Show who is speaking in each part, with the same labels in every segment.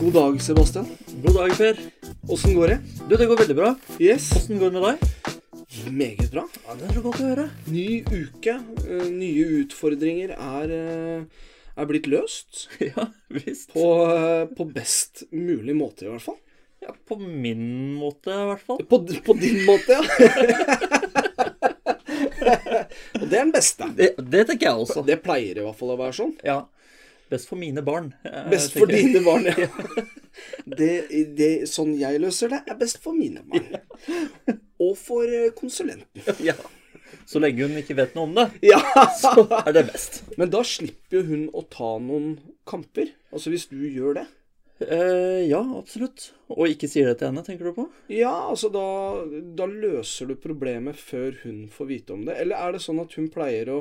Speaker 1: God dag, Sebastian.
Speaker 2: God dag, Per.
Speaker 1: Åssen går det?
Speaker 2: Du, det går veldig bra.
Speaker 1: Yes.
Speaker 2: Åssen går det med deg?
Speaker 1: Meget bra.
Speaker 2: Ja, Det er så godt å høre.
Speaker 1: Ny uke. eh, Nye utfordringer er, eh, er blitt løst.
Speaker 2: Ja, visst.
Speaker 1: På, eh, på best mulig måte, i hvert fall.
Speaker 2: Ja, på min måte, i hvert fall.
Speaker 1: På, på din måte, ja. Og det er den beste.
Speaker 2: Det, det tenker jeg også.
Speaker 1: Det pleier i hvert fall å være sånn.
Speaker 2: Ja. Best for mine barn. eh,
Speaker 1: Best for
Speaker 2: tenker jeg.
Speaker 1: dine barn, ja. Det, det, sånn jeg løser det, er best for mine barn. Og for eh, konsulenten.
Speaker 2: Ja. Så lenge hun ikke vet noe om det,
Speaker 1: Ja.
Speaker 2: så er det best.
Speaker 1: Men da slipper jo hun å ta noen kamper. Altså hvis du gjør det.
Speaker 2: Eh, ja, absolutt. Og ikke sier det til henne, tenker du på?
Speaker 1: Ja, altså da, da løser du problemet før hun får vite om det. Eller er det sånn at hun pleier å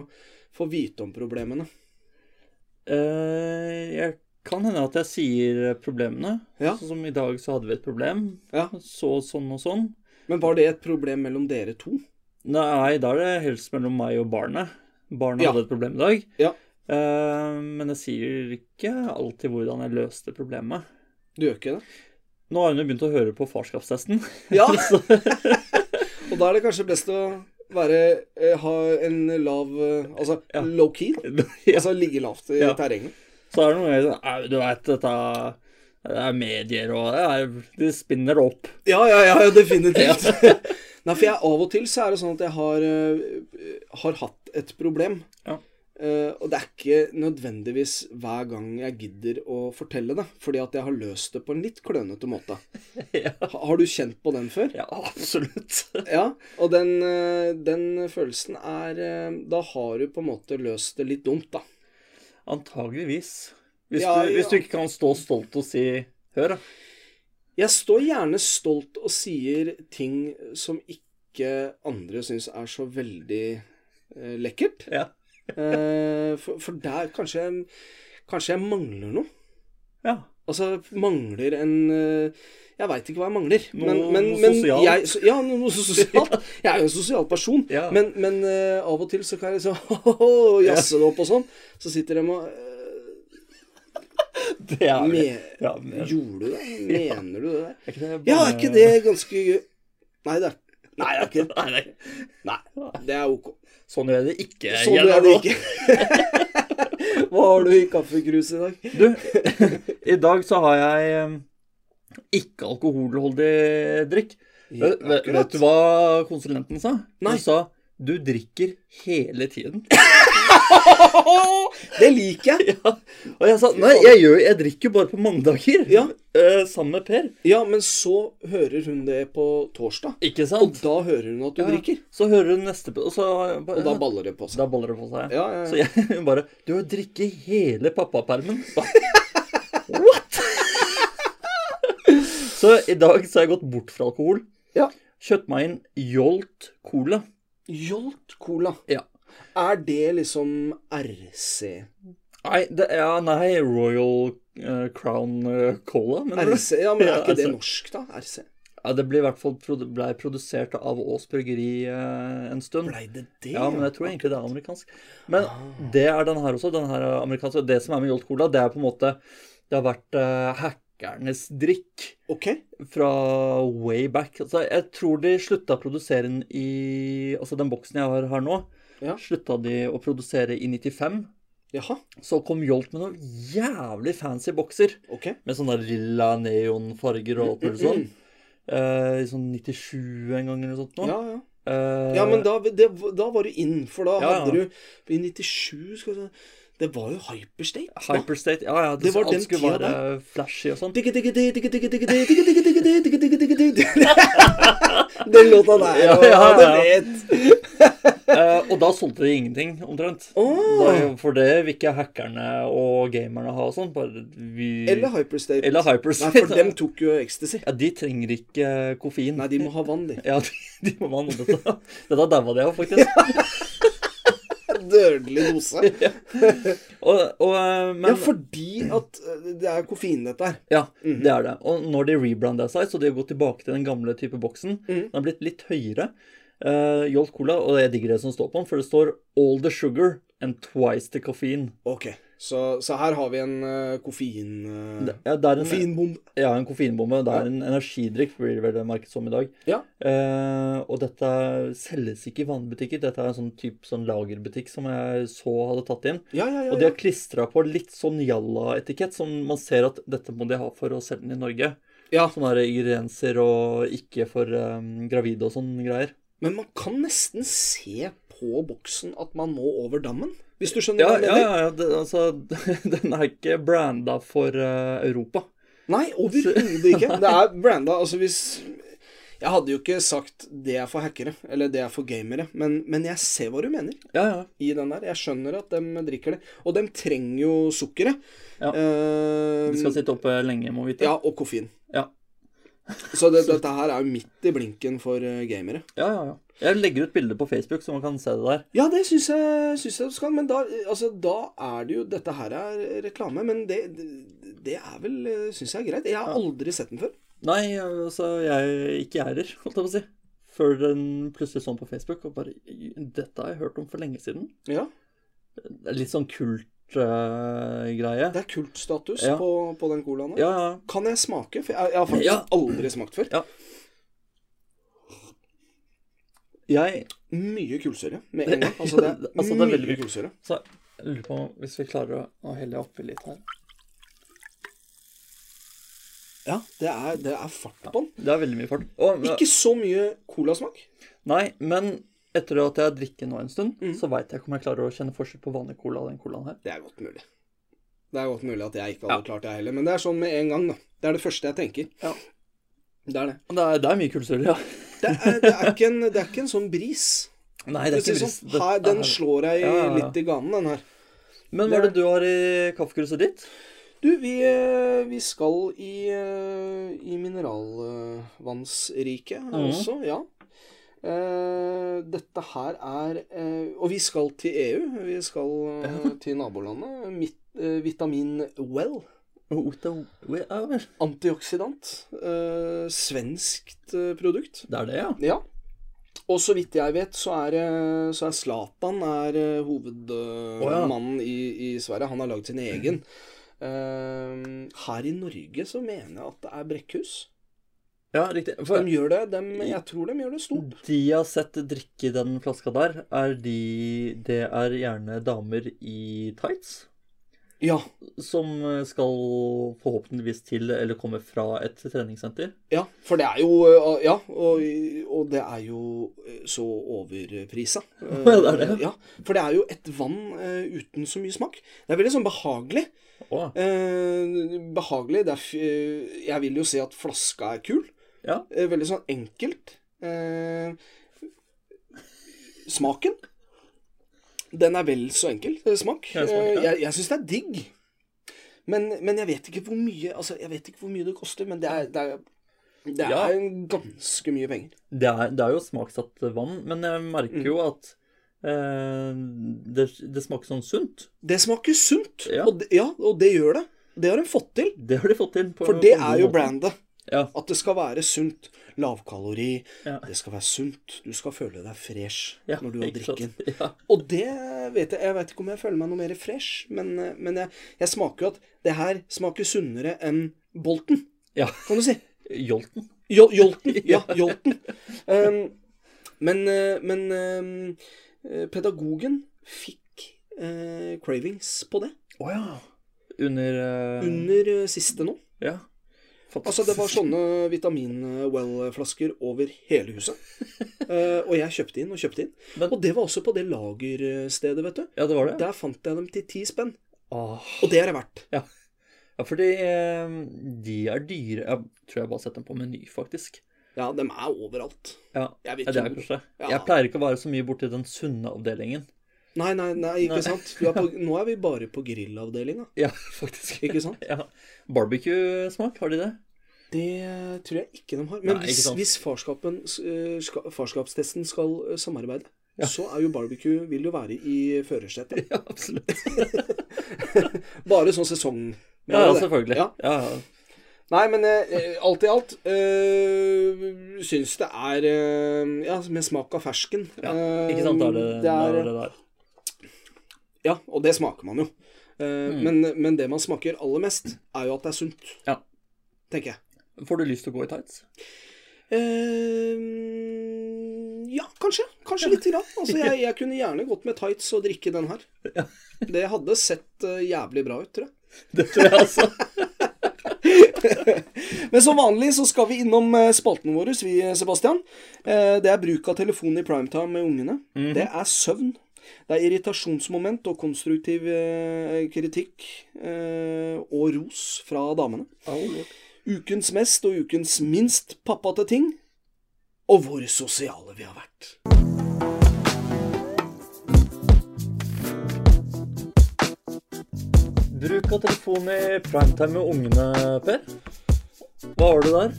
Speaker 1: få vite om problemene?
Speaker 2: Eh, jeg kan hende at jeg sier problemene.
Speaker 1: Ja.
Speaker 2: Sånn som i dag så hadde vi et problem.
Speaker 1: Ja.
Speaker 2: Så sånn og sånn.
Speaker 1: Men var det et problem mellom dere to?
Speaker 2: Nei, da er det helst mellom meg og barnet. Barnet
Speaker 1: Ja.
Speaker 2: hadde et problem i dag.
Speaker 1: Ja.
Speaker 2: Eh, men jeg sier ikke alltid hvordan jeg løste problemet.
Speaker 1: Du gjør ikke det?
Speaker 2: Nå har hun jo begynt å høre på farskapstesten.
Speaker 1: Ja. Altså.
Speaker 2: Så,
Speaker 1: Og da er det kanskje best å være, eh, ha en lav eh, Altså
Speaker 2: Ja.
Speaker 1: low key.
Speaker 2: ja.
Speaker 1: Altså ligge lavt i
Speaker 2: Ja.
Speaker 1: terrenget.
Speaker 2: så er det noe jeg sier, «Au, Du veit, dette det er medier og det er, De spinner det opp.
Speaker 1: Ja, ja, ja, ja, definitivt. Nei, for jeg av og til så er det sånn at jeg har, eh, har hatt et problem.
Speaker 2: Ja.
Speaker 1: Eh, og det er ikke nødvendigvis hver gang jeg gidder å fortelle det, fordi at jeg har løst det på en litt klønete måte.
Speaker 2: Ja.
Speaker 1: Ha, har du kjent på den før?
Speaker 2: Ja, absolutt.
Speaker 1: Ja, og den, eh, den følelsen er eh, Da har du på en måte løst det litt dumt, da.
Speaker 2: Antageligvis. Hvis,
Speaker 1: Ja,
Speaker 2: du,
Speaker 1: ja.
Speaker 2: hvis du ikke kan stå stolt og si Hør, da.
Speaker 1: Jeg står gjerne stolt og sier ting som ikke andre syns er så veldig eh, lekkert.
Speaker 2: Ja.
Speaker 1: Eh, for, for der kanskje jeg, kanskje jeg mangler noe.
Speaker 2: ja.
Speaker 1: Altså mangler en eh, Jeg veit ikke hva jeg mangler.
Speaker 2: Noe- noe sosialt.
Speaker 1: jeg, so- ja, noe, noe sosialt. Jeg er jo en sosial person.
Speaker 2: Ja.
Speaker 1: Men, men eh, av og til så kan jeg liksom jazze det opp og sånn. Så sitter de og eh,
Speaker 2: Det er det.
Speaker 1: me,
Speaker 2: Ja, men- er
Speaker 1: Gjorde du det? Mener du det der?
Speaker 2: ikke det
Speaker 1: Ja, er ikke det ganske gøy? Nei, det er, nei, det er ikke det.
Speaker 2: Nei, nei.
Speaker 1: Nei, det er ok.
Speaker 2: Sånn gjør jeg det ikke.
Speaker 1: Sånn
Speaker 2: Gjerda,
Speaker 1: er det
Speaker 2: nå.
Speaker 1: ikke. Hva har du i kaffekruset i dag?
Speaker 2: Du, i dag så har jeg eh, ikke alkoholholdig drikk. Vet, vet, vet du hva konsulenten sa?
Speaker 1: Nei.
Speaker 2: Hun sa du drikker hele tiden.
Speaker 1: Det liker jeg.
Speaker 2: Ja. Og jeg sa nei, jeg, gjør, jeg drikker bare på mandager.
Speaker 1: Ja.
Speaker 2: Eh, sammen med Per.
Speaker 1: Ja, men så hører hun det på torsdag.
Speaker 2: Ikke
Speaker 1: Og
Speaker 2: sant?
Speaker 1: da hører hun at du
Speaker 2: Ja.
Speaker 1: drikker.
Speaker 2: Så hører hun neste Og, så,
Speaker 1: Og da baller det på seg.
Speaker 2: Da baller det på seg.
Speaker 1: Ja, ja,
Speaker 2: Så
Speaker 1: ja.
Speaker 2: jeg hun bare Du har drikket hele pappapermen. What?! så i dag så har jeg gått bort fra alkohol.
Speaker 1: Ja.
Speaker 2: Kjøpt meg en Jolt Cola.
Speaker 1: Jolt Cola.
Speaker 2: Ja.
Speaker 1: Er det liksom RC?
Speaker 2: Nei, det, ja, nei Royal eh, Crown eh, Cola. Men det,
Speaker 1: RC? Ja, men er
Speaker 2: Ja, altså-
Speaker 1: ikke det
Speaker 2: RC.
Speaker 1: norsk, da? RC?
Speaker 2: ja, det ble i hvert fall produ ble produsert av Aas Bryggeri eh, en stund.
Speaker 1: Blei det det?
Speaker 2: Ja, men jeg tror egentlig det er amerikansk. Men
Speaker 1: Ah,
Speaker 2: det er den her også. Den her er amerikansk. Og det som er med Jolt Cola, det er på en måte Det har vært eh, hackernes drikk.
Speaker 1: Ok.
Speaker 2: fra way back. Altså, jeg tror de slutta å produsere den i Altså den boksen jeg har her nå,
Speaker 1: Ja.
Speaker 2: slutta de å produsere i 95.
Speaker 1: Jaha.
Speaker 2: Så kom Jolt med noen jævlig fancy bokser
Speaker 1: Ok.
Speaker 2: med sånne lilla neonfarger og alt mulig sånn. Eh, I sånn 97 en gang eller noe sånt. nå.
Speaker 1: Ja, ja.
Speaker 2: Eh,
Speaker 1: ja men da, det, da var du inn, for da
Speaker 2: Ja, ja.
Speaker 1: hadde du I 97 skal vi se, Det var jo Hyperstate. da.
Speaker 2: Hyperstate Ja, ja. Det,
Speaker 1: Det var
Speaker 2: alt
Speaker 1: den tida
Speaker 2: skulle være flashy og sånn.
Speaker 1: Den låta der,
Speaker 2: Ja,
Speaker 1: og
Speaker 2: ja, ja.
Speaker 1: det vet
Speaker 2: Eh, og da solgte de ingenting, omtrent.
Speaker 1: Åh,
Speaker 2: Da, for det vil ikke hackerne og gamerne ha og sånn. Bare vi
Speaker 1: Eller Hyperstate.
Speaker 2: Eller
Speaker 1: Nei,
Speaker 2: Hyperstate.
Speaker 1: for dem tok jo ecstasy.
Speaker 2: Ja, de trenger ikke eh, koffein.
Speaker 1: Nei, de må ha vann, de.
Speaker 2: Ja, de, de må man dette. Dette daua de av, faktisk.
Speaker 1: Dødelig dose.
Speaker 2: Og, og, eh, men
Speaker 1: Ja, fordi at eh, det er koffein, dette her.
Speaker 2: ja,
Speaker 1: Mhm.
Speaker 2: det er det. Og når de rebranda seg, så de har gått tilbake til den gamle type boksen.
Speaker 1: Mhm.
Speaker 2: Den har blitt litt høyere. Uh, Jolt Cola, og jeg digger det som står på den, for det står 'All the sugar and twice the caffeine'.
Speaker 1: Ok. Så, så her har vi en eh, koffein... eh,
Speaker 2: Ja, det er en,
Speaker 1: koffeinbombe.
Speaker 2: ja, en koffeinbombe. Det er en energidrikk, blir det vel markedet som i dag.
Speaker 1: Ja.
Speaker 2: Eh, og dette selges ikke i vanlige butikker. Dette er en sånn type sånn lagerbutikk som jeg så hadde tatt inn.
Speaker 1: Ja, ja, ja.
Speaker 2: Og de har klistra på litt sånn jalla-etikett, som man ser at dette må de ha for å selge den i Norge.
Speaker 1: Ja.
Speaker 2: Sånne der ingredienser og ikke for eh, gravide og sånne greier.
Speaker 1: Men man kan nesten se på boksen at man må over dammen, hvis du skjønner
Speaker 2: Ja,
Speaker 1: hva jeg
Speaker 2: ja,
Speaker 1: mener?
Speaker 2: ja. ja det, altså, den er ikke branda for eh, Europa.
Speaker 1: Nei, overhodet ikke. Det er branda. Altså, hvis Jeg hadde jo ikke sagt 'det er for hackere', eller 'det er for gamere', men, men jeg ser hva du mener
Speaker 2: Ja, ja.
Speaker 1: i den der. Jeg skjønner at de drikker det. Og de trenger jo sukkeret.
Speaker 2: Ja.
Speaker 1: Eh,
Speaker 2: De skal sitte oppe lenge, må vite.
Speaker 1: ja, og koffein.
Speaker 2: Ja.
Speaker 1: Så det, dette her er jo midt i blinken for eh, gamere.
Speaker 2: ja, ja. ja. Jeg legger ut bilder på Facebook, så man kan se det der.
Speaker 1: Ja, det syns jeg, synes jeg du skal. Men da, altså, da er det jo Dette her er reklame, men det, det- det er vel Syns jeg er greit. Jeg har aldri sett den før.
Speaker 2: Nei, altså, jeg ikke jeg heller, holdt jeg på å si. Før den plutselig sånn på Facebook og bare Dette har jeg hørt om for lenge siden.
Speaker 1: Ja,
Speaker 2: Det er Litt sånn eh, kult-greie.
Speaker 1: Det er kultstatus
Speaker 2: Ja.
Speaker 1: på, på den colaen. her.
Speaker 2: ja, ja.
Speaker 1: Kan jeg smake? For jeg, jeg har faktisk
Speaker 2: Ja.
Speaker 1: aldri smakt før.
Speaker 2: Jeg
Speaker 1: Mye kullsyre med en gang. Altså, det er,
Speaker 2: Altså, det er veldig
Speaker 1: mye
Speaker 2: mye.
Speaker 1: kullsyre.
Speaker 2: så jeg lurer på om- hvis vi klarer å Nå heller jeg oppi litt her.
Speaker 1: Ja, det er, det er fart på den.
Speaker 2: Det er veldig mye fart. Og,
Speaker 1: Ikke så mye colasmak.
Speaker 2: Nei, men etter at jeg har drikket nå en stund, så veit jeg ikke om jeg klarer å kjenne forskjell på vanlig cola og den colaen her.
Speaker 1: Det er godt mulig. Det er godt mulig at jeg ikke hadde klart det heller, men det er sånn med en gang, da. Det er det første jeg tenker.
Speaker 2: Ja.
Speaker 1: Det er det.
Speaker 2: Det er, det er mye kullsyre, ja.
Speaker 1: Det er, det, er ikke en, det er ikke en sånn bris.
Speaker 2: Nei, det
Speaker 1: Det
Speaker 2: er ikke
Speaker 1: sånn,
Speaker 2: brist.
Speaker 1: her,
Speaker 2: Dette
Speaker 1: den
Speaker 2: er-
Speaker 1: slår deg
Speaker 2: Ja, ja, ja.
Speaker 1: litt i ganen, den her.
Speaker 2: Men hva er det du har i kaffekruset ditt?
Speaker 1: Du, vi, eh, vi skal i, eh, i mineralvannsriket
Speaker 2: Mhm.
Speaker 1: også, ja. Eh, dette her er eh, Og vi skal til EU. Vi skal eh, til nabolandet. Mitt, eh, vitamin Well.
Speaker 2: Oh, Oto- Ja, vel.
Speaker 1: Antioksidant. Eh, svenskt eh, produkt.
Speaker 2: Det er det, ja.
Speaker 1: Ja. Og så vidt jeg vet, så er, eh, så er Zlatan er eh, hovedmannen i, i Sverige. Han har lagd sin egen. Eh, her i Norge så mener jeg at det er Brekkhus.
Speaker 2: Ja, riktig.
Speaker 1: De
Speaker 2: For
Speaker 1: gjør det, de, jeg tror de gjør det stort.
Speaker 2: de jeg har sett drikke den flaska der, er de Det er gjerne damer i tights.
Speaker 1: Ja.
Speaker 2: Som eh, skal forhåpentligvis til, eller kommer fra et treningssenter.
Speaker 1: ja for det er jo eh, Ja, og, og det er jo eh, så overprisa. Eh,
Speaker 2: Ja, det er det.
Speaker 1: Ja, for det er jo et vann eh, uten så mye smak. Det er veldig sånn behagelig.
Speaker 2: Å,
Speaker 1: Eh, behagelig. Det er, f- eh, jeg vil jo si at flaska er kul.
Speaker 2: Ja.
Speaker 1: Eh, veldig sånn enkelt. Eh, smaken Den er vel så enkel eh, smak.
Speaker 2: Ja, smaken,
Speaker 1: Eh,
Speaker 2: ja.
Speaker 1: jeg jeg syns det er digg. Men, men jeg vet ikke hvor mye Altså, jeg vet ikke hvor mye det koster, men det er, det er, det er
Speaker 2: Ja.
Speaker 1: ganske mye penger.
Speaker 2: Det, er, det er jo smaksatt vann, men jeg merker
Speaker 1: Mm.
Speaker 2: jo at eh, det, det smaker sånn sunt.
Speaker 1: Det smaker sunt,
Speaker 2: Ja.
Speaker 1: og, det, ja, og det gjør det. Det har de fått til.
Speaker 2: Det har de fått til. På,
Speaker 1: For det
Speaker 2: på en god
Speaker 1: er jo
Speaker 2: måte.
Speaker 1: brandet.
Speaker 2: Ja.
Speaker 1: At det skal være sunt. Lavkalori.
Speaker 2: Ja.
Speaker 1: Det skal være sunt. Du skal føle deg fresh
Speaker 2: Ja,
Speaker 1: når du har
Speaker 2: ikke sant?
Speaker 1: drikken.
Speaker 2: Ja.
Speaker 1: Og det vet jeg Jeg vet ikke om jeg føler meg noe mer fresh, men, men jeg, jeg smaker jo at det her smaker sunnere enn Bolten,
Speaker 2: Ja.
Speaker 1: kan du si.
Speaker 2: Jolten.
Speaker 1: Jo, jolten. Ja, jolten. Um, men eh, men um, eh, pedagogen fikk eh, cravings på det
Speaker 2: Å ja. Under, eh,
Speaker 1: under eh, siste nå.
Speaker 2: Ja.
Speaker 1: Altså, det var sånne vitamin-well-flasker over hele huset. Eh, og jeg kjøpte inn og kjøpte inn.
Speaker 2: Men-
Speaker 1: Og det var også på det lagerstedet, vet du.
Speaker 2: Ja, det var det.
Speaker 1: Der fant jeg dem til ti spenn.
Speaker 2: Åh.
Speaker 1: Og det er det verdt.
Speaker 2: Ja, fordi eh, de er dyre. Jeg tror jeg bare har sett dem på Meny, faktisk.
Speaker 1: Ja, dem er overalt.
Speaker 2: Ja,
Speaker 1: Jeg
Speaker 2: ja
Speaker 1: vet
Speaker 2: det er
Speaker 1: ikke.
Speaker 2: kanskje det.
Speaker 1: Ja.
Speaker 2: Jeg pleier ikke å være så mye borti den sunne avdelingen.
Speaker 1: Nei, nei, nei, ikke
Speaker 2: Nei.
Speaker 1: sant. Du er på, nå er vi bare på grillavdelinga,
Speaker 2: Ja, faktisk.
Speaker 1: ikke sant.
Speaker 2: Ja. Barbecue-smak, har de det?
Speaker 1: Det tror jeg ikke de har. Men
Speaker 2: Nei, ikke
Speaker 1: hvis,
Speaker 2: sant.
Speaker 1: hvis farskapen, eh, ska, farskapstesten skal eh, samarbeide,
Speaker 2: Ja.
Speaker 1: så er jo barbecue Vil jo være i førersetet.
Speaker 2: Ja, absolutt.
Speaker 1: Bare sånn sesong.
Speaker 2: Ja, altså,
Speaker 1: bare det.
Speaker 2: selvfølgelig.
Speaker 1: Ja.
Speaker 2: Ja. ja.
Speaker 1: Nei, men eh, eh, alt i alt eh, syns det er eh, Ja, med smak av fersken.
Speaker 2: Ikke sant, da er det,
Speaker 1: Eh,
Speaker 2: da er
Speaker 1: er-
Speaker 2: det der.
Speaker 1: Ja, og det smaker man jo. Eh,
Speaker 2: Mm.
Speaker 1: men, men det man smaker aller mest, er jo at det er sunt.
Speaker 2: Ja.
Speaker 1: Tenker jeg.
Speaker 2: Får du lyst til å gå i tights?
Speaker 1: Eh, ja, kanskje. Kanskje lite grann. Altså, jeg, jeg kunne gjerne gått med tights og drikke den her. Det hadde sett eh, jævlig bra ut, tror jeg.
Speaker 2: Det tror jeg altså.
Speaker 1: Men som vanlig så skal vi innom eh, spalten vår, vi, Sebastian. Eh, Det er bruk av telefon i primetime med ungene. Det er søvn. Det er irritasjonsmoment og konstruktiv eh, kritikk eh, og ros fra damene. Ukens mest og ukens minst pappate ting. Og hvor sosiale vi har vært.
Speaker 2: Bruk av telefon i primetime med ungene, Per. Hva har du der?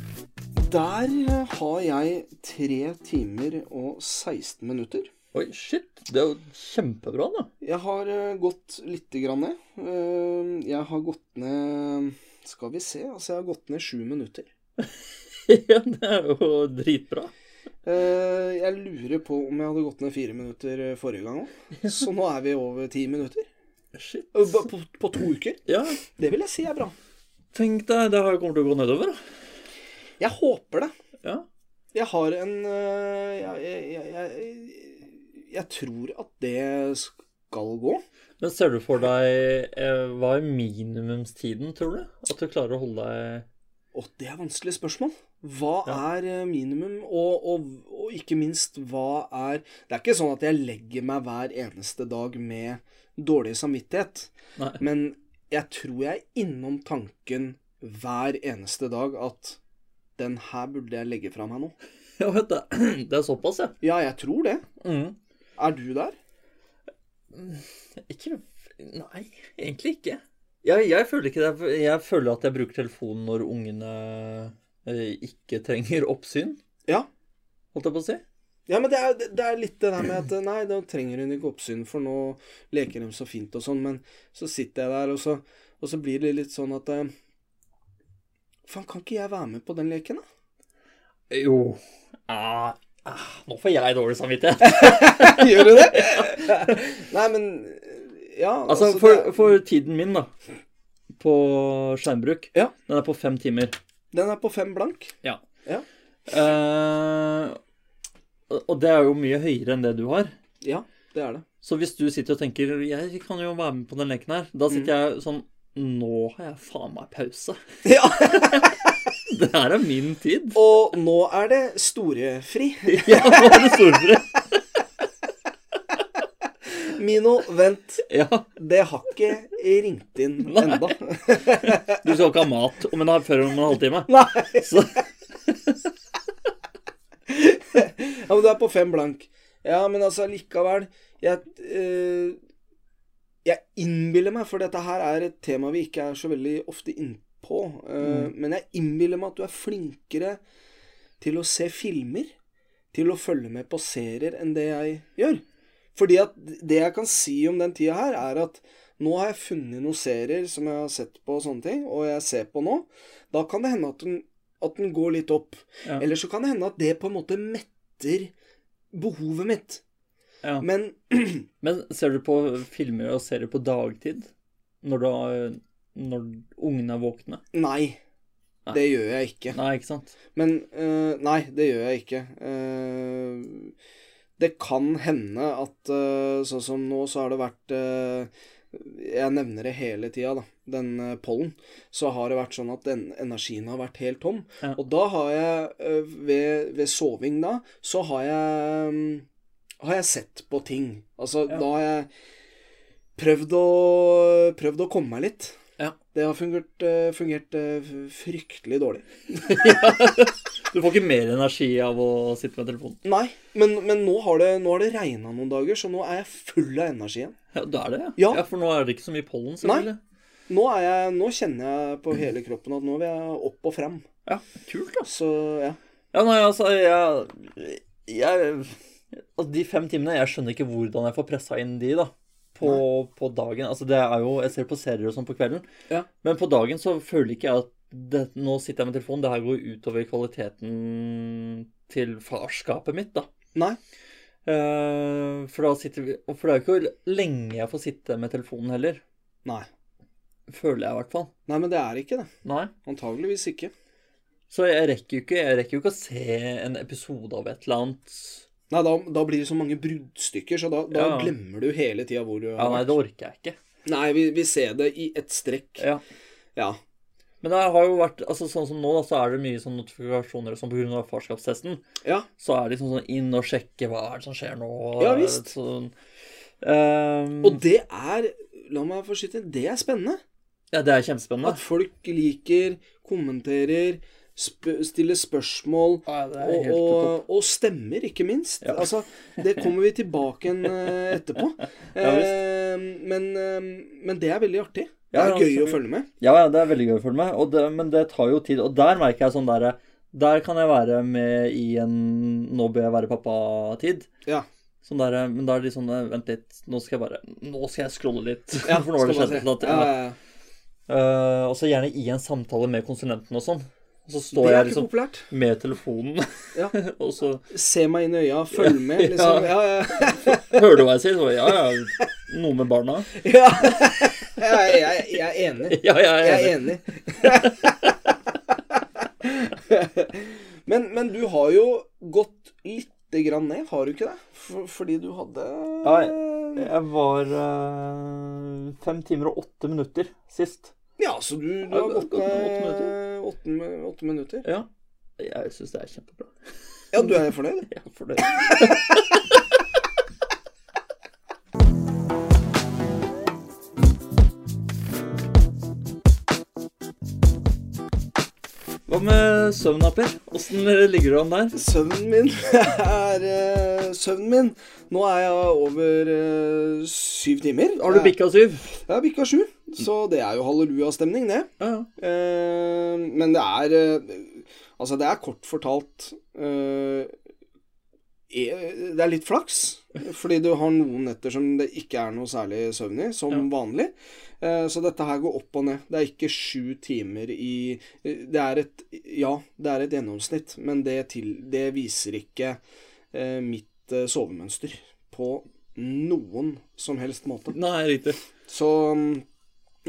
Speaker 1: Der eh, har jeg 3 timer og 16 minutter.
Speaker 2: Oi, shit. Det er jo kjempebra, da.
Speaker 1: Jeg har eh, gått lite grann ned. Eh, Jeg har gått ned Skal vi se. Altså, jeg har gått ned 7 minutter.
Speaker 2: ja, det er jo dritbra.
Speaker 1: Eh, Jeg lurer på om jeg hadde gått ned 4 minutter eh, forrige gang òg. Så nå er vi over 10 minutter.
Speaker 2: Shit.
Speaker 1: Eh, ba- På, på to uker.
Speaker 2: Ja,
Speaker 1: Det vil jeg si er bra.
Speaker 2: tenk deg, det her kommer til å gå nedover. da.
Speaker 1: Jeg håper det.
Speaker 2: Ja.
Speaker 1: Jeg har en eh, Jeg, jeg, jeg, jeg, jeg tror at det skal gå.
Speaker 2: Men ser du for deg eh, Hva er minimumstiden, tror du? At du klarer å holde deg
Speaker 1: Og det er vanskelige spørsmål. Hva
Speaker 2: Ja.
Speaker 1: er eh, minimum, og, og, og ikke minst hva er Det er ikke sånn at jeg legger meg hver eneste dag med dårlig samvittighet,
Speaker 2: Nei.
Speaker 1: men jeg tror jeg er innom tanken hver eneste dag at den her burde jeg legge fra meg nå.
Speaker 2: Ja, vet du, det er såpass, ja.
Speaker 1: Ja, jeg tror det.
Speaker 2: Mm.
Speaker 1: Er du der?
Speaker 2: Ikke Nei, egentlig ikke. Jeg, jeg føler ikke det. Jeg føler at jeg bruker telefonen når ungene eh, ikke trenger oppsyn,
Speaker 1: Ja.
Speaker 2: holdt jeg på å si.
Speaker 1: Ja, men det er, det er litt det der med at Nei, da trenger hun ikke oppsyn, for nå leker de så fint og sånn. Men så sitter jeg der, og så, og så blir det litt sånn at eh, Faen, kan ikke jeg være med på den leken, da?
Speaker 2: Jo. Ah, ah, nå får jeg dårlig samvittighet.
Speaker 1: Gjør du det? nei, men Ja.
Speaker 2: Altså,
Speaker 1: det
Speaker 2: for,
Speaker 1: er-
Speaker 2: for tiden min, da, på skjermbruk,
Speaker 1: Ja.
Speaker 2: den er på fem timer.
Speaker 1: Den er på fem blank.
Speaker 2: Ja.
Speaker 1: Ja.
Speaker 2: Eh, og- og det er jo mye høyere enn det du har.
Speaker 1: Ja, det er det.
Speaker 2: Så hvis du sitter og tenker Jeg kan jo være med på den leken her, da sitter jeg sånn Nå har jeg faen meg pause.
Speaker 1: Ja.
Speaker 2: Det her er min tid.
Speaker 1: Og nå er det storefri.
Speaker 2: Ja, nå er det storfri.
Speaker 1: Mino, vent.
Speaker 2: Ja,
Speaker 1: Det har ikke ringt inn
Speaker 2: Nei.
Speaker 1: enda.
Speaker 2: du skal ikke ha mat om en halv, før om en halvtime.
Speaker 1: Nei.
Speaker 2: Så
Speaker 1: Ja, men du er på fem blank. Ja, men altså likevel Jeg, eh, jeg innbiller meg, for dette her er et tema vi ikke er så veldig ofte innpå, eh, men jeg innbiller meg at du er flinkere til å se filmer, til å følge med på serier, enn det jeg gjør. Fordi at det jeg kan si om den tida her, er at nå har jeg funnet noen serier som jeg har sett på og sånne ting, og jeg ser på nå. Da kan det hende at den, at den går litt opp.
Speaker 2: Ja.
Speaker 1: Eller så kan det hende at det på en måte metter behovet mitt.
Speaker 2: Ja.
Speaker 1: Men
Speaker 2: Men ser du på filmer og serier på dagtid? Når, du har, når ungene er våkne?
Speaker 1: nei.
Speaker 2: Nei.
Speaker 1: Det gjør jeg ikke.
Speaker 2: Nei, ikke sant?
Speaker 1: Men eh, Nei, det gjør jeg ikke. Eh, det kan hende at eh, sånn som nå, så har det vært eh, Jeg nevner det hele tida, da. Den eh, pollen. Så har det vært sånn at den energien har vært helt tom.
Speaker 2: Ja.
Speaker 1: Og da har jeg, eh, ved, ved soving da, så har jeg mm, har jeg sett på ting. Altså,
Speaker 2: Ja.
Speaker 1: da har jeg prøvd å, prøvd å komme meg litt.
Speaker 2: Ja.
Speaker 1: Det har fungert, eh, fungert eh, f- fryktelig dårlig.
Speaker 2: Du får ikke mer energi av å sitte med telefonen.
Speaker 1: Nei, men, men nå har det, nå har det regna noen dager, så nå er jeg full av energi igjen.
Speaker 2: Ja, det er det, ja.
Speaker 1: Ja.
Speaker 2: For nå er det ikke så mye pollen,
Speaker 1: Nei.
Speaker 2: selvfølgelig.
Speaker 1: Nå, er jeg, nå kjenner jeg på hele kroppen at nå vil jeg opp og frem.
Speaker 2: Ja, kult, da.
Speaker 1: Så ja.
Speaker 2: Ja, nei, altså, jeg, jeg altså, De fem timene Jeg skjønner ikke hvordan jeg får pressa inn de, da. På, på dagen. Altså, det er jo Jeg ser på serier og sånn på kvelden.
Speaker 1: Ja.
Speaker 2: Men på dagen så føler ikke jeg at det, Nå sitter jeg med telefonen. Det her går utover kvaliteten til farskapet mitt, da.
Speaker 1: Nei.
Speaker 2: Eh, for da sitter vi og For det er jo ikke lenge jeg får sitte med telefonen heller.
Speaker 1: Nei.
Speaker 2: Føler jeg i hvert fall.
Speaker 1: Nei, men det er ikke det.
Speaker 2: Nei.
Speaker 1: Antageligvis ikke.
Speaker 2: Så jeg rekker jo ikke, jeg rekker jo ikke å se en episode av et eller annet.
Speaker 1: Nei, da, da blir det så mange bruddstykker, så da, da
Speaker 2: Ja.
Speaker 1: glemmer du hele tida hvor du
Speaker 2: Ja,
Speaker 1: har
Speaker 2: nei,
Speaker 1: vært.
Speaker 2: det orker jeg ikke.
Speaker 1: Nei, vi, vi ser det i et strekk.
Speaker 2: Ja.
Speaker 1: Ja.
Speaker 2: Men det har jo vært, altså sånn som nå da, så er det mye sånn notifikasjoner og sånn på grunn av farskapstesten.
Speaker 1: Ja.
Speaker 2: Så er det liksom sånn inn og sjekke hva er det som skjer nå. og
Speaker 1: Ja, visst.
Speaker 2: Sånn. Ehm,
Speaker 1: Og det er La meg få skyte inn. Det er spennende.
Speaker 2: ja, det er kjempespennende.
Speaker 1: At folk liker, kommenterer, sp stiller spørsmål.
Speaker 2: Ja, det er
Speaker 1: Og,
Speaker 2: helt på topp.
Speaker 1: og, og stemmer, ikke minst.
Speaker 2: Ja.
Speaker 1: Altså, det kommer vi tilbake igjen eh, etterpå.
Speaker 2: Ja, visst.
Speaker 1: Eh, men, eh, men det er veldig artig. Det
Speaker 2: Ja,
Speaker 1: er
Speaker 2: ja,
Speaker 1: gøy å
Speaker 2: absolutt.
Speaker 1: følge med.
Speaker 2: Ja, ja, det er veldig gøy for meg, og det, men det tar jo tid. Og der merker jeg sånn derre Der kan jeg være med i en Nå bør jeg være pappa-tid.
Speaker 1: Ja.
Speaker 2: Sånn der, men da er det litt sånn eh, Vent litt, nå skal jeg bare Nå skal jeg scrolle litt.
Speaker 1: Ja,
Speaker 2: for nå har det
Speaker 1: skal
Speaker 2: skjedd
Speaker 1: man
Speaker 2: et
Speaker 1: se.
Speaker 2: eller annet.
Speaker 1: Ja, ja,
Speaker 2: Ja.
Speaker 1: ja.
Speaker 2: Eh, og så gjerne i en samtale med konsulenten og sånn. Og så
Speaker 1: det
Speaker 2: står jeg
Speaker 1: er ikke
Speaker 2: liksom
Speaker 1: populært.
Speaker 2: med telefonen,
Speaker 1: Ja.
Speaker 2: og så
Speaker 1: Se meg inn i øya, følg med, liksom. Ja, ja.
Speaker 2: hører du hva jeg sier. Så ja, ja, noe med barna.
Speaker 1: ja. Jeg, jeg, jeg er enig.
Speaker 2: Ja, jeg er
Speaker 1: Jeg
Speaker 2: enig.
Speaker 1: er enig. men, men du har jo gått lite grann ned, har du ikke det? For, fordi du hadde
Speaker 2: Jeg var eh, fem timer og åtte minutter sist.
Speaker 1: Ja, så du, du
Speaker 2: Ja,
Speaker 1: har gått
Speaker 2: gått ned åtte
Speaker 1: ned åtte, mi- åtte minutter.
Speaker 2: Ja. Jeg syns det er kjempebra.
Speaker 1: Ja, du er fornøyd?
Speaker 2: Jeg er fornøyd. Hva med søvna, Per? Åssen ligger du an der?
Speaker 1: Søvnen min er eh, Søvnen min Nå er jeg over eh, syv timer.
Speaker 2: Har du bikka syv?
Speaker 1: Jeg har bikka sju, så det er jo hallelujastemning, det.
Speaker 2: Ja, ja.
Speaker 1: Eh, men det er eh, Altså, det er kort fortalt eh, e- Det er litt flaks, fordi du har noen netter som det ikke er noe særlig søvn i, som
Speaker 2: Ja.
Speaker 1: vanlig. Eh, så dette her går opp og ned. Det er ikke sju timer i Det er et Ja, det er et gjennomsnitt, men det, til, det viser ikke eh, mitt eh, sovemønster på noen som helst måte.
Speaker 2: Nei, riktig.
Speaker 1: Så mm,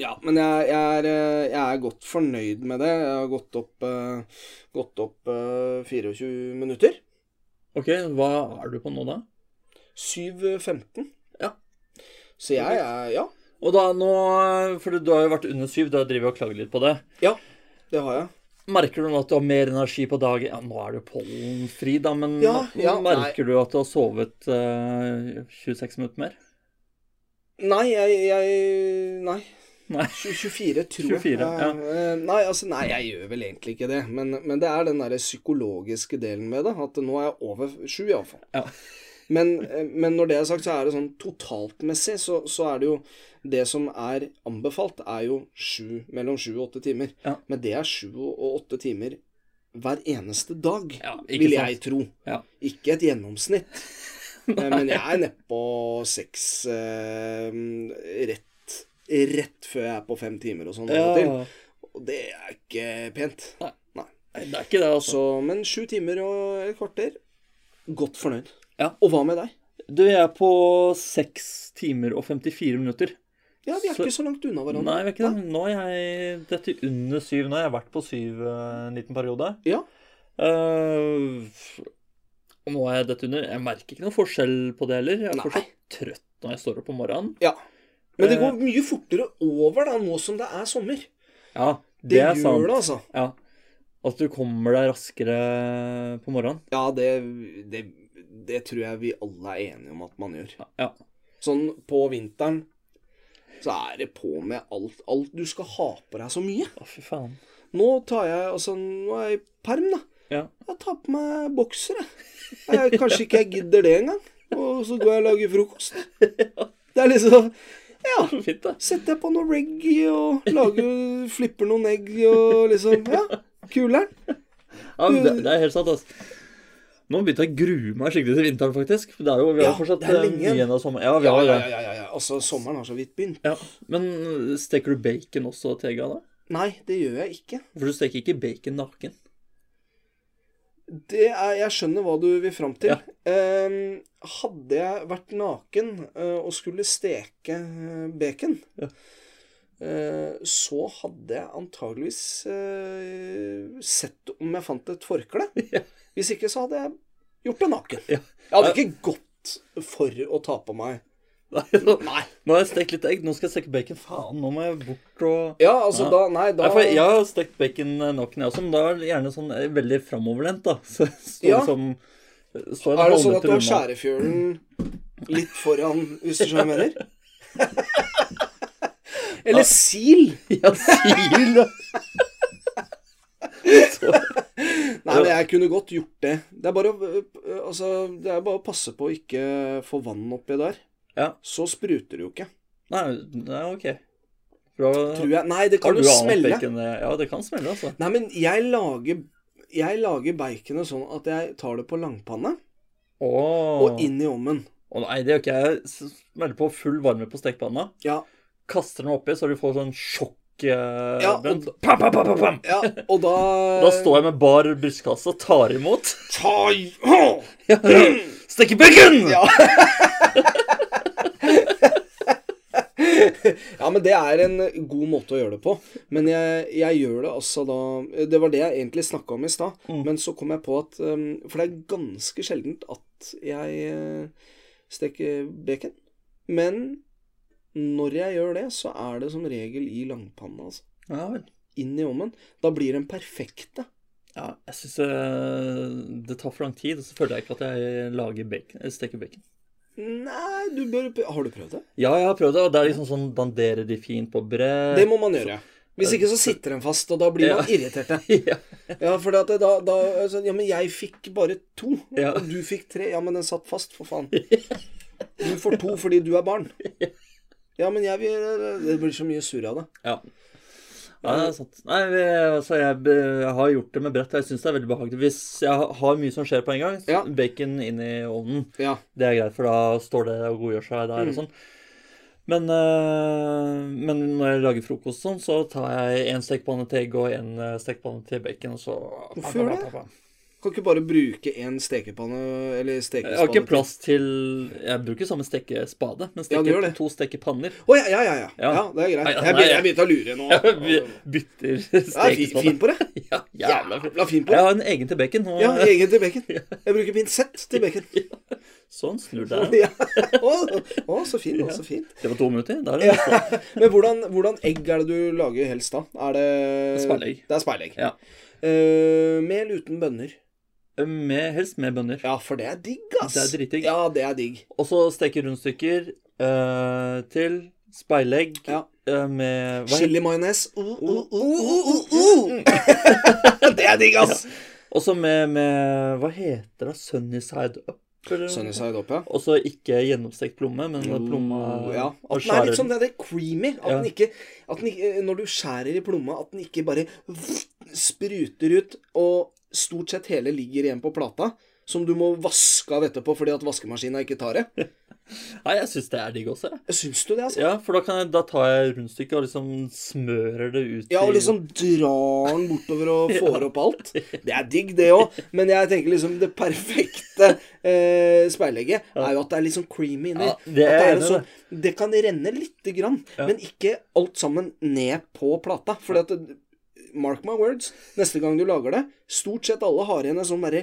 Speaker 1: ja, men jeg, jeg, er, eh, jeg er godt fornøyd med det. Jeg har gått opp, eh, gått opp eh, 24 minutter.
Speaker 2: Ok, hva er du på nå, da?
Speaker 1: 7.15.
Speaker 2: Ja.
Speaker 1: Så jeg er Ja,
Speaker 2: Og da nå, For du har jo vært under syv, da driver jeg og klager litt på det.
Speaker 1: det har jeg.
Speaker 2: Merker du nå at du har mer energi på dagen? Ja, nå er du pollenfri, da, men
Speaker 1: Ja, ja,
Speaker 2: merker du at du har sovet eh, 26 minutter mer?
Speaker 1: Nei, jeg, jeg Nei.
Speaker 2: Nei.
Speaker 1: 24, tror jeg.
Speaker 2: 24, ja.
Speaker 1: Eh, Nei, altså, nei, jeg gjør vel egentlig ikke det. Men, men det er den derre psykologiske delen med det. At nå er jeg over sju, iallfall.
Speaker 2: Ja.
Speaker 1: Men, eh, men når det er sagt, så er det sånn totaltmessig, så, så er det jo Det som er anbefalt, er jo sju, mellom sju og åtte timer.
Speaker 2: Ja.
Speaker 1: Men det er sju og åtte timer hver eneste dag,
Speaker 2: Ja,
Speaker 1: vil jeg tro.
Speaker 2: Ja.
Speaker 1: Ikke et gjennomsnitt. Eh, Men jeg er nedpå seks eh, rett, rett før jeg er på fem timer og sånn. av og til.
Speaker 2: Ja.
Speaker 1: Og det er ikke pent.
Speaker 2: Nei, det er ikke det, altså.
Speaker 1: Så, men sju timer og et kvarter, godt fornøyd.
Speaker 2: Ja.
Speaker 1: Og hva med deg?
Speaker 2: Du, jeg er på 6 timer og 54 minutter.
Speaker 1: Ja, vi er
Speaker 2: Så-
Speaker 1: ikke så langt unna hverandre.
Speaker 2: Nei, jeg vet ikke det. Nå er jeg dette er under syv. Nå har jeg vært på syv eh, en liten periode.
Speaker 1: Ja.
Speaker 2: Eh, og nå er jeg dette under. Jeg merker ikke noen forskjell på det heller. Jeg er
Speaker 1: Nei.
Speaker 2: fortsatt trøtt når jeg står opp om morgenen.
Speaker 1: Ja. Men det
Speaker 2: Eh.
Speaker 1: går mye fortere over da, nå som det er sommer.
Speaker 2: Ja, det,
Speaker 1: Det,
Speaker 2: er
Speaker 1: gjør
Speaker 2: sant.
Speaker 1: det, altså.
Speaker 2: Ja. At du kommer deg raskere på morgenen.
Speaker 1: Ja, det, det, det tror jeg vi alle er enige om at man gjør.
Speaker 2: Ja.
Speaker 1: Sånn på vinteren så er det på med alt, alt. Du skal ha på deg så mye.
Speaker 2: Å, fy faen.
Speaker 1: Nå tar jeg altså, nå er jeg i perm, da.
Speaker 2: Ja.
Speaker 1: Jeg tar på meg bokser, jeg. jeg. Kanskje ikke jeg gidder det engang. Og så går jeg og lager frokost. Det er liksom Ja.
Speaker 2: Så fint, da.
Speaker 1: Setter jeg på noe reggae og lager, flipper noen egg og liksom Ja, kuler'n.
Speaker 2: Ja, men det, det er helt sant, altså. Nå begynte jeg å grue meg skikkelig til vinteren, faktisk. Det er jo, vi har
Speaker 1: Ja,
Speaker 2: jo fortsatt
Speaker 1: det er
Speaker 2: eh,
Speaker 1: lenge
Speaker 2: mye
Speaker 1: igjen.
Speaker 2: igjen av sommeren. Ja, vi
Speaker 1: Ja,
Speaker 2: har
Speaker 1: ja,
Speaker 2: det.
Speaker 1: ja, ja, ja. Altså, sommeren har så vidt begynt.
Speaker 2: Ja. Men eh, steker du bacon også til egga, da?
Speaker 1: Nei, det gjør jeg ikke.
Speaker 2: For du steker ikke bacon naken.
Speaker 1: Det er, jeg skjønner hva du vil fram til.
Speaker 2: Ja.
Speaker 1: Ehm, hadde jeg vært naken eh, og skulle steke eh, bacon,
Speaker 2: Ja.
Speaker 1: eh, så hadde jeg antageligvis eh, sett om jeg fant et forkle.
Speaker 2: Ja.
Speaker 1: Hvis ikke så hadde jeg gjort det naken.
Speaker 2: Ja.
Speaker 1: Jeg hadde ikke gått for å ta på meg
Speaker 2: Nå
Speaker 1: Nei.
Speaker 2: har jeg stekt litt egg. Nå skal jeg steke bacon. Faen, nå må jeg bort og
Speaker 1: Ja, altså
Speaker 2: Ja.
Speaker 1: da Nei, da
Speaker 2: Nei, for Jeg har stekt bacon eh, nok, jeg også, men da er det gjerne sånn eh, veldig framoverlent, da. Så liksom, eh, står
Speaker 1: Ja.
Speaker 2: det som står
Speaker 1: Er
Speaker 2: en
Speaker 1: det sånn at du har
Speaker 2: halvmeter unna.
Speaker 1: skjærefjølen litt foran, hvis du skjønner hva jeg mener? Eller sil.
Speaker 2: Ja, sil, da.
Speaker 1: Nei, men jeg kunne godt gjort det. Det er bare å, øh, altså, det er bare å passe på å ikke få vann oppi der.
Speaker 2: Ja.
Speaker 1: Så spruter det jo ikke.
Speaker 2: Nei, nei, ok. Bra.
Speaker 1: Tror jeg. Nei, det kan
Speaker 2: har
Speaker 1: jo
Speaker 2: du annet
Speaker 1: smelle.
Speaker 2: bacon? eh? Ja, det kan smelle, altså.
Speaker 1: Nei, men jeg lager, jeg lager baconet sånn at jeg tar det på langpanne
Speaker 2: Åh.
Speaker 1: og inn i ovnen.
Speaker 2: Å nei, det gjør ikke jeg. S- Smeller på full varme på stekepanna.
Speaker 1: Ja.
Speaker 2: Kaster den oppi, så du får sånn sjokk... eh,
Speaker 1: Ja, og Eh.
Speaker 2: brent. pam, pam, pam, pam, pam.
Speaker 1: ja, og da
Speaker 2: Da står jeg med bar brystkasse og tar imot.
Speaker 1: Ta i Åh!
Speaker 2: Steker bacon!
Speaker 1: Ja. Ja, men det er en god måte å gjøre det på. Men jeg, jeg gjør det altså da Det var det jeg egentlig snakka om i stad.
Speaker 2: Mm.
Speaker 1: Men så kom jeg på at um, For det er ganske sjeldent at jeg eh, steker bacon. Men når jeg gjør det, så er det som regel i langpanna, altså.
Speaker 2: Ja vel.
Speaker 1: Inn i ovnen. Da blir den perfekte.
Speaker 2: Ja, jeg syns det tar for lang tid, og så føler jeg ikke at jeg lager bacon, eh, steker bacon.
Speaker 1: Nei, du bør Har du prøvd det?
Speaker 2: Ja, jeg har prøvd det, og det er liksom sånn banderer de fint på brett
Speaker 1: Det må man gjøre. Hvis ikke Eh, så sitter den fast, og da blir man irritert.
Speaker 2: ja.
Speaker 1: Ja, for da, da altså, Ja, men jeg fikk bare to,
Speaker 2: Ja.
Speaker 1: og du fikk tre. Ja, men den satt fast, for faen. Du får to fordi du er barn. Ja, men jeg vil Det blir så mye surr av det.
Speaker 2: ja. Ja, det er sant. Nei, vi, altså jeg, be- jeg har gjort det med brett, og jeg syns det er veldig behagelig. Hvis jeg ha- har mye som skjer på en gang, så
Speaker 1: Ja.
Speaker 2: bacon inn i ovnen,
Speaker 1: Ja.
Speaker 2: det er greit, for da står det og godgjør seg der
Speaker 1: Mm.
Speaker 2: og sånn. Men, eh, men når jeg lager frokost og sånn, så tar jeg en stekepanne til egg og en eh, stekepanne til bacon, og så
Speaker 1: Hvorfor det? Kan ikke bare bruke én stekepanne eller
Speaker 2: Jeg har
Speaker 1: stekespade
Speaker 2: ikke plass til Jeg bruker samme stekespade, men
Speaker 1: Ja, du
Speaker 2: steker
Speaker 1: gjør det.
Speaker 2: to stekepanner.
Speaker 1: Å ja, ja, ja, ja.
Speaker 2: Ja.
Speaker 1: Ja, det er
Speaker 2: Nei,
Speaker 1: greit.
Speaker 2: altså,
Speaker 1: Jeg be-
Speaker 2: nei,
Speaker 1: jeg begynte å lure nå.
Speaker 2: Vi
Speaker 1: Jeg
Speaker 2: bytter
Speaker 1: er fin,
Speaker 2: stekespanne.
Speaker 1: fin på det.
Speaker 2: Ja, jævla fint.
Speaker 1: Jævla fin på
Speaker 2: Jeg
Speaker 1: det.
Speaker 2: har en egen til bacon. Og
Speaker 1: Ja, egen til bacon. Jeg bruker pinsett til bacon.
Speaker 2: Sånn, snur deg.
Speaker 1: Ja. Å, å, så fint. Å, så fint.
Speaker 2: Det var to minutter. Der er det neste.
Speaker 1: Men hvordan, hvordan egg er det du lager helst da? Er det
Speaker 2: Speilegg.
Speaker 1: Det er speilegg.
Speaker 2: Ja.
Speaker 1: Eh, mel uten bønner.
Speaker 2: Med, helst med bønner.
Speaker 1: Ja, for det er digg, ass.
Speaker 2: Det er dritdigg.
Speaker 1: Ja, det er digg.
Speaker 2: Og så steke rundstykker eh, til speilegg
Speaker 1: Ja.
Speaker 2: eh, med hva heter- Mm.
Speaker 1: Chili-majones. Uh, uh, uh, uh, uh, uh. det er digg, ass.
Speaker 2: Også med, med Hva heter det? Sunnyside up? eller-
Speaker 1: Sunnyside opp, ja. Oh,
Speaker 2: Også ikke gjennomstekt plomme, men plomma
Speaker 1: ja.
Speaker 2: og
Speaker 1: At den er
Speaker 2: skjærer
Speaker 1: litt sånn det er det creamy. At
Speaker 2: Ja.
Speaker 1: den ikke, at den ikke Når du skjærer i plomma, at den ikke bare spruter ut, og stort sett hele ligger igjen på plata, som du må vaske av etterpå fordi at vaskemaskina ikke tar det.
Speaker 2: Nei, jeg syns det er digg også. jeg.
Speaker 1: Syns du det, altså?
Speaker 2: Ja, for da, kan jeg, da tar jeg rundstykket og liksom smører det ut
Speaker 1: Ja, og
Speaker 2: i-
Speaker 1: liksom drar den bortover og får opp alt. Det er digg, det òg. Men jeg tenker liksom det perfekte eh, speilegget er jo at det er litt sånn creamy inni.
Speaker 2: Ja, det er
Speaker 1: At
Speaker 2: jeg
Speaker 1: en
Speaker 2: enig i.
Speaker 1: sånn, det kan renne lite grann, men ikke alt sammen ned på plata. Fordi at det- Mark my words, neste gang du lager det Stort sett alle har igjen en sånn derre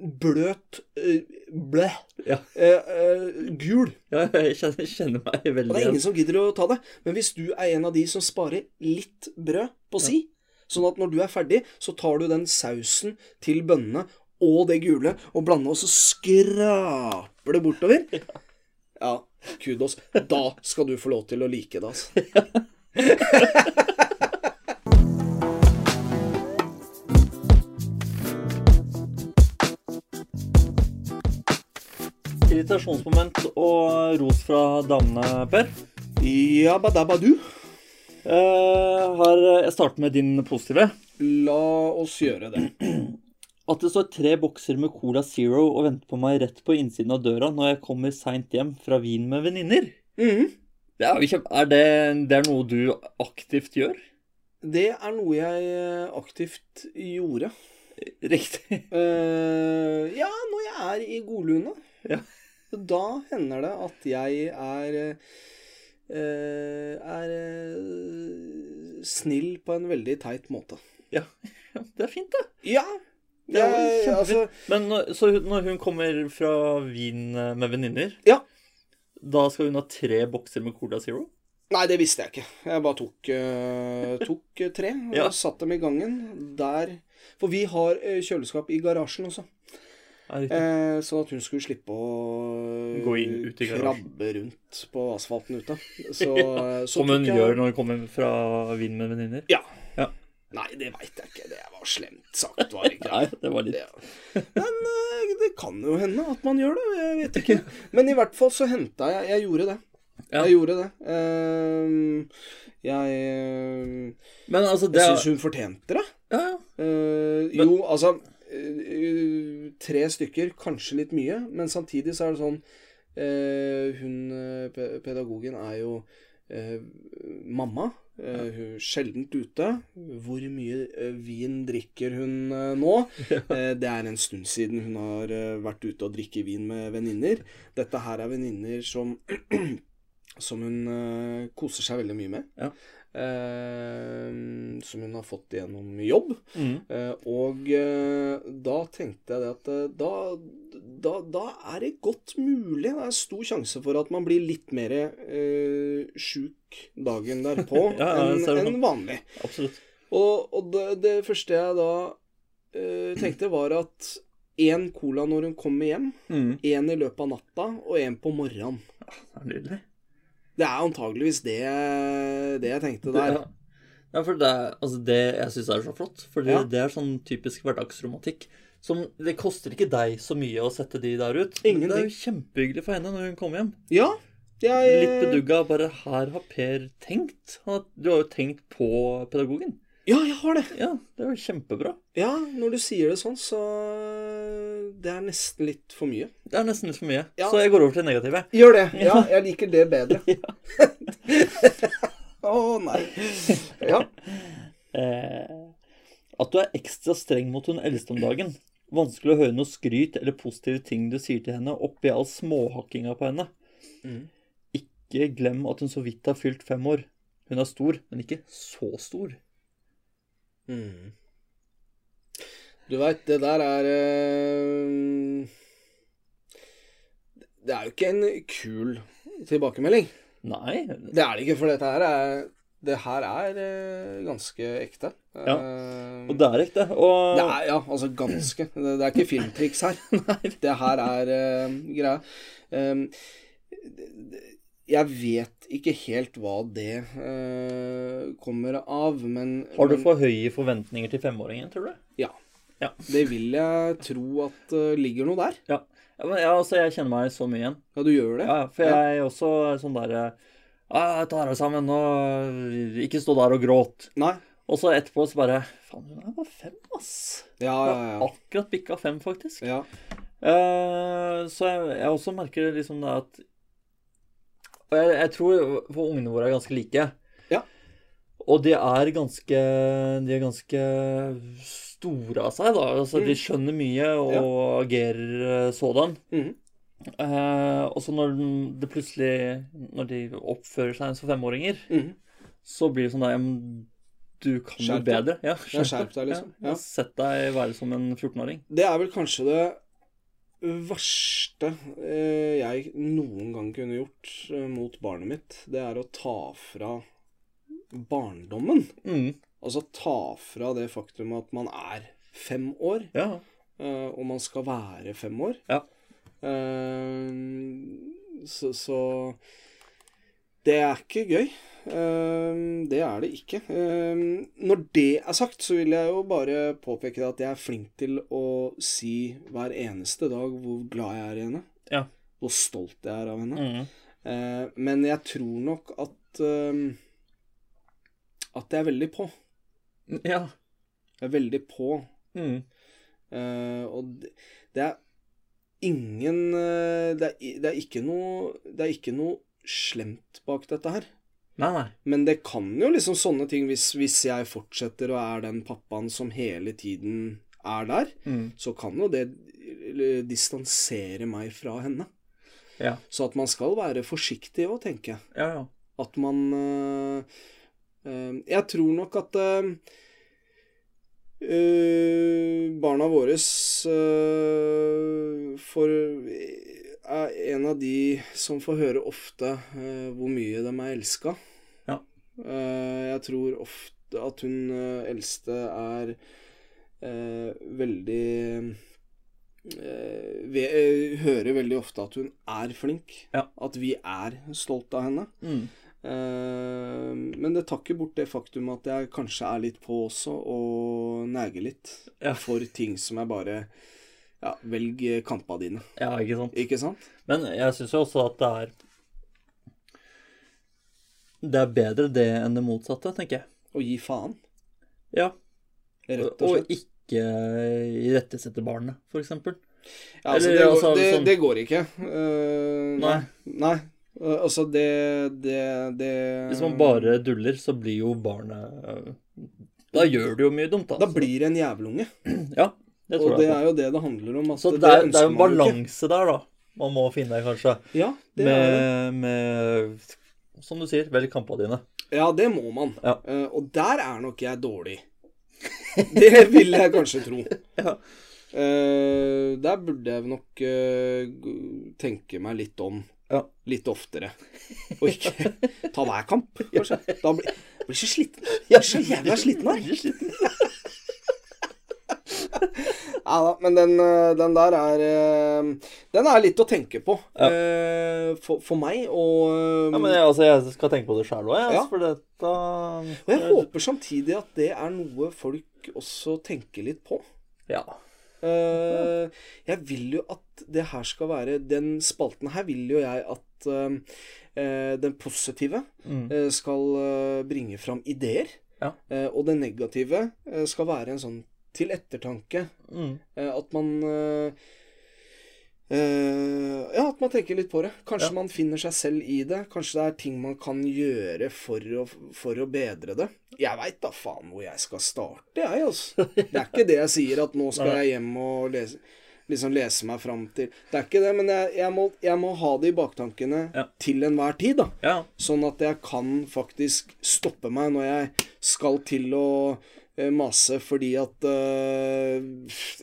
Speaker 1: bløt eh, Blæ.
Speaker 2: Ja.
Speaker 1: Eh, eh, gul.
Speaker 2: Ja, jeg kjenner, jeg kjenner meg
Speaker 1: Og
Speaker 2: veldig
Speaker 1: det er
Speaker 2: igjen.
Speaker 1: ingen som gidder å ta det. Men hvis du er en av de som sparer litt brød på si, sånn at når du er ferdig, så tar du den sausen til bønnene og det gule og blander, og så skraper det bortover. Ja, kudos. Da skal du få lov til å like det, altså.
Speaker 2: Irritasjonsmoment og ros fra damene, Per.
Speaker 1: Jabba-dabba-du.
Speaker 2: Eh, her, jeg starter med din positive.
Speaker 1: La oss gjøre det.
Speaker 2: At det står tre bokser med Cola Zero og venter på meg rett på innsiden av døra når jeg kommer seint hjem fra Wien med venninner.
Speaker 1: Mhm.
Speaker 2: Det er, jo kjempe- er det, det er noe du aktivt gjør?
Speaker 1: Det er noe jeg aktivt gjorde.
Speaker 2: Riktig.
Speaker 1: Eh, ja, når jeg er i godlune,
Speaker 2: Ja.
Speaker 1: da hender det at jeg er eh, er eh, snill på en veldig teit måte.
Speaker 2: Ja, det er fint, det.
Speaker 1: Ja!
Speaker 2: Det er jo
Speaker 1: Jeg, altså,
Speaker 2: kjempefint. Men når, så hun- når hun kommer fra Wien eh, med venninner,
Speaker 1: Ja.
Speaker 2: da skal hun ha tre bokser med Cola Zero?
Speaker 1: nei, det visste jeg ikke. Jeg bare tok, eh, tok eh, tre og
Speaker 2: Ja.
Speaker 1: satt dem i gangen. Der For vi har eh, kjøleskap i garasjen også.
Speaker 2: Er det riktig?
Speaker 1: Eh, sånn at hun skulle slippe å
Speaker 2: Gå inn ut i garasjen.
Speaker 1: krabbe rundt på asfalten ute. Så, eh, så
Speaker 2: Som hun
Speaker 1: tok jeg-
Speaker 2: gjør når hun kommer fra Wien med venninner?
Speaker 1: Ja.
Speaker 2: Ja.
Speaker 1: Nei, det veit jeg ikke. Det var slemt sagt, var det ikke?
Speaker 2: Nei, det var litt
Speaker 1: Det- Men eh, det kan jo hende at man gjør det. Jeg vet ikke. Men i hvert fall så henta jeg Jeg gjorde det.
Speaker 2: Ja.
Speaker 1: Jeg gjorde det. Ehm, jeg eh,
Speaker 2: Men altså, det
Speaker 1: Jeg
Speaker 2: er
Speaker 1: syns hun fortjente det.
Speaker 2: Ja, ja.
Speaker 1: Eh, jo, altså eh, Tre stykker, kanskje litt mye, men samtidig så er det sånn eh, Hun eh, pe- pedagogen er jo eh, mamma. Eh, hun er sjeldent ute. Hvor mye eh, vin drikker hun eh, nå? Eh, det er en stund siden hun har eh, vært ute og drikke vin med venninner. Dette her er venninner som Som hun eh, koser seg veldig mye med.
Speaker 2: Ja.
Speaker 1: Eh, som hun har fått gjennom jobb.
Speaker 2: Mm.
Speaker 1: Eh, og eh, da tenkte jeg det at eh, da, da, da er det godt mulig, det er stor sjanse for at man blir litt mer eh, sjuk dagen derpå
Speaker 2: Ja, ja,
Speaker 1: enn
Speaker 2: ser du.
Speaker 1: enn vanlig.
Speaker 2: Absolutt.
Speaker 1: Og, og det, det første jeg da eh, tenkte, var at én cola når hun kommer hjem,
Speaker 2: Mm.
Speaker 1: én i løpet av natta og én på morgenen.
Speaker 2: Det er nydelig.
Speaker 1: Det er antageligvis det, det jeg tenkte der.
Speaker 2: Ja. Ja, for det, er- altså det jeg syns er så flott. For det,
Speaker 1: Ja.
Speaker 2: det er sånn typisk hverdagsromantikk. Som, det koster ikke deg så mye å sette de der ut.
Speaker 1: Ingenting.
Speaker 2: Det er jo kjempehyggelig for henne når hun kommer hjem.
Speaker 1: Ja, jeg
Speaker 2: Litt bedugga, bare her har Per tenkt. Han har- Du har jo tenkt på pedagogen.
Speaker 1: Ja, jeg har det.
Speaker 2: Ja, det er jo kjempebra.
Speaker 1: Ja, når du sier det sånn, så eh, Det er nesten litt for mye.
Speaker 2: Det er nesten litt for mye.
Speaker 1: Ja.
Speaker 2: Så jeg går over til det negative.
Speaker 1: Gjør det. Ja, jeg liker det bedre. Å nei. Ja.
Speaker 2: Eh, at du er ekstra streng mot hun eldste om dagen. Vanskelig å høre noe skryt eller positive ting du sier til henne oppi all småhakkinga på henne.
Speaker 1: Mm.
Speaker 2: Ikke glem at hun så vidt har fylt fem år. Hun er stor, men ikke så stor.
Speaker 1: Mm. Du veit, det der er eh, Det er jo ikke en kul tilbakemelding.
Speaker 2: Nei.
Speaker 1: Det er det ikke, for dette her er Det her er eh, ganske ekte.
Speaker 2: Ja.
Speaker 1: Eh,
Speaker 2: Og det er ekte. Og
Speaker 1: Det er, ja, altså ganske. Det, det er ikke filmtriks her. Det her er eh, greia. Ehm, det- det- jeg vet ikke helt hva det eh, kommer av, men
Speaker 2: har du
Speaker 1: men
Speaker 2: for høye forventninger til femåringen, tror du?
Speaker 1: Det vil jeg tro at eh, ligger noe der.
Speaker 2: Ja, men, ja, altså, jeg kjenner meg så mye igjen.
Speaker 1: Ja, du gjør det?
Speaker 2: Ja, ja, for jeg er også sånn der eh, ah, Ta deg sammen og ikke stå der og gråt.
Speaker 1: Nei?
Speaker 2: Og så etterpå så bare Faen, hun er bare fem, ass.
Speaker 1: Ja, ja, ja.
Speaker 2: Akkurat bikka fem, faktisk.
Speaker 1: ja.
Speaker 2: Eh, så jeg, jeg også merker liksom det at og jeg, jeg tror for ungene våre er ganske like.
Speaker 1: Ja.
Speaker 2: Og de er ganske De er ganske store av seg, da. Altså,
Speaker 1: Mm.
Speaker 2: De skjønner mye og agerer eh, sådan.
Speaker 1: Mhm.
Speaker 2: Eh, og så når den- det plutselig Når de oppfører seg som femåringer,
Speaker 1: Mhm.
Speaker 2: så blir det sånn der ja, men Du kan jo
Speaker 1: Skjerp deg.
Speaker 2: bedre. Ja,
Speaker 1: Ja, skjerp deg, liksom.
Speaker 2: Ja,
Speaker 1: Ja.
Speaker 2: Sett deg være som en 14-åring.
Speaker 1: Det er vel kanskje det verste eh, jeg noen gang kunne gjort eh, mot barnet mitt. Det er å ta fra barndommen.
Speaker 2: Mm.
Speaker 1: Altså ta fra det faktum at man er fem år,
Speaker 2: Ja.
Speaker 1: eh, og man skal være fem år.
Speaker 2: Ja.
Speaker 1: Eh, så, så Det er ikke gøy. Eh, det er det ikke. Eh, når det er sagt, så vil jeg jo bare påpeke at jeg er flink til å si hver eneste dag hvor glad jeg er i henne.
Speaker 2: Ja.
Speaker 1: Hvor stolt jeg er av henne.
Speaker 2: Mm.
Speaker 1: Eh, men jeg tror nok at eh, At jeg er veldig på.
Speaker 2: ja.
Speaker 1: Jeg er veldig på.
Speaker 2: Mm.
Speaker 1: Eh, og det, det er ingen eh, det, er, i- det er ikke noe Det er ikke noe slemt bak dette her.
Speaker 2: Nei, nei.
Speaker 1: Men det kan jo liksom sånne ting hvis, hvis jeg fortsetter og er den pappaen som hele tiden er der,
Speaker 2: Mm.
Speaker 1: så kan jo det eh, distansere meg fra henne.
Speaker 2: Ja.
Speaker 1: Så at man skal være forsiktig òg, tenker jeg.
Speaker 2: Ja, ja.
Speaker 1: At man eh, eh, Jeg tror nok at eh, eh, barna våre eh, får er en av de som får høre ofte eh, hvor mye de er elska.
Speaker 2: Ja.
Speaker 1: Eh, jeg tror ofte at hun eh, eldste er eh, veldig eh, ve eh, Hører veldig ofte at hun er flink.
Speaker 2: Ja.
Speaker 1: At vi er stolt av henne.
Speaker 2: Mm.
Speaker 1: Eh, men det tar ikke bort det faktum at jeg kanskje er litt på også, og neger litt
Speaker 2: Ja.
Speaker 1: for ting som er bare ja, Velg kampa dine,
Speaker 2: ja, ikke sant.
Speaker 1: ikke sant?
Speaker 2: Men jeg syns jo også at det er Det er bedre det enn det motsatte, tenker jeg.
Speaker 1: Og gi faen,
Speaker 2: Ja.
Speaker 1: rett og
Speaker 2: Og
Speaker 1: slett.
Speaker 2: ikke irettesette barnet, for eksempel.
Speaker 1: Ja, altså,
Speaker 2: eller,
Speaker 1: det,
Speaker 2: altså,
Speaker 1: går, det,
Speaker 2: sånn-
Speaker 1: det går ikke. Eh,
Speaker 2: Nei.
Speaker 1: Nei. Eh, altså, det, det, det
Speaker 2: Hvis
Speaker 1: Um.
Speaker 2: man bare duller, så blir jo barnet øh, Da gjør det jo mye dumt, da.
Speaker 1: Da blir det en jævelunge.
Speaker 2: Ja,
Speaker 1: Og
Speaker 2: det tror
Speaker 1: det
Speaker 2: jeg. på.
Speaker 1: er jo det det handler om. At
Speaker 2: Så det er, det er
Speaker 1: ønsker man
Speaker 2: en
Speaker 1: jo ikke.
Speaker 2: balanse der, da. Man må finne, kanskje.
Speaker 1: Ja, det er det.
Speaker 2: Med, med Som du sier, velg kampene dine.
Speaker 1: Ja, det må man.
Speaker 2: Ja.
Speaker 1: Eh, og der er nok jeg dårlig. Det vil jeg kanskje tro.
Speaker 2: Ja.
Speaker 1: Eh, der burde jeg nok eh, g- tenke meg litt om
Speaker 2: Ja.
Speaker 1: litt oftere. Og ikke ta hver kamp, kanskje. Da blir jeg blir så sliten. Jeg blir så jævla sliten her. Ja da, men den, eh, den der er eh, Den er litt å tenke på
Speaker 2: Ja.
Speaker 1: eh, for, for meg, og
Speaker 2: Ja,
Speaker 1: eh,
Speaker 2: men jeg, altså, jeg skal tenke på det sjæl òg, jeg.
Speaker 1: Ja.
Speaker 2: Altså, for dette
Speaker 1: Og jeg håper samtidig at det er noe folk også tenker litt på.
Speaker 2: Ja.
Speaker 1: Eh, jeg vil jo at det her skal være Den spalten her vil jo jeg at eh, eh, den positive
Speaker 2: Mm.
Speaker 1: eh, skal eh, bringe fram ideer.
Speaker 2: Ja.
Speaker 1: Eh, og det negative eh, skal være en sånn til ettertanke.
Speaker 2: Mm.
Speaker 1: Eh, at man eh, eh, Ja, at man tenker litt på det. Kanskje
Speaker 2: Ja.
Speaker 1: man finner seg selv i det. Kanskje det er ting man kan gjøre for å, for å bedre det. Jeg veit da faen hvor jeg skal starte, jeg, altså. Det er ikke det jeg sier, at nå skal
Speaker 2: Nei.
Speaker 1: jeg hjem og lese Liksom lese meg fram til Det er ikke det, men jeg, jeg, må, jeg må ha det i baktankene
Speaker 2: Ja.
Speaker 1: til enhver tid, da.
Speaker 2: ja.
Speaker 1: Sånn at jeg kan faktisk stoppe meg når jeg skal til å eh, mase fordi at eh,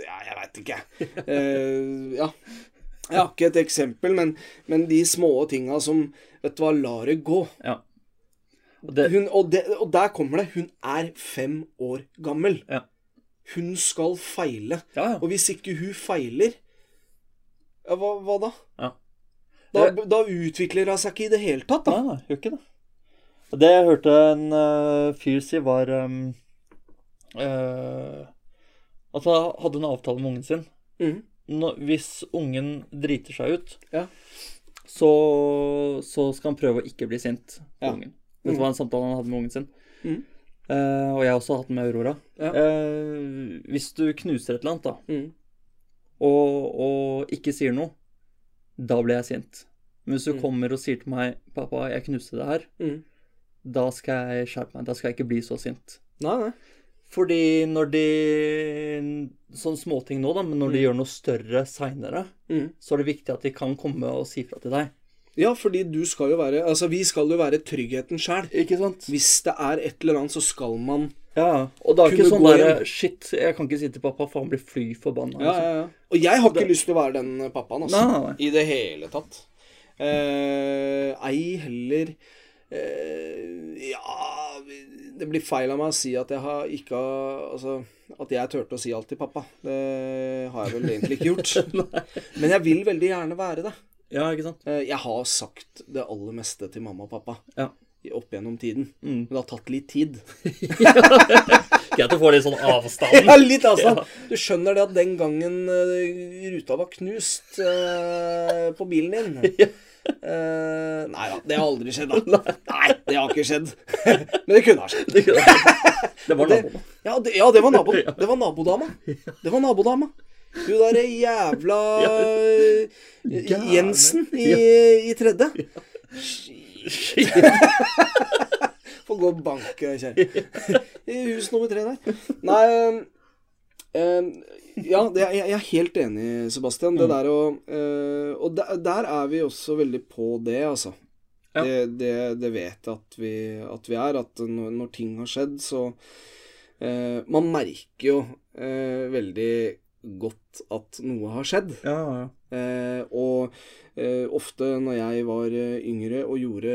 Speaker 1: Ja, jeg veit ikke. Eh, ja. Jeg har ikke et eksempel, men, men de små tinga som Vet du hva, lar det gå.
Speaker 2: ja. Og det,
Speaker 1: Hun, og, det, og der kommer det. Hun er fem år gammel.
Speaker 2: Ja.
Speaker 1: Hun skal feile.
Speaker 2: ja, ja.
Speaker 1: Og hvis ikke hun feiler ja, hva, hva da?
Speaker 2: Ja.
Speaker 1: da? Da utvikler hun seg ikke i det hele tatt, da.
Speaker 2: Nei, nei, gjør ikke det. Og Det jeg hørte en øh, fyr si, var øhm, øh, At han hadde en avtale med ungen sin.
Speaker 1: Mhm.
Speaker 2: Nå- hvis ungen driter seg ut,
Speaker 1: Ja.
Speaker 2: så, så skal han prøve å ikke bli sint på
Speaker 1: Ja. Mm.
Speaker 2: ungen. Det var en samtale han hadde med ungen sin.
Speaker 1: Mhm.
Speaker 2: Eh, og jeg har også hatt den med Aurora.
Speaker 1: Ja.
Speaker 2: Eh, hvis du knuser et eller annet, da,
Speaker 1: Mhm.
Speaker 2: og, og ikke sier noe, da blir jeg sint. Men hvis du
Speaker 1: Mm.
Speaker 2: kommer og sier til meg 'Pappa, jeg knuste det her',
Speaker 1: Mm.
Speaker 2: da skal jeg skjerpe meg. Da skal jeg ikke bli så sint.
Speaker 1: Nei, nei.
Speaker 2: Fordi når de Sånn småting nå, da, men når de gjør noe større seinere,
Speaker 1: Mm.
Speaker 2: så er det viktig at de kan komme og si fra til deg.
Speaker 1: Ja, fordi du skal jo være Altså, vi skal jo være tryggheten sjæl.
Speaker 2: Ikke sant?
Speaker 1: Hvis det er et eller annet, så skal man
Speaker 2: Ja, ja. Og det er
Speaker 1: Kunne
Speaker 2: ikke sånn
Speaker 1: gå
Speaker 2: derre Shit, jeg kan ikke si til pappa, for han blir fly liksom. forbanna.
Speaker 1: Ja, ja, ja. Og jeg har ikke lyst til å være den pappaen, altså.
Speaker 2: Nei, nei, nei.
Speaker 1: I det hele tatt. Eh, ei heller eh, Ja Det blir feil av meg å si at jeg har ikke har Altså at jeg turte å si alt til pappa. Det har jeg vel egentlig ikke gjort. Men jeg vil veldig gjerne være det.
Speaker 2: Ja, ikke sant?
Speaker 1: Eh, Jeg har sagt det aller meste til mamma og pappa
Speaker 2: Ja.
Speaker 1: i- opp gjennom tiden.
Speaker 2: Mm.
Speaker 1: Men det har tatt litt tid.
Speaker 2: Greit å få litt sånn avstand.
Speaker 1: Ja, litt avstand. Du skjønner det at den gangen eh, ruta var knust eh, på bilen din eh, Nei da, det har aldri skjedd, da. Nei, det har ikke skjedd. Men det kunne ha skjedd.
Speaker 2: Det var
Speaker 1: Det-
Speaker 2: naboen.
Speaker 1: Ja, det, ja, det var naboen. Det var nabodama. Det var nabodama. Hun derre jævla eh,
Speaker 2: Gærne.
Speaker 1: Jensen i, i tredje. Får gå og banke, kjære. I hus nummer tre der. Nei eh, Ja, det, jeg, jeg er helt enig,
Speaker 2: Mm.
Speaker 1: Sebastian. Det der å eh, Og der, der er vi også veldig på det, altså.
Speaker 2: Ja.
Speaker 1: Det, det, det vet jeg at vi, at vi er. At når, når ting har skjedd, så eh, Man merker jo eh, veldig godt at noe har skjedd.
Speaker 2: Ja, ja.
Speaker 1: Eh, og eh, ofte når jeg var eh, yngre og gjorde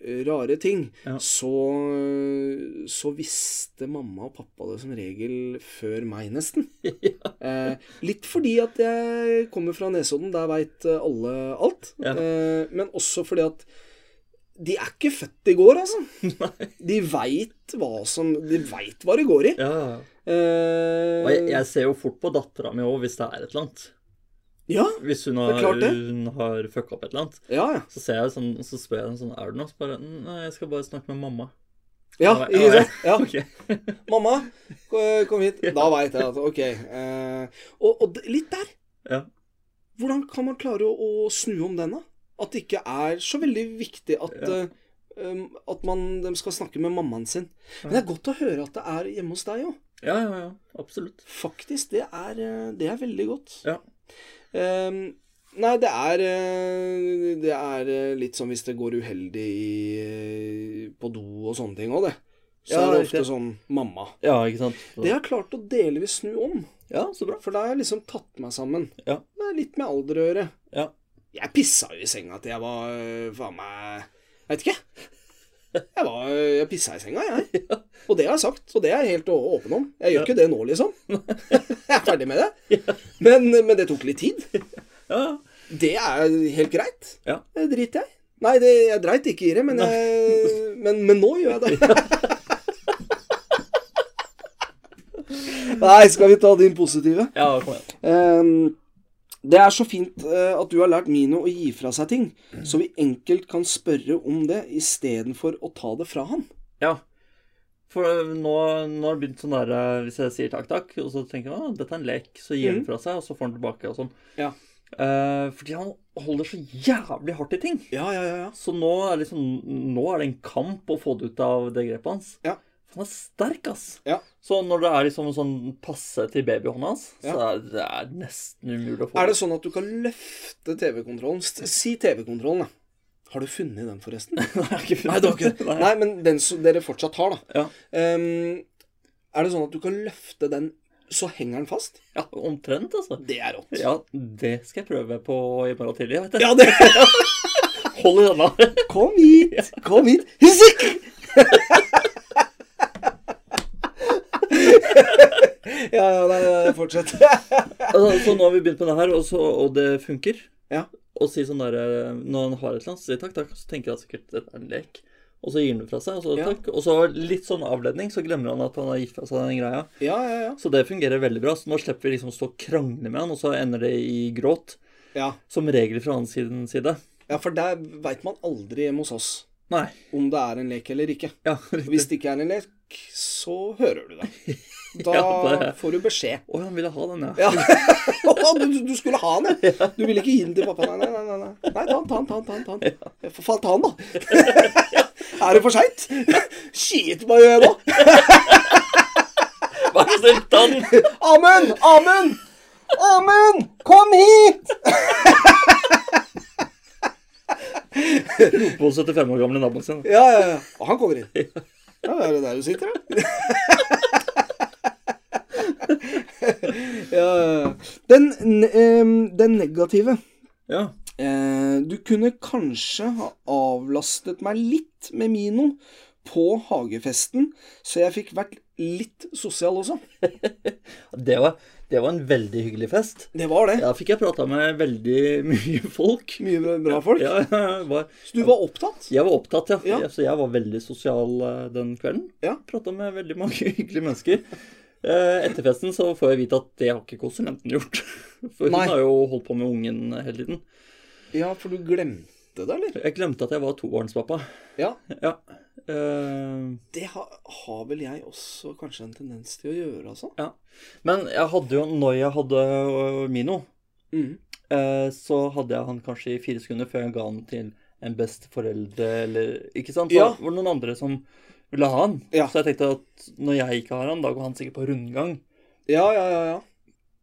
Speaker 1: eh, rare ting,
Speaker 2: Ja.
Speaker 1: så, eh, så visste mamma og pappa det som regel før meg, nesten. Eh, litt fordi at jeg kommer fra Nesodden, der veit eh, alle alt.
Speaker 2: Ja.
Speaker 1: Eh, men også fordi at de er ikke født i går, altså.
Speaker 2: Nei.
Speaker 1: De veit hva som De veit hva det går i.
Speaker 2: Ja, ja.
Speaker 1: Eh,
Speaker 2: Og jeg, jeg ser jo fort på dattera mi òg, hvis det er et eller annet.
Speaker 1: Ja,
Speaker 2: Hvis hun
Speaker 1: Det
Speaker 2: har,
Speaker 1: er klart det.
Speaker 2: hun har fucka opp et eller annet.
Speaker 1: ja, ja.
Speaker 2: Så ser jeg sånn, så spør jeg henne sånn Er du noe? Så bare Nei, jeg skal bare snakke med mamma.
Speaker 1: Ja,
Speaker 2: Ja,
Speaker 1: ikke sant? Ja.
Speaker 2: Ok.
Speaker 1: Mamma, ko- eh, kom hit. Da veit jeg at Ok. eh, og, og d- litt der.
Speaker 2: Ja.
Speaker 1: Hvordan kan man klare å, å snu om den, da? At det ikke er så veldig viktig at,
Speaker 2: Ja.
Speaker 1: eh, um, at man, de skal snakke med mammaen sin. Men det er godt å høre at det er hjemme hos deg òg.
Speaker 2: Ja, ja, ja. Absolutt.
Speaker 1: Faktisk. Det er, eh, det er veldig godt.
Speaker 2: Ja.
Speaker 1: Ehm, nei, det er eh, Det er eh, litt sånn hvis det går uheldig i, eh, på do og sånne ting òg, det. Så
Speaker 2: Ja,
Speaker 1: er det ofte
Speaker 2: riktig.
Speaker 1: sånn mamma.
Speaker 2: Ja, ikke sant. Så,
Speaker 1: Det har jeg klart å delvis snu om.
Speaker 2: Ja, så bra.
Speaker 1: For da har jeg liksom tatt meg sammen.
Speaker 2: Ja.
Speaker 1: Det er litt med alder å gjøre.
Speaker 2: Ja.
Speaker 1: Jeg pissa jo i senga til jeg var øh, faen meg Jeg vet ikke. Jeg, var, øh, jeg pissa i senga, jeg. Og det har jeg sagt, og det er jeg helt å- åpen om. Jeg gjør
Speaker 2: Ja.
Speaker 1: ikke det nå, liksom. Jeg er ferdig med det. Men, men det tok litt tid.
Speaker 2: Ja,
Speaker 1: Det er helt greit.
Speaker 2: Ja.
Speaker 1: Det driter jeg. Nei, det, jeg dreit ikke i det, men, jeg, men, men nå gjør jeg det. Nei, skal vi ta din positive?
Speaker 2: ja kom igjen.
Speaker 1: Ehm, det er så fint eh, at du har lært Mino å gi fra seg ting, så vi enkelt kan spørre om det istedenfor å ta det fra han.
Speaker 2: Ja. For eh, nå, nå har det begynt sånn der eh, Hvis jeg sier takk, takk, og så tenker jeg at dette er en lek, så gir han
Speaker 1: Mhm.
Speaker 2: fra seg, og så får han tilbake og sånn.
Speaker 1: Ja.
Speaker 2: Eh, fordi han holder så jævlig hardt i ting.
Speaker 1: Ja, ja, ja. ja.
Speaker 2: Så nå er, liksom, nå er det en kamp å få det ut av det grepet hans.
Speaker 1: Ja.
Speaker 2: Han er sterk, ass.
Speaker 1: Ja.
Speaker 2: Så når det er liksom en sånn passe til babyhånda hans,
Speaker 1: Ja.
Speaker 2: så er det er nesten umulig å få
Speaker 1: Er det sånn at du kan løfte TV-kontrollen? S- Si TV-kontrollen, da. Har du funnet den, forresten? Nei, du har ikke det. Nei, men den som dere fortsatt har, da.
Speaker 2: Ja.
Speaker 1: Ehm, er det sånn at du kan løfte den, så henger den fast?
Speaker 2: Ja, omtrent, altså.
Speaker 1: Det er rått.
Speaker 2: Ja, det skal jeg prøve på i morgen tidlig. Vet du.
Speaker 1: Ja, det
Speaker 2: Hold i denne.
Speaker 1: Kom hit! Kom hit! Hyssikk! ja, ja, nei, nei, fortsett.
Speaker 2: Altså, så nå har vi begynt med det her, og, så, og det funker.
Speaker 1: Ja.
Speaker 2: Og si sånn der, eh, Når han har et eller annet, så sier takk, takk, og så tenker han sikkert dette er en lek. Og så gir han det fra seg, og så
Speaker 1: Ja.
Speaker 2: takk. Og så litt sånn avledning, så glemmer han at han har gitt fra seg den greia.
Speaker 1: Ja, ja, ja.
Speaker 2: Så det fungerer veldig bra. Så nå slipper vi liksom å stå og krangle med han, og så ender det i gråt.
Speaker 1: Ja,
Speaker 2: Som regel fra hans siden- side.
Speaker 1: ja for der veit man aldri hjemme hos oss
Speaker 2: Nei.
Speaker 1: om det er en lek eller ikke.
Speaker 2: Ja, riktig.
Speaker 1: Hvis det ikke er en lek, så hører du det.
Speaker 2: Ja,
Speaker 1: Da
Speaker 2: det-
Speaker 1: får du beskjed.
Speaker 2: Å, han ville ha den, ja.
Speaker 1: Ja. du, du skulle ha den, ja. Du ville ikke gi den til pappa. Nei, nei, nei. nei. nei ta den, ta den, ta den. ta den, ta den. For faen, ta den, da. er det for seint? Shit, hva gjør jeg nå?
Speaker 2: Vær så snill, ta den!
Speaker 1: Amund! Amund! Amund! Kom hit!
Speaker 2: På 75 år gamle naboen sin.
Speaker 1: Ja, ja, ja. Og han kommer inn. Ja, det er det der du sitter, da. ja, ja, ja. den, ne- em, den negative
Speaker 2: Ja.
Speaker 1: eh, Du kunne kanskje ha avlastet meg litt med Mino på hagefesten, så jeg fikk vært litt sosial også.
Speaker 2: Det var, det var en veldig hyggelig fest.
Speaker 1: Det var det.
Speaker 2: Da fikk jeg prata med veldig mye folk.
Speaker 1: Mye bra- bra folk.
Speaker 2: Ja, jeg var,
Speaker 1: Så du var opptatt?
Speaker 2: jeg var opptatt, ja.
Speaker 1: Ja.
Speaker 2: Så jeg var veldig sosial eh, den kvelden.
Speaker 1: Ja.
Speaker 2: Prata med veldig mange hyggelige mennesker. Eh, Etter festen så får jeg vite at det har ikke konsulenten gjort. For hun
Speaker 1: Nei.
Speaker 2: har jo holdt på med ungen hele tiden.
Speaker 1: Ja, for du glemte det, eller?
Speaker 2: Jeg glemte at jeg var tobarnspappa.
Speaker 1: Ja.
Speaker 2: Ja. Eh,
Speaker 1: Det har, har vel jeg også kanskje en tendens til å gjøre, altså.
Speaker 2: ja. Men jeg hadde jo, når jeg hadde øh, Mino, eh, så hadde jeg han kanskje i fire sekunder før jeg ga han til en besteforelder eller Ikke sant? Så
Speaker 1: Ja.
Speaker 2: var det noen andre som ville ha han.
Speaker 1: Ja.
Speaker 2: Så jeg tenkte at når jeg ikke har han, da går han sikkert på rundgang.
Speaker 1: Ja, ja, ja, ja.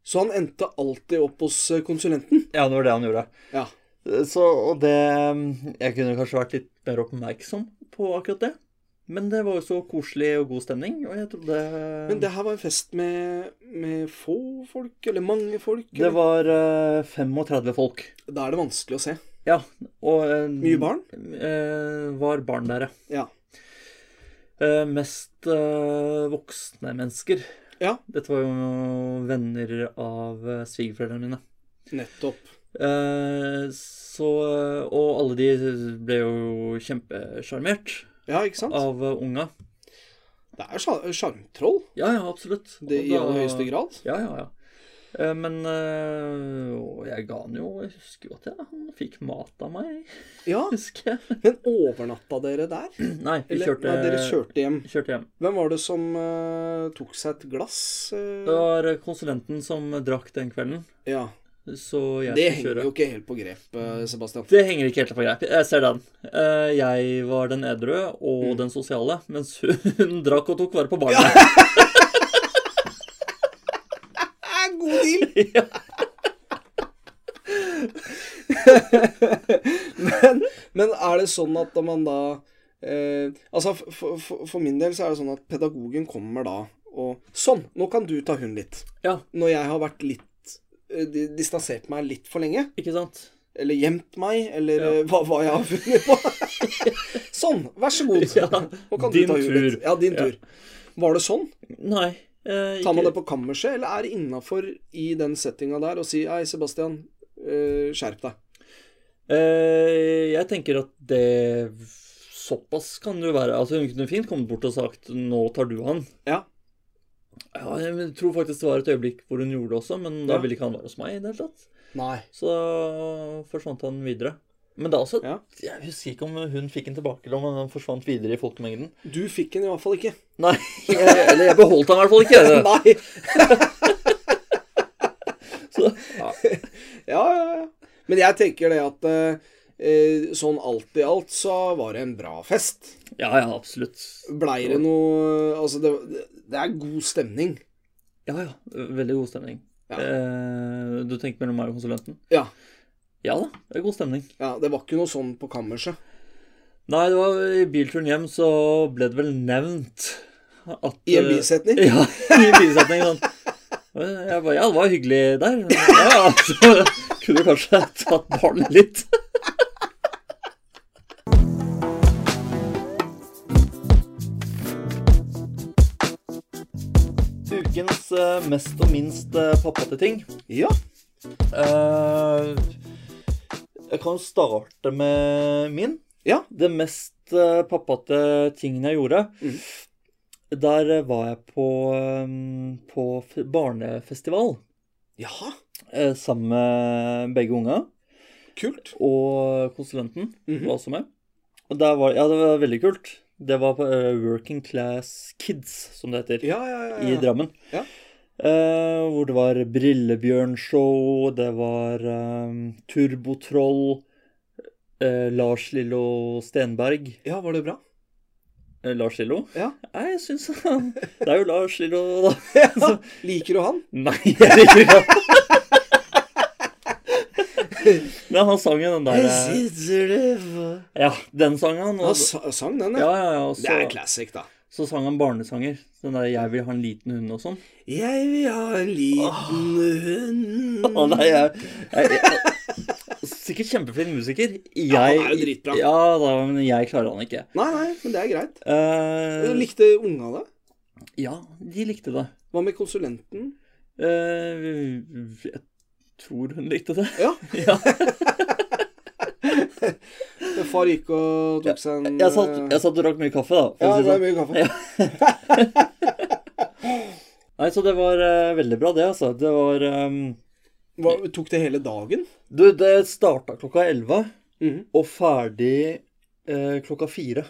Speaker 1: Så han endte alltid opp hos eh, konsulenten?
Speaker 2: Ja, Eh, det var det han gjorde.
Speaker 1: Ja.
Speaker 2: Så, og det Jeg kunne kanskje vært litt mer oppmerksom på akkurat det. Men det var jo så koselig og god stemning, og jeg trodde
Speaker 1: Men det her var en fest med, med få folk, eller mange folk?
Speaker 2: Det
Speaker 1: Eller?
Speaker 2: var eh, 35 folk.
Speaker 1: Da er det vanskelig å se.
Speaker 2: Ja, og eh,
Speaker 1: Mye barn?
Speaker 2: eh, var barn der, ja.
Speaker 1: Ja.
Speaker 2: Eh, mest eh, voksne mennesker.
Speaker 1: Ja.
Speaker 2: Dette var jo venner av eh, svigerforeldrene mine.
Speaker 1: Nettopp.
Speaker 2: Eh, så eh, Og alle de ble jo kjempesjarmert
Speaker 1: Ja, ikke sant?
Speaker 2: av eh, unga.
Speaker 1: Det er sjar- sjarmtroll
Speaker 2: Ja, ja, absolutt.
Speaker 1: det,
Speaker 2: Og
Speaker 1: i
Speaker 2: da-
Speaker 1: aller høyeste grad.
Speaker 2: Ja, ja, ja. Eh, Men eh, og jeg ga han jo Jeg husker jo at jeg, han fikk mat av meg,
Speaker 1: Ja,
Speaker 2: husker jeg.
Speaker 1: Men overnatta dere der?
Speaker 2: Nei, vi
Speaker 1: Eller
Speaker 2: kjørte,
Speaker 1: nei, dere kjørte hjem?
Speaker 2: kjørte hjem.
Speaker 1: Hvem var det som eh, tok seg et glass? eh?
Speaker 2: Det var konsulenten som drakk den kvelden,
Speaker 1: ja.
Speaker 2: så jeg
Speaker 1: Det
Speaker 2: skulle
Speaker 1: henger
Speaker 2: kjøre.
Speaker 1: jo ikke helt på grep, eh, Sebastian.
Speaker 2: Det henger ikke helt på greip. Jeg ser den. Eh, Jeg var den edru og
Speaker 1: Mm.
Speaker 2: den sosiale, mens hun drakk og tok vare på barna.
Speaker 1: Eh, god deal!
Speaker 2: Ja.
Speaker 1: men, men er det sånn at man da eh, Altså, for, for, for min del så er det sånn at pedagogen kommer da og Sånn, nå kan du ta hun litt.
Speaker 2: Ja.
Speaker 1: Når jeg har vært litt eh, di- distansert meg litt for lenge,
Speaker 2: Ikke sant?
Speaker 1: eller gjemt meg, eller
Speaker 2: Ja.
Speaker 1: eh, hva, hva jeg har funnet på. sånn, vær så god.
Speaker 2: Ja,
Speaker 1: Nå kan
Speaker 2: din
Speaker 1: du ta tur.
Speaker 2: tur.
Speaker 1: Litt. Ja, din
Speaker 2: Ja.
Speaker 1: tur. Var det sånn?
Speaker 2: Nei. eh,
Speaker 1: Tar man
Speaker 2: ikke-
Speaker 1: det på kammerset, eller er det innafor i den settinga der å si Hei, Sebastian, eh, skjerp deg.
Speaker 2: Eh, jeg tenker at det Såpass kan det jo være. Altså, hun kunne fint kommet bort og sagt 'nå tar du han'.
Speaker 1: Ja.
Speaker 2: Ja, jeg tror faktisk det var et øyeblikk hvor hun gjorde det også, men da
Speaker 1: Ja.
Speaker 2: ville ikke han være hos meg i det hele tatt.
Speaker 1: Nei.
Speaker 2: Så da forsvant han videre. Men da også
Speaker 1: Ja.
Speaker 2: Jeg husker ikke om hun fikk den tilbake, eller om han forsvant videre i folkemengden.
Speaker 1: Du fikk den i hvert fall ikke.
Speaker 2: Nei, eller jeg beholdt han i hvert fall ikke.
Speaker 1: Nei.
Speaker 2: Så,
Speaker 1: Ja, ja, ja. Men jeg tenker det at eh, eh, sånn alt i alt så var det en bra fest.
Speaker 2: ja, ja, absolutt.
Speaker 1: Blei det noe Altså, det, det er god stemning.
Speaker 2: Ja, ja. Veldig god stemning.
Speaker 1: Ja.
Speaker 2: Eh, du tenker mellom meg og konsulenten?
Speaker 1: Ja.
Speaker 2: Ja da, det er god stemning.
Speaker 1: ja. Det var ikke noe sånn på kammerset.
Speaker 2: Nei, det var i bilturen hjem så ble det vel nevnt at
Speaker 1: I en
Speaker 2: eh,
Speaker 1: bisetning.
Speaker 2: Ja, i en bisetning. Sånn. Jeg bare, ja, det var hyggelig der. Ja, så kunne du kanskje tatt barnet litt. Ukens eh, mest og minst eh, pappate ting.
Speaker 1: Ja.
Speaker 2: Eh, jeg kan starte med min.
Speaker 1: Ja.
Speaker 2: Det mest eh, pappate tingen jeg gjorde.
Speaker 1: Mhm.
Speaker 2: Der eh, var jeg på, eh, på f- barnefestival
Speaker 1: Jaha.
Speaker 2: eh, sammen med begge unga
Speaker 1: Kult.
Speaker 2: og konsulenten
Speaker 1: Mhm.
Speaker 2: var også med. Og der var, ja, det var veldig kult. Det var på eh, Working Class Kids, som det heter
Speaker 1: Ja, ja, ja.
Speaker 2: i
Speaker 1: ja.
Speaker 2: Drammen.
Speaker 1: Ja.
Speaker 2: Eh, hvor det var Brillebjørnshow, det var eh, Turbotroll, eh, Lars Lillo Stenberg
Speaker 1: Ja, var det bra?
Speaker 2: eh, Lars Lillo?
Speaker 1: Ja.
Speaker 2: Nei, jeg syns han Det er jo Lars Lillo, da. Så-
Speaker 1: Liker du han?
Speaker 2: Nei, jeg liker ikke han. Men han sang jo den der eh, Ja, den sang han.
Speaker 1: Han
Speaker 2: Og,
Speaker 1: sa- sang den,
Speaker 2: ja,
Speaker 1: ja.
Speaker 2: ja, ja, og
Speaker 1: Det er en
Speaker 2: så,
Speaker 1: classic, da.
Speaker 2: så sang han barnesanger. Den der 'Jeg vil ha en liten hund' og sånn.
Speaker 1: Jeg vil ha en liten hund
Speaker 2: Å nei, jeg, jeg, jeg Sikkert kjempeflink musiker. Jeg,
Speaker 1: Ja, han er jo dritbra.
Speaker 2: Ja da, men jeg klarer han ikke.
Speaker 1: Nei, nei, men det er greit.
Speaker 2: Eh,
Speaker 1: Likte unga det?
Speaker 2: ja, de likte det.
Speaker 1: Hva med konsulenten?
Speaker 2: Eh, jeg tror hun likte det.
Speaker 1: Ja.
Speaker 2: Ja.
Speaker 1: Far gikk og tok seg en
Speaker 2: Jeg satt,
Speaker 1: eh,
Speaker 2: jeg satt og drakk mye kaffe, da.
Speaker 1: Ja,
Speaker 2: For å
Speaker 1: det
Speaker 2: si det
Speaker 1: ble
Speaker 2: sånn.
Speaker 1: mye kaffe.
Speaker 2: Nei, så det var eh, veldig bra, det, altså. Det var ehm,
Speaker 1: Hva, tok det hele dagen?
Speaker 2: Du, det starta klokka elleve
Speaker 1: Mhm.
Speaker 2: og ferdig eh, klokka fire.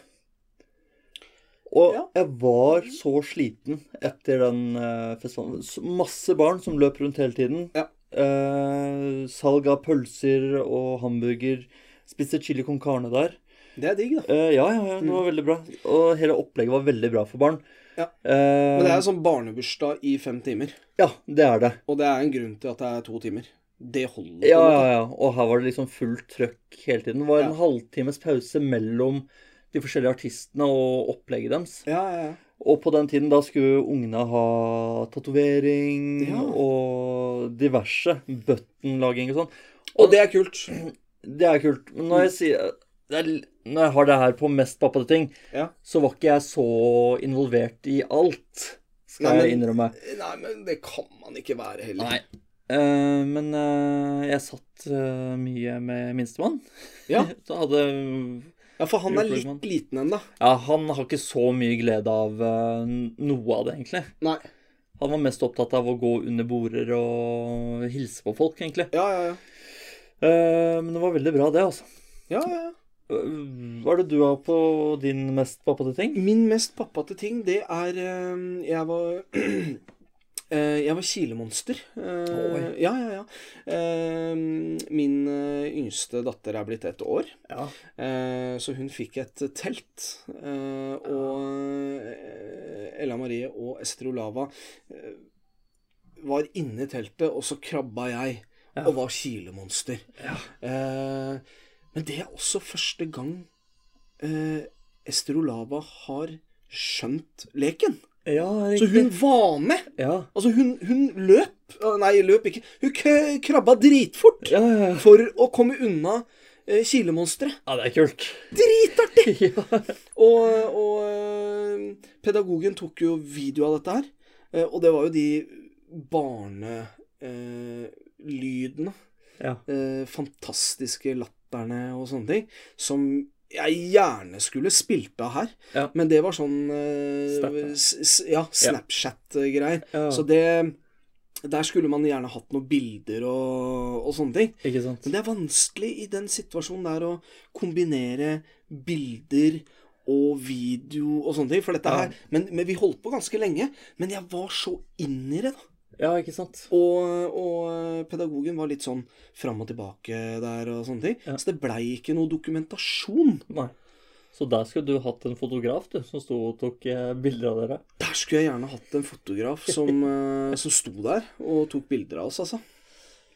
Speaker 2: Og
Speaker 1: Ja. Mhm.
Speaker 2: jeg var så sliten etter den eh, festivalen. Så Masse barn som løp rundt hele tiden.
Speaker 1: Ja.
Speaker 2: Eh, salg av pølser og hamburger. Spiste chili con carne der.
Speaker 1: Det er digg, da.
Speaker 2: Eh, ja, ja, ja, det var veldig bra. Og hele opplegget var veldig bra for barn.
Speaker 1: Mhm. Ja.
Speaker 2: Eh,
Speaker 1: Men det er sånn barnebursdag i fem timer.
Speaker 2: Ja, det er det.
Speaker 1: Og det er en grunn til at det er to timer. Det holder. på en
Speaker 2: Ja, ja,
Speaker 1: måte.
Speaker 2: ja. Og her var det liksom fullt trøkk hele tiden. Det var en
Speaker 1: Ja.
Speaker 2: halvtimes pause mellom de forskjellige artistene og opplegget deres.
Speaker 1: ja, ja, ja.
Speaker 2: Og på den tiden da skulle ungene ha tatovering
Speaker 1: Ja.
Speaker 2: og diverse. Buttonlaging og sånn.
Speaker 1: Og det er kult.
Speaker 2: Det er kult. Men når jeg,
Speaker 1: Mm.
Speaker 2: sier, det er, l- når jeg har det her på mest pappate ting,
Speaker 1: Ja.
Speaker 2: så var ikke jeg så involvert i alt, skal
Speaker 1: Nei, men-
Speaker 2: jeg innrømme.
Speaker 1: Nei, men det kan man ikke være heller.
Speaker 2: Nei. Eh, men eh, jeg satt eh, mye med minstemann.
Speaker 1: Ja.
Speaker 2: Så hadde
Speaker 1: Ja, for han er
Speaker 2: Jo,
Speaker 1: litt
Speaker 2: Flugman.
Speaker 1: liten ennå.
Speaker 2: Ja, han har ikke så mye glede av eh, noe av det, egentlig.
Speaker 1: Nei.
Speaker 2: Han var mest opptatt av å gå under border og hilse på folk, egentlig.
Speaker 1: Ja, ja, ja.
Speaker 2: Eh, men det var veldig bra, det, altså.
Speaker 1: ja, ja, ja.
Speaker 2: Eh, Hva er det du har på din mest pappate ting?
Speaker 1: Min mest pappate ting, det er eh, Jeg var Eh, Jeg var kilemonster. Eh,
Speaker 2: Oi.
Speaker 1: Ja, ja, ja. Eh, Min eh, yngste datter er blitt ett år.
Speaker 2: Ja.
Speaker 1: Eh, Så hun fikk et telt, eh, og eh, Ella Marie og Ester Olava eh, var inne i teltet, og så krabba jeg
Speaker 2: Ja.
Speaker 1: og var kilemonster.
Speaker 2: Ja.
Speaker 1: Eh, Men det er også første gang eh, Ester Olava har skjønt leken.
Speaker 2: Ja,
Speaker 1: Så
Speaker 2: riktig.
Speaker 1: hun var med!
Speaker 2: Ja.
Speaker 1: Altså, hun, hun løp Å, Nei, løp ikke. Hun kø- krabba dritfort
Speaker 2: Ja, ja, ja.
Speaker 1: for å komme unna eh, kilemonsteret.
Speaker 2: ja, det er kult.
Speaker 1: Dritartig!
Speaker 2: ja.
Speaker 1: Og, og eh, pedagogen tok jo video av dette her. eh, Og det var jo de eh, barnelydene,
Speaker 2: Ja.
Speaker 1: eh, fantastiske latterne og sånne ting, som jeg gjerne skulle spilt av her.
Speaker 2: Ja.
Speaker 1: Men det var sånn eh,
Speaker 2: Snap, ja.
Speaker 1: s s ja, Snapchat-greier.
Speaker 2: ja.
Speaker 1: Så det Der skulle man gjerne hatt noen bilder og, og sånne ting.
Speaker 2: Ikke sant?
Speaker 1: Men det er vanskelig i den situasjonen der å kombinere bilder og video og sånne ting. For dette
Speaker 2: Ja.
Speaker 1: her men, men vi holdt på ganske lenge. Men jeg var så inn i det, da.
Speaker 2: Ja, ikke sant?
Speaker 1: Og, og pedagogen var litt sånn fram og tilbake der og sånne ting.
Speaker 2: Ja.
Speaker 1: Så det blei ikke noe dokumentasjon.
Speaker 2: Nei. Så der skulle du hatt en fotograf, du, som sto og tok eh, bilder av dere.
Speaker 1: Der skulle jeg gjerne hatt en fotograf som, eh, som sto der og tok bilder av oss, altså.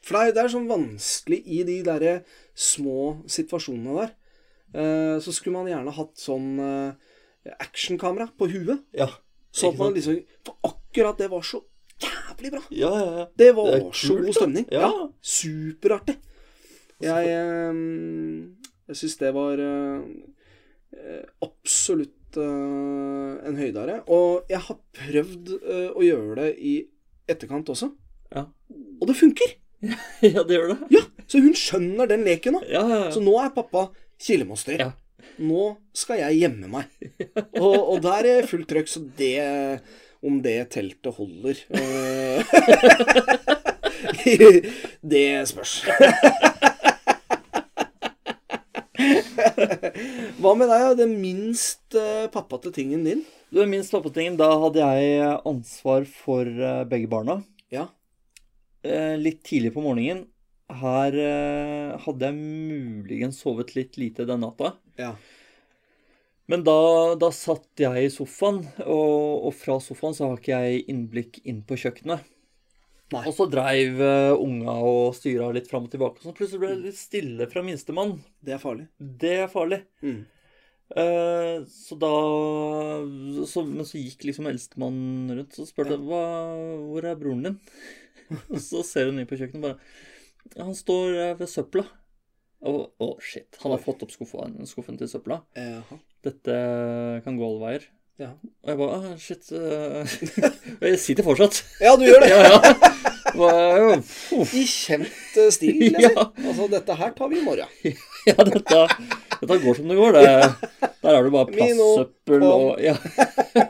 Speaker 1: For det er, det er sånn vanskelig i de derre små situasjonene der. Eh, så skulle man gjerne hatt sånn eh, actionkamera på huet.
Speaker 2: Ja.
Speaker 1: Så
Speaker 2: Ikke
Speaker 1: at man liksom For akkurat det var så jævlig bra!
Speaker 2: Ja, ja, ja.
Speaker 1: Det var
Speaker 2: Det er
Speaker 1: så
Speaker 2: kult,
Speaker 1: god
Speaker 2: da.
Speaker 1: stemning.
Speaker 2: Ja.
Speaker 1: Ja. superartig. Jeg, eh, jeg syns det var eh, eh, absolutt eh, en høydare. Og jeg har prøvd eh, å gjøre det i etterkant også.
Speaker 2: Ja.
Speaker 1: Og det funker!
Speaker 2: ja, det gjør det.
Speaker 1: Ja, Så hun skjønner den leken nå.
Speaker 2: Ja, ja, ja.
Speaker 1: Så nå er pappa kilemonster.
Speaker 2: Ja.
Speaker 1: Nå skal jeg gjemme meg. Og, og der er fullt trøkk, så det Om det teltet holder eh, Det spørs. Hva med deg, den minst eh, pappate tingen din?
Speaker 2: Du, minst pappatingen, da hadde jeg eh, ansvar for eh, begge barna.
Speaker 1: Ja.
Speaker 2: Eh, Litt tidlig på morgenen. Her eh, hadde jeg muligens sovet litt lite den natta.
Speaker 1: Ja.
Speaker 2: Men da, da satt jeg i sofaen, og, og fra sofaen så har ikke jeg innblikk inn på kjøkkenet.
Speaker 1: Nei.
Speaker 2: Og så dreiv eh, unga og styra litt fram og tilbake, og sånn. plutselig ble det litt stille fra minstemann.
Speaker 1: Det er farlig.
Speaker 2: Det er farlig.
Speaker 1: Mm.
Speaker 2: Eh, så da så, Men så gikk liksom eldstemann rundt og spurte jeg, Hva, 'Hvor er broren din?' Og så ser hun inn på kjøkkenet og bare 'Han står eh, ved søpla'. Å, å, shit. Han har
Speaker 1: Oi.
Speaker 2: fått opp skuffen, skuffen til søpla.
Speaker 1: Jaha.
Speaker 2: Dette kan gå alle veier.
Speaker 1: Ja.
Speaker 2: Og jeg bare ah, Shit. eh, og jeg sitter fortsatt.
Speaker 1: ja, du gjør det!
Speaker 2: ja, ja. Bare, uff.
Speaker 1: I kjent eh, stil, liksom.
Speaker 2: ja,
Speaker 1: Altså, dette her tar vi i morgen.
Speaker 2: ja dette, dette går som det går. Det, der er det bare
Speaker 1: Mino,
Speaker 2: plastsøppel
Speaker 1: kom.
Speaker 2: og ja.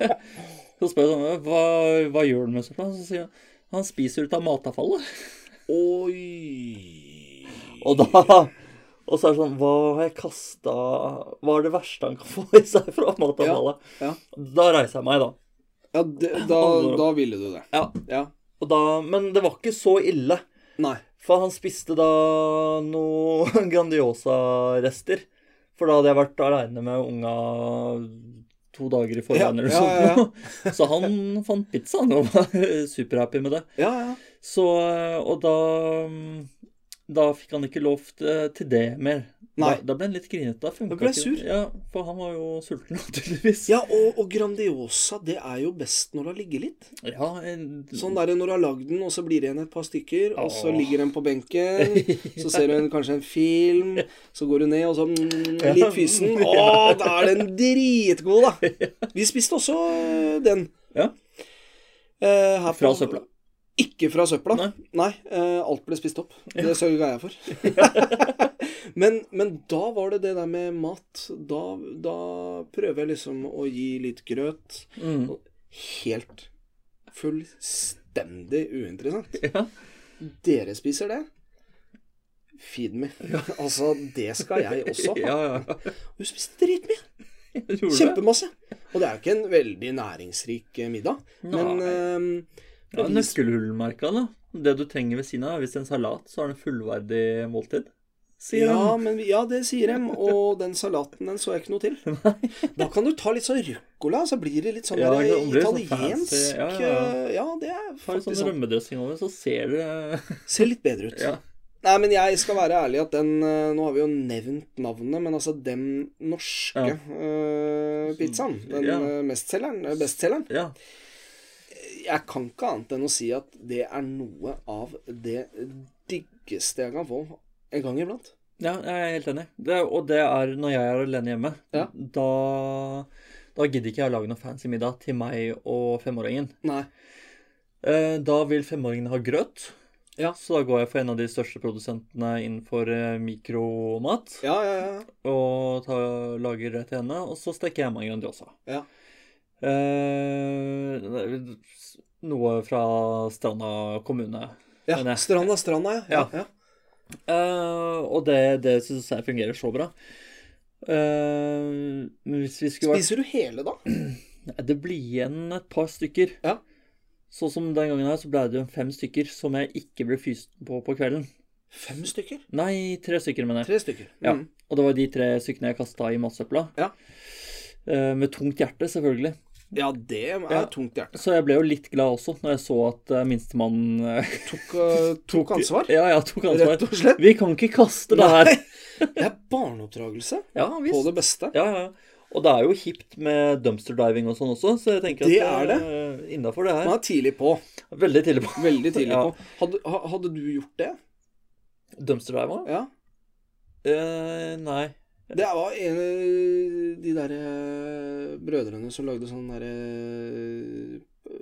Speaker 2: Så spør jeg sånn hva, hva gjør han med søpla? Så sier han han spiser ut av matavfallet.
Speaker 1: Oi.
Speaker 2: Og da og så er det sånn Hva har jeg kasta Hva er det verste han kan få i seg fra matavfallet?
Speaker 1: Ja,
Speaker 2: Da reiser jeg meg, da.
Speaker 1: Ja, det, da,
Speaker 2: Alvor.
Speaker 1: da ville du det.
Speaker 2: Ja.
Speaker 1: ja.
Speaker 2: Og da. Men det var ikke så ille.
Speaker 1: Nei.
Speaker 2: For han spiste da noe Grandiosa-rester. For da hadde jeg vært aleine med unga to dager i forveien
Speaker 1: Ja,
Speaker 2: eller
Speaker 1: ja, ja,
Speaker 2: sånn. Så han fant pizza han og var superhappy med det.
Speaker 1: Ja, ja.
Speaker 2: Så, og da mm, da fikk han ikke lov til, til det mer. Da,
Speaker 1: Nei.
Speaker 2: da ble han litt grinete. Da funka
Speaker 1: Da ble jeg
Speaker 2: ikke-
Speaker 1: sur.
Speaker 2: Ja, for han var jo sulten, naturligvis.
Speaker 1: Ja, og, og Grandiosa, det er jo best når det har ligget litt.
Speaker 2: Ja, en,
Speaker 1: Sånn der når du har lagd den, og så blir det igjen et par stykker, og så
Speaker 2: Åh.
Speaker 1: ligger den på benken, så ser du en, kanskje en film, så går du ned, og så mm, litt fysen. Å, da er den dritgod, da! Vi spiste også øh, den.
Speaker 2: Ja.
Speaker 1: Eh, her
Speaker 2: Fra
Speaker 1: på-
Speaker 2: søpla.
Speaker 1: Ikke fra søpla. Nei,
Speaker 2: Nei.
Speaker 1: eh, alt ble spist opp. Det sørga jeg for. men, men da var det det der med mat. Da, da prøver jeg liksom å gi litt grøt.
Speaker 2: Mm.
Speaker 1: Helt fullstendig uinteressant.
Speaker 2: Ja.
Speaker 1: Dere spiser det. Feed me. Altså, det skal jeg også ha.
Speaker 2: Ja, ja, ja.
Speaker 1: Hun spiste dritmye.
Speaker 2: Jeg gjorde det.
Speaker 1: Kjempemasse. Og det er jo ikke en veldig næringsrik eh, middag, men
Speaker 2: Nei.
Speaker 1: eh,
Speaker 2: Ja,
Speaker 1: bevis-
Speaker 2: Nøkkelhullmerka, da. Det du trenger ved siden av, hvis det er en salat, så er det en fullverdig måltid. Sier
Speaker 1: Ja,
Speaker 2: han.
Speaker 1: men, vi- ja, det sier dem. Og den salaten, den så jeg ikke noe til. Da kan du ta litt sånn ruccola, så blir det litt sånn
Speaker 2: Ja,
Speaker 1: der
Speaker 2: ikke sant, det blir sånn fancy,
Speaker 1: italiensk
Speaker 2: ja, ja.
Speaker 1: eh, Ja, det er
Speaker 2: Har du
Speaker 1: faktisk
Speaker 2: sånn
Speaker 1: sånn.
Speaker 2: rømmedressing over, så ser du eh,
Speaker 1: Ser litt bedre ut.
Speaker 2: Ja.
Speaker 1: Nei, men jeg skal være ærlig at den eh, Nå har vi jo nevnt navnet, men altså den norske
Speaker 2: Ja.
Speaker 1: eh, pizzaen, den
Speaker 2: Ja.
Speaker 1: eh, mestselgeren, eh, bestselgeren
Speaker 2: ja.
Speaker 1: Jeg kan ikke annet enn å si at det er noe av det diggeste jeg kan få en gang iblant.
Speaker 2: Ja, jeg er helt enig. Det, og det er når jeg er alene hjemme.
Speaker 1: Ja.
Speaker 2: Da, da gidder ikke jeg å lage noe fancy middag til meg og femåringen.
Speaker 1: Nei.
Speaker 2: Eh, da vil femåringen ha grøt.
Speaker 1: Ja.
Speaker 2: Så da går jeg for en av de største produsentene innenfor eh, mikromat.
Speaker 1: Ja, ja, ja.
Speaker 2: Og ta, lager det til henne. Og så steker jeg meg en Grandiosa.
Speaker 1: Ja.
Speaker 2: Eh, det er vel noe fra Stranda kommune. Men eh,
Speaker 1: ja.
Speaker 2: jeg-
Speaker 1: Stranda, stranda, ja. ja.
Speaker 2: Eh, og det, det syns jeg fungerer så bra. Eh, men hvis vi skulle vært
Speaker 1: Spiser du hele, da?
Speaker 2: Nei, Det blir igjen et par stykker.
Speaker 1: Ja.
Speaker 2: Sånn som den gangen her, så ble det jo fem stykker som jeg ikke ble fyst på på kvelden.
Speaker 1: Fem stykker?
Speaker 2: Nei, tre stykker, mener jeg.
Speaker 1: Tre stykker.
Speaker 2: Ja.
Speaker 1: Mm.
Speaker 2: Og det var de tre stykkene jeg kasta i matsøpla.
Speaker 1: Ja.
Speaker 2: Eh, med tungt hjerte, selvfølgelig.
Speaker 1: ja, det er
Speaker 2: Ja.
Speaker 1: tungt hjerte.
Speaker 2: Så jeg ble jo litt glad også når jeg så at eh, minstemann eh,
Speaker 1: Tok, eh, tok ansvar,
Speaker 2: Ja, ja, tok
Speaker 1: rett
Speaker 2: ansvar.
Speaker 1: og slett.
Speaker 2: Vi kan ikke kaste det her.
Speaker 1: Det er barneoppdragelse
Speaker 2: Ja, visst.
Speaker 1: på det beste.
Speaker 2: Ja, ja. Og det er jo hipt med dumpster diving og sånn også, så jeg tenker
Speaker 1: Det er
Speaker 2: at det innafor det her.
Speaker 1: Man er tidlig på.
Speaker 2: Veldig tidlig på
Speaker 1: Veldig tidlig
Speaker 2: Ja.
Speaker 1: på. Hadde, ha- hadde du gjort det?
Speaker 2: dumpster diving.
Speaker 1: Ja.
Speaker 2: Eh, nei.
Speaker 1: Det var en av de der eh, brødrene som lagde sånn der eh,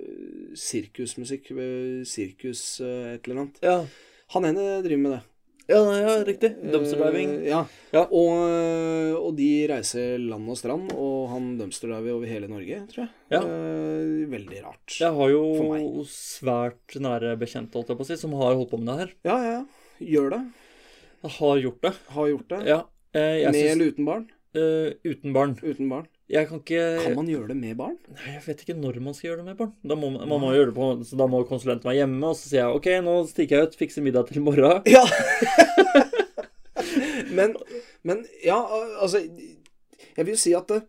Speaker 1: sirkusmusikk eh, Sirkus eh, et eller annet.
Speaker 2: Ja.
Speaker 1: Han ene driver med det.
Speaker 2: Ja, nei, ja riktig. Dumpster diving.
Speaker 1: Eh, Ja.
Speaker 2: Ja.
Speaker 1: Og, eh, og de reiser land og strand, og han dumpsterdiver over hele Norge, tror jeg.
Speaker 2: Ja.
Speaker 1: Eh, veldig rart.
Speaker 2: Jeg har
Speaker 1: For
Speaker 2: jo
Speaker 1: meg.
Speaker 2: svært nære bekjente, holdt jeg på å si, som har holdt på med det her.
Speaker 1: ja, ja. ja. Gjør det.
Speaker 2: Jeg har gjort det.
Speaker 1: Har gjort det.
Speaker 2: Ja. Eh, jeg
Speaker 1: med
Speaker 2: syns
Speaker 1: eller uten barn?
Speaker 2: eh, Uten barn.
Speaker 1: Uten barn.
Speaker 2: Jeg kan ikke
Speaker 1: Kan man gjøre det med barn?
Speaker 2: Nei, Jeg vet ikke når man skal gjøre det med barn. Da må man, man må gjøre det på, så da må konsulenten være hjemme, og så sier jeg OK, nå stikker jeg ut, fikser middag til i morgen.
Speaker 1: Ja. men, men ja, altså Jeg vil jo si at det-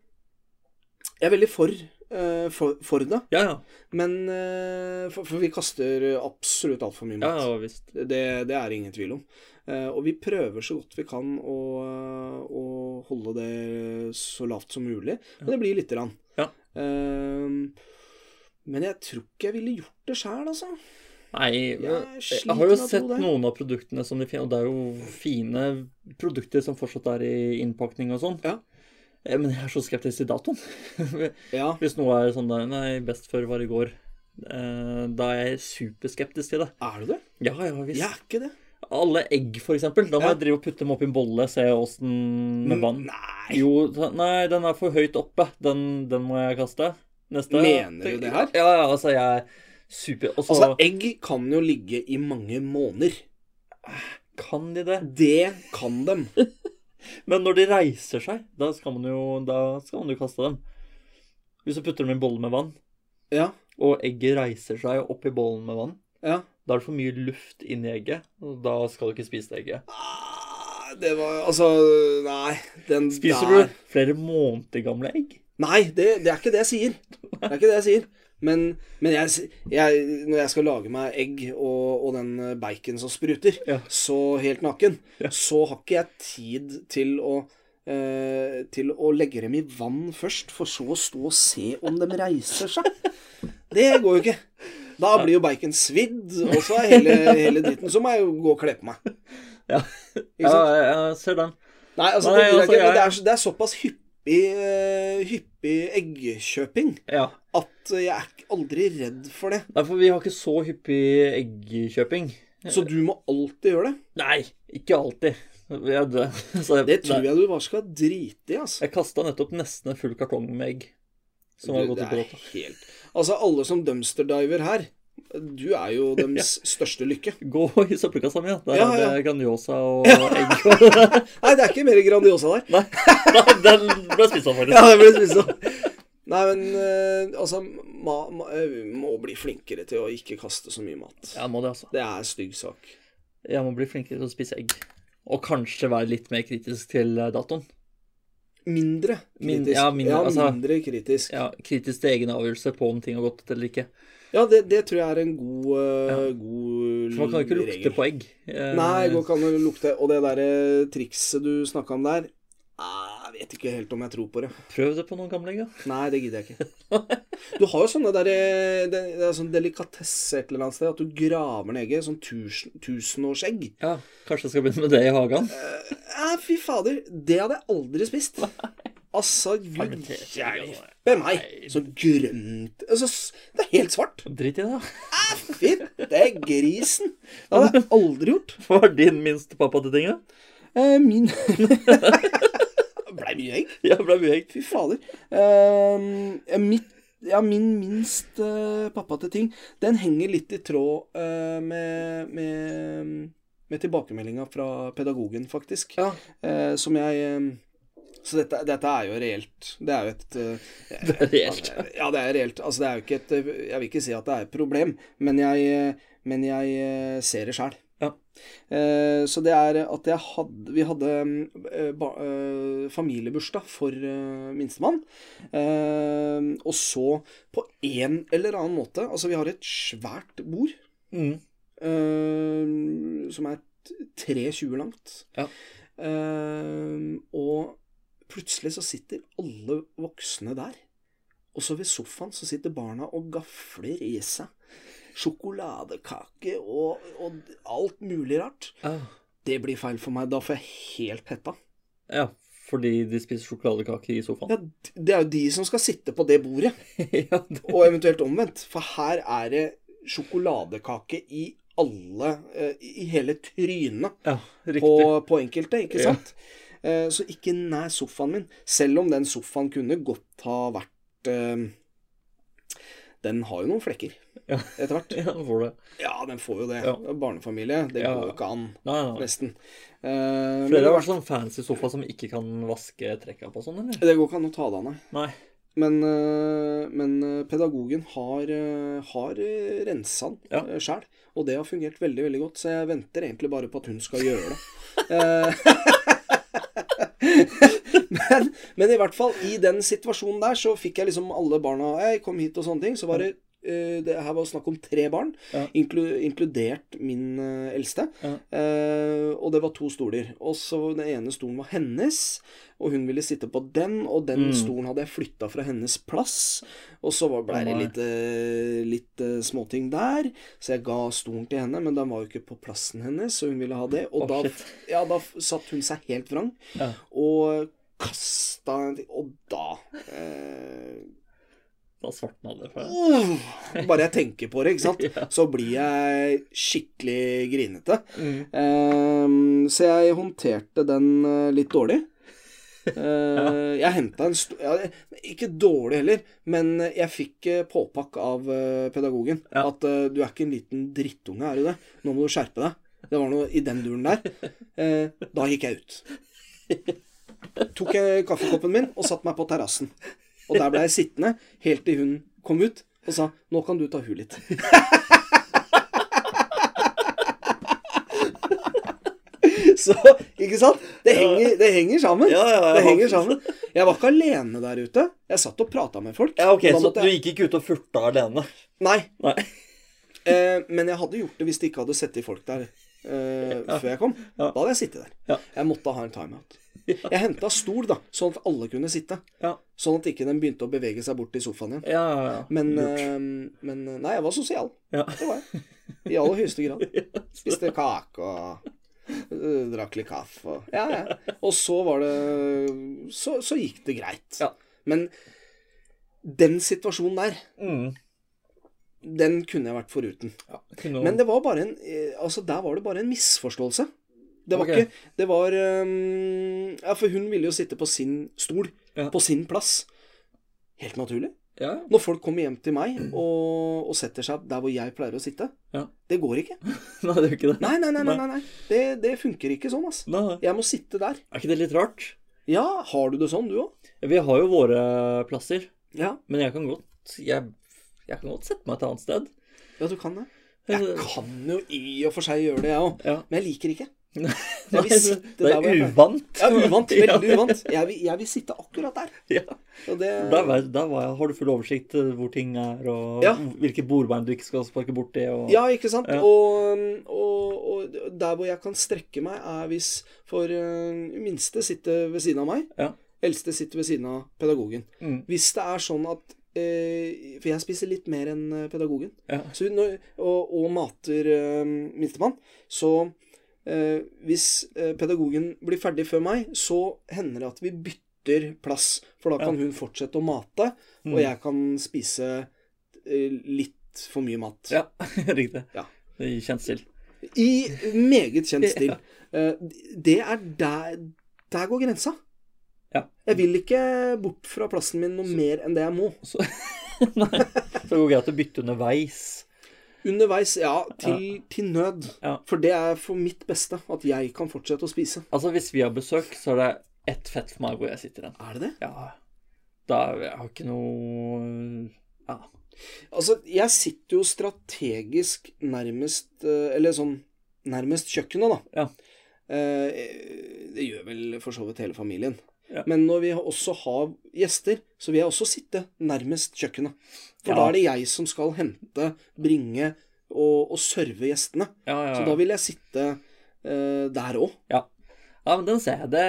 Speaker 1: jeg er veldig for, eh, for, for det.
Speaker 2: Ja, ja.
Speaker 1: Men eh, for, for vi kaster absolutt altfor mye
Speaker 2: Ja,
Speaker 1: mat.
Speaker 2: ja visst.
Speaker 1: Det, det er det ingen tvil om. Eh, og vi prøver så godt vi kan å, å holde det så lavt som mulig. Men det blir lite grann.
Speaker 2: Ja.
Speaker 1: Eh, men jeg tror ikke jeg ville gjort det sjæl, altså.
Speaker 2: Nei, men
Speaker 1: Jeg
Speaker 2: jeg
Speaker 1: sliter
Speaker 2: har jo
Speaker 1: med å tro
Speaker 2: sett
Speaker 1: det.
Speaker 2: noen av produktene som de finner, og det er jo fine produkter som fortsatt er i innpakning og sånn.
Speaker 1: Ja.
Speaker 2: Eh, Men jeg er så skeptisk til datoen.
Speaker 1: Ja,
Speaker 2: Hvis noe er sånn der Nei, best før var i går. eh, Da er jeg superskeptisk til det.
Speaker 1: er du det?
Speaker 2: Ja, ja visst.
Speaker 1: Jeg er ikke det.
Speaker 2: Alle egg, for eksempel. Da må
Speaker 1: Ja.
Speaker 2: jeg drive og putte dem oppi en bolle, se åssen med vann.
Speaker 1: Nei.
Speaker 2: Jo, ta- nei, den er for høyt oppe. Den, den må jeg kaste. Neste.
Speaker 1: Mener du det her?
Speaker 2: Ja, ja, altså, jeg er super Og så
Speaker 1: Altså, egg kan jo ligge i mange måneder.
Speaker 2: kan de det.
Speaker 1: Det kan dem.
Speaker 2: Men når de reiser seg, da skal man jo, da skal man jo kaste dem. Hvis du putter dem i en bolle med vann,
Speaker 1: Ja,
Speaker 2: og egget reiser seg opp i bollen med vann,
Speaker 1: ja.
Speaker 2: da er det for mye luft inni egget, og da skal du ikke spise det egget.
Speaker 1: Ah, Det var Altså, nei. Den
Speaker 2: Spiser
Speaker 1: der
Speaker 2: du flere måneder gamle egg?
Speaker 1: Nei, det, det er ikke det jeg sier. Det er ikke det jeg sier. Men, men jeg, s- jeg, når jeg skal lage meg egg og, og den bacon som spruter,
Speaker 2: Ja.
Speaker 1: så helt naken, så har ikke jeg tid til å eh, til å legge dem i vann først, for så å stå og se om de reiser seg. Det går jo ikke. Da blir jo bacon svidd, og så er hele, hele dritten. Så må jeg jo gå og kle på meg.
Speaker 2: Ja.
Speaker 1: Ikke
Speaker 2: Ja,
Speaker 1: sant?
Speaker 2: jeg, jeg ser den.
Speaker 1: Nei, altså,
Speaker 2: Nei,
Speaker 1: det, gidder jeg
Speaker 2: altså,
Speaker 1: ikke, men
Speaker 2: jeg-
Speaker 1: det, er, så- det er såpass hyppig, eh, hyppig eggkjøping
Speaker 2: Ja.
Speaker 1: at jeg er ikke- aldri redd for det.
Speaker 2: Nei, for vi har ikke så hyppig eggkjøping.
Speaker 1: Så du må alltid gjøre det.
Speaker 2: Nei, ikke alltid. Jeg, det, så jeg,
Speaker 1: Det tror jeg du bare skal drite i, altså.
Speaker 2: Jeg kasta nettopp nesten en full kartong med egg. Som har
Speaker 1: Du,
Speaker 2: gått
Speaker 1: det
Speaker 2: ut på
Speaker 1: er
Speaker 2: dato.
Speaker 1: helt Altså, alle som dumpsterdiver her, du er jo deres største lykke.
Speaker 2: Gå i søppelkassa mi, da. Der
Speaker 1: Ja,
Speaker 2: er
Speaker 1: ja.
Speaker 2: det Grandiosa og egg. og-
Speaker 1: Nei, det er ikke mer Grandiosa der.
Speaker 2: Nei, nei, den ble spist opp, faktisk.
Speaker 1: Ja, det blir spist opp. Nei, men eh, altså ma, ma, eh, Vi må bli flinkere til å ikke kaste så mye mat.
Speaker 2: Jeg må det, altså.
Speaker 1: Det er en stygg sak.
Speaker 2: Jeg må bli flinkere til å spise egg. Og kanskje være litt mer kritisk til eh, datoen.
Speaker 1: Mindre
Speaker 2: Min-
Speaker 1: kritisk.
Speaker 2: ja, mindre,
Speaker 1: ja,
Speaker 2: altså-
Speaker 1: mindre kritisk.
Speaker 2: Ja, kritisk til egen avgjørelse på om ting har gått eller ikke.
Speaker 1: Ja, det, det tror jeg er en god, eh, god
Speaker 2: For man kan jo ikke lukte
Speaker 1: regel.
Speaker 2: på egg. Eh,
Speaker 1: Nei, går ikke an å lukte. Og det derre trikset du snakka om der eh, Jeg vet ikke helt om jeg tror på det.
Speaker 2: Prøv det på noen gamle egg, da.
Speaker 1: Nei, det gidder jeg ikke. Du har jo sånne der, eh, det, det er sånn delikatesse et eller annet sted. At du graver ned egget. Sånn tusen, tusenårsegg.
Speaker 2: Ja, kanskje jeg skal begynne med det i hagen.
Speaker 1: Ja, fy fader. Det hadde jeg aldri spist. Altså, gud
Speaker 2: Fermentert egg, altså.
Speaker 1: hjelpe meg. Så grønt altså, s- Det er helt svart.
Speaker 2: Drit i det, da.
Speaker 1: Fytte grisen. Det hadde jeg aldri gjort.
Speaker 2: Hva var din minste pappa til tinga?
Speaker 1: Eh, min Blei mye egg.
Speaker 2: Ja, det ble mye egg.
Speaker 1: Fy fader. Eh, mitt ja, min minst eh, pappa til ting, den henger litt i tråd eh, med, med, med tilbakemeldinga fra pedagogen, faktisk.
Speaker 2: Ja.
Speaker 1: Eh, som jeg eh, Så dette, dette er jo reelt. Det er jo et eh,
Speaker 2: Det er reelt.
Speaker 1: Ja, det er reelt. Altså, det er jo ikke et eh, Jeg vil ikke si at det er et problem, men jeg, eh, men jeg eh, ser det sjæl.
Speaker 2: Ja.
Speaker 1: Eh, Så det er at jeg hadde Vi hadde mm, eh, ba- eh, familiebursdag for eh, minstemann. Eh, Og så, på en eller annen måte Altså, vi har et svært bord
Speaker 2: Mm.
Speaker 1: eh, som er t- 3,20 langt.
Speaker 2: Ja.
Speaker 1: Eh, og plutselig så sitter alle voksne der. Og så ved sofaen så sitter barna og gafler i seg sjokoladekake og, og alt mulig rart.
Speaker 2: Ah.
Speaker 1: Det blir feil for meg. Da får jeg helt hetta.
Speaker 2: Ja, fordi de spiser sjokoladekake i sofaen.
Speaker 1: Ja, d- det er jo de som skal sitte på det bordet,
Speaker 2: ja, det,
Speaker 1: og eventuelt omvendt. For her er det sjokoladekake i alle eh, I hele trynet.
Speaker 2: ja riktig.
Speaker 1: på, på enkelte, ikke
Speaker 2: Ja.
Speaker 1: sant? Eh, Så ikke nær sofaen min, selv om den sofaen kunne godt ha vært eh, Den har jo noen flekker
Speaker 2: Ja.
Speaker 1: etter hvert.
Speaker 2: Ja, nå får du det.
Speaker 1: Ja, den får jo det.
Speaker 2: Ja.
Speaker 1: Barnefamilie, det
Speaker 2: Ja.
Speaker 1: går jo ikke an,
Speaker 2: Nei, nei, nei.
Speaker 1: nesten. Eh, men
Speaker 2: Flere
Speaker 1: det,
Speaker 2: har vært sånn fancy sofa som ikke kan vaske trekka på sånn, eller?
Speaker 1: det går ikke an å ta det av, nei.
Speaker 2: Nei.
Speaker 1: Men, eh, men eh, pedagogen har, eh, har eh, rensa den
Speaker 2: Ja.
Speaker 1: ja. sjæl, og det har fungert veldig, veldig godt, så jeg venter egentlig bare på at hun skal gjøre det. Eh, men, men i hvert fall, i den situasjonen der, så fikk jeg liksom alle barna Hei, kom hit og sånne ting. Så var det eh, det her var snakk om tre barn,
Speaker 2: Ja.
Speaker 1: inklu, inkludert min eh, eldste.
Speaker 2: Ja.
Speaker 1: Eh, og det var to stoler. Og så Den ene stolen var hennes, og hun ville sitte på den. Og den
Speaker 2: Mm.
Speaker 1: stolen hadde jeg flytta fra hennes plass. Og så var- ble
Speaker 2: Å,
Speaker 1: det
Speaker 2: nei.
Speaker 1: litt, eh, litt eh, småting der. Så jeg ga stolen til henne, men den var jo ikke på plassen hennes, så hun ville ha det. Og
Speaker 2: Å,
Speaker 1: da,
Speaker 2: shit.
Speaker 1: ja, da f- satt hun seg helt vrang
Speaker 2: Ja.
Speaker 1: og kasta en ting Og da eh,
Speaker 2: Da svartna det. For...
Speaker 1: uh, Bare jeg tenker på det, ikke sant,
Speaker 2: Ja.
Speaker 1: så blir jeg skikkelig grinete.
Speaker 2: Mm.
Speaker 1: Ehm, så jeg håndterte den eh, litt dårlig. Eh, Jeg henta en stor ja, Ikke dårlig heller, men jeg fikk eh, påpakk av eh, pedagogen.
Speaker 2: Ja.
Speaker 1: At eh, du er ikke en liten drittunge, er du det? Nå må du skjerpe deg. Det var noe i den duren der. Eh, da gikk jeg ut. Tok jeg kaffekoppen min og satte meg på terrassen. Og der ble jeg sittende helt til hun kom ut og sa 'Nå kan du ta huet litt'. Så, ikke sant? Det henger, det henger sammen.
Speaker 2: Ja, ja, ja.
Speaker 1: Det henger sammen. Jeg var ikke alene der ute. Jeg satt og prata med folk.
Speaker 2: Ja, ok,
Speaker 1: Da
Speaker 2: Så
Speaker 1: måtte
Speaker 2: du gikk ikke ut og furta alene?
Speaker 1: Nei.
Speaker 2: Nei.
Speaker 1: Eh, men jeg hadde gjort det hvis det ikke hadde sittet folk der eh, før jeg kom. Da
Speaker 2: Ja.
Speaker 1: hadde jeg sittet der.
Speaker 2: Ja.
Speaker 1: Jeg måtte ha en timeout. Jeg henta stol, da, sånn at alle kunne sitte.
Speaker 2: Ja.
Speaker 1: Sånn at ikke den begynte å bevege seg bort til sofaen igjen.
Speaker 2: Ja, ja, ja.
Speaker 1: Men,
Speaker 2: Lurt.
Speaker 1: eh, men Nei, jeg var sosial.
Speaker 2: Ja.
Speaker 1: Det var jeg. I aller høyeste grad. Spiste kake og eh, drakk litt kaffe og Ja, ja. Og så var det Så, så gikk det greit.
Speaker 2: Ja.
Speaker 1: Men den situasjonen der,
Speaker 2: Mm.
Speaker 1: den kunne jeg vært foruten.
Speaker 2: Ja, kunne
Speaker 1: Men det var bare en eh, Altså, der var det bare en misforståelse. Det var
Speaker 2: Ok.
Speaker 1: ikke Det var eh, Ja, for hun ville jo sitte på sin stol.
Speaker 2: Ja.
Speaker 1: På sin plass. Helt naturlig.
Speaker 2: ja.
Speaker 1: Når folk kommer hjem til meg og, og setter seg der hvor jeg pleier å sitte,
Speaker 2: Ja.
Speaker 1: det går ikke.
Speaker 2: Nei, det er jo ikke det.
Speaker 1: Nei, nei, nei. nei, nei, nei. Det, det funker ikke sånn, ass.
Speaker 2: Nei.
Speaker 1: Jeg må sitte der.
Speaker 2: Er ikke det litt rart?
Speaker 1: Ja, har du det sånn, du òg?
Speaker 2: Vi har jo våre plasser,
Speaker 1: Ja.
Speaker 2: men jeg kan godt Jeg, jeg kan godt sette meg et annet sted.
Speaker 1: ja, du kan det. Jeg kan jo i og for seg gjøre det, jeg òg.
Speaker 2: Ja.
Speaker 1: Men jeg liker ikke.
Speaker 2: Nei,
Speaker 1: Jeg vil sitte
Speaker 2: det
Speaker 1: der hvor
Speaker 2: er
Speaker 1: jeg pleier.
Speaker 2: uvant.
Speaker 1: Ja, uvant.
Speaker 2: Ja.
Speaker 1: Veldig uvant. Jeg vil, jeg vil sitte akkurat der.
Speaker 2: Ja.
Speaker 1: Og det
Speaker 2: Der, var, der var jeg. Har du full oversikt eh, hvor ting er, og
Speaker 1: Ja.
Speaker 2: hvilke bordbein du ikke skal sparke borti? Og...
Speaker 1: Ja, ikke sant?
Speaker 2: Ja.
Speaker 1: Og, og, og der hvor jeg kan strekke meg, er hvis for eh, minste sitter ved siden av meg,
Speaker 2: Ja.
Speaker 1: eldste sitter ved siden av pedagogen.
Speaker 2: Mm.
Speaker 1: Hvis det er sånn at eh, For jeg spiser litt mer enn eh, pedagogen.
Speaker 2: Ja.
Speaker 1: Så når, og, og mater eh, minstemann. Så eh, hvis eh, pedagogen blir ferdig før meg, så hender det at vi bytter plass. For da kan hun fortsette å mate,
Speaker 2: Mm.
Speaker 1: og jeg kan spise eh, litt for mye mat.
Speaker 2: Ja, riktig.
Speaker 1: Ja.
Speaker 2: Det gir kjent til.
Speaker 1: I meget kjent stil. Eh, Det er der Der går grensa.
Speaker 2: Ja.
Speaker 1: Jeg vil ikke bort fra plassen min noe mer enn det jeg må.
Speaker 2: Nei. Så det går greit å bytte underveis.
Speaker 1: Underveis, ja, til, til nød.
Speaker 2: Ja.
Speaker 1: For det er for mitt beste at jeg kan fortsette å spise.
Speaker 2: Altså, hvis vi har besøk, så er det ett fett for meg hvor jeg sitter hen.
Speaker 1: Er det det?
Speaker 2: Ja. Da er- jeg har ikke noe Ja.
Speaker 1: Altså, jeg sitter jo strategisk nærmest eh, Eller sånn nærmest kjøkkenet, da.
Speaker 2: Ja.
Speaker 1: Eh, Det gjør vel for så vidt hele familien.
Speaker 2: Ja.
Speaker 1: Men når vi også har gjester, så vil jeg også sitte nærmest kjøkkenet. For
Speaker 2: Ja.
Speaker 1: da er det jeg som skal hente, bringe og, og serve gjestene.
Speaker 2: Ja, ja,
Speaker 1: Så
Speaker 2: ja.
Speaker 1: da vil jeg sitte eh, der òg.
Speaker 2: ja. ja men den ser jeg. Det,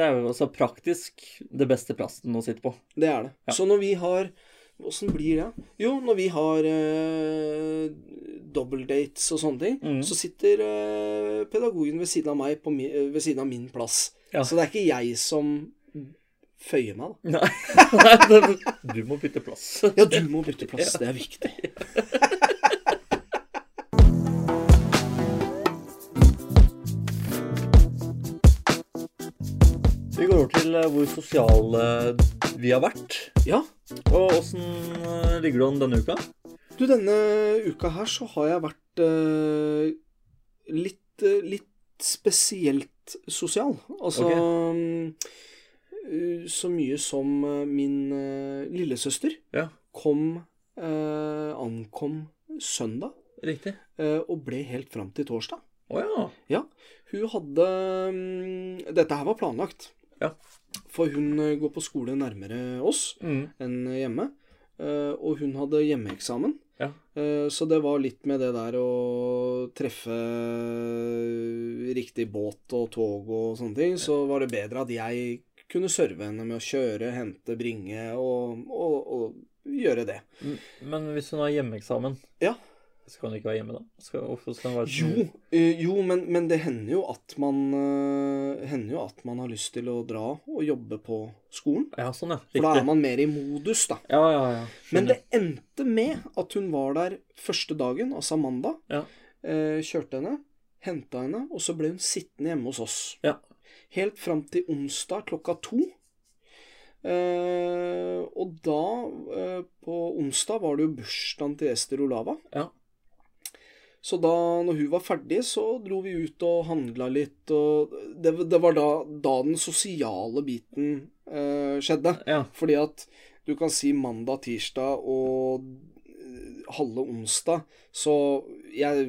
Speaker 2: det er jo altså praktisk det beste plassen å sitte på.
Speaker 1: Det er det.
Speaker 2: Ja.
Speaker 1: Så når vi har Åssen blir det? Jo, når vi har eh, dobbeltdates og sånne ting,
Speaker 2: Mm.
Speaker 1: så sitter eh, pedagogen ved siden av meg på mi, eh, ved siden av min plass.
Speaker 2: Ja.
Speaker 1: Så det er ikke jeg som føyer meg, da.
Speaker 2: Nei, Nei det- du må bytte plass.
Speaker 1: Ja, du må bytte plass. Det er viktig.
Speaker 2: Vi går over til eh, hvor sosiale vi har vært.
Speaker 1: Ja.
Speaker 2: Og åssen eh, ligger det an denne uka?
Speaker 1: Du, denne uka her så har jeg vært eh, litt, eh, litt spesielt sosial. Altså mm, Så mye som eh, min eh, lillesøster
Speaker 2: Ja.
Speaker 1: kom eh, Ankom søndag
Speaker 2: Riktig.
Speaker 1: eh, og ble helt fram til torsdag.
Speaker 2: Å ja.
Speaker 1: Hun hadde mm, Dette her var planlagt.
Speaker 2: Ja.
Speaker 1: For hun eh, går på skole nærmere oss
Speaker 2: Mm.
Speaker 1: enn hjemme. eh, Og hun hadde hjemmeeksamen.
Speaker 2: Ja.
Speaker 1: Eh, Så det var litt med det der å treffe riktig båt og tog og sånne ting. Så var det bedre at jeg kunne serve henne med å kjøre, hente, bringe og, og, og gjøre det.
Speaker 2: M- Men hvis hun har hjemmeeksamen,
Speaker 1: Ja.
Speaker 2: skal hun ikke være hjemme da? Skal, hvorfor skal hun være
Speaker 1: Jo, eh, jo men, men det hender jo at man eh, hender jo at man har lyst til å dra og jobbe på skolen.
Speaker 2: Ja, sånn, ja.
Speaker 1: For da er man mer i modus, da.
Speaker 2: Ja, ja, ja.
Speaker 1: Men
Speaker 2: Skjønner.
Speaker 1: det endte med at hun var der første dagen, altså mandag.
Speaker 2: Ja.
Speaker 1: Eh, kjørte henne, henta henne, og så ble hun sittende hjemme hos oss.
Speaker 2: Ja.
Speaker 1: Helt fram til onsdag klokka to. Eh, og da, eh, på onsdag, var det jo bursdagen til Ester Olava.
Speaker 2: Ja.
Speaker 1: Så da når hun var ferdig, så dro vi ut og handla litt, og det, det var da, da den sosiale biten eh, skjedde.
Speaker 2: Ja.
Speaker 1: Fordi at du kan si mandag, tirsdag og eh, halve onsdag, så jeg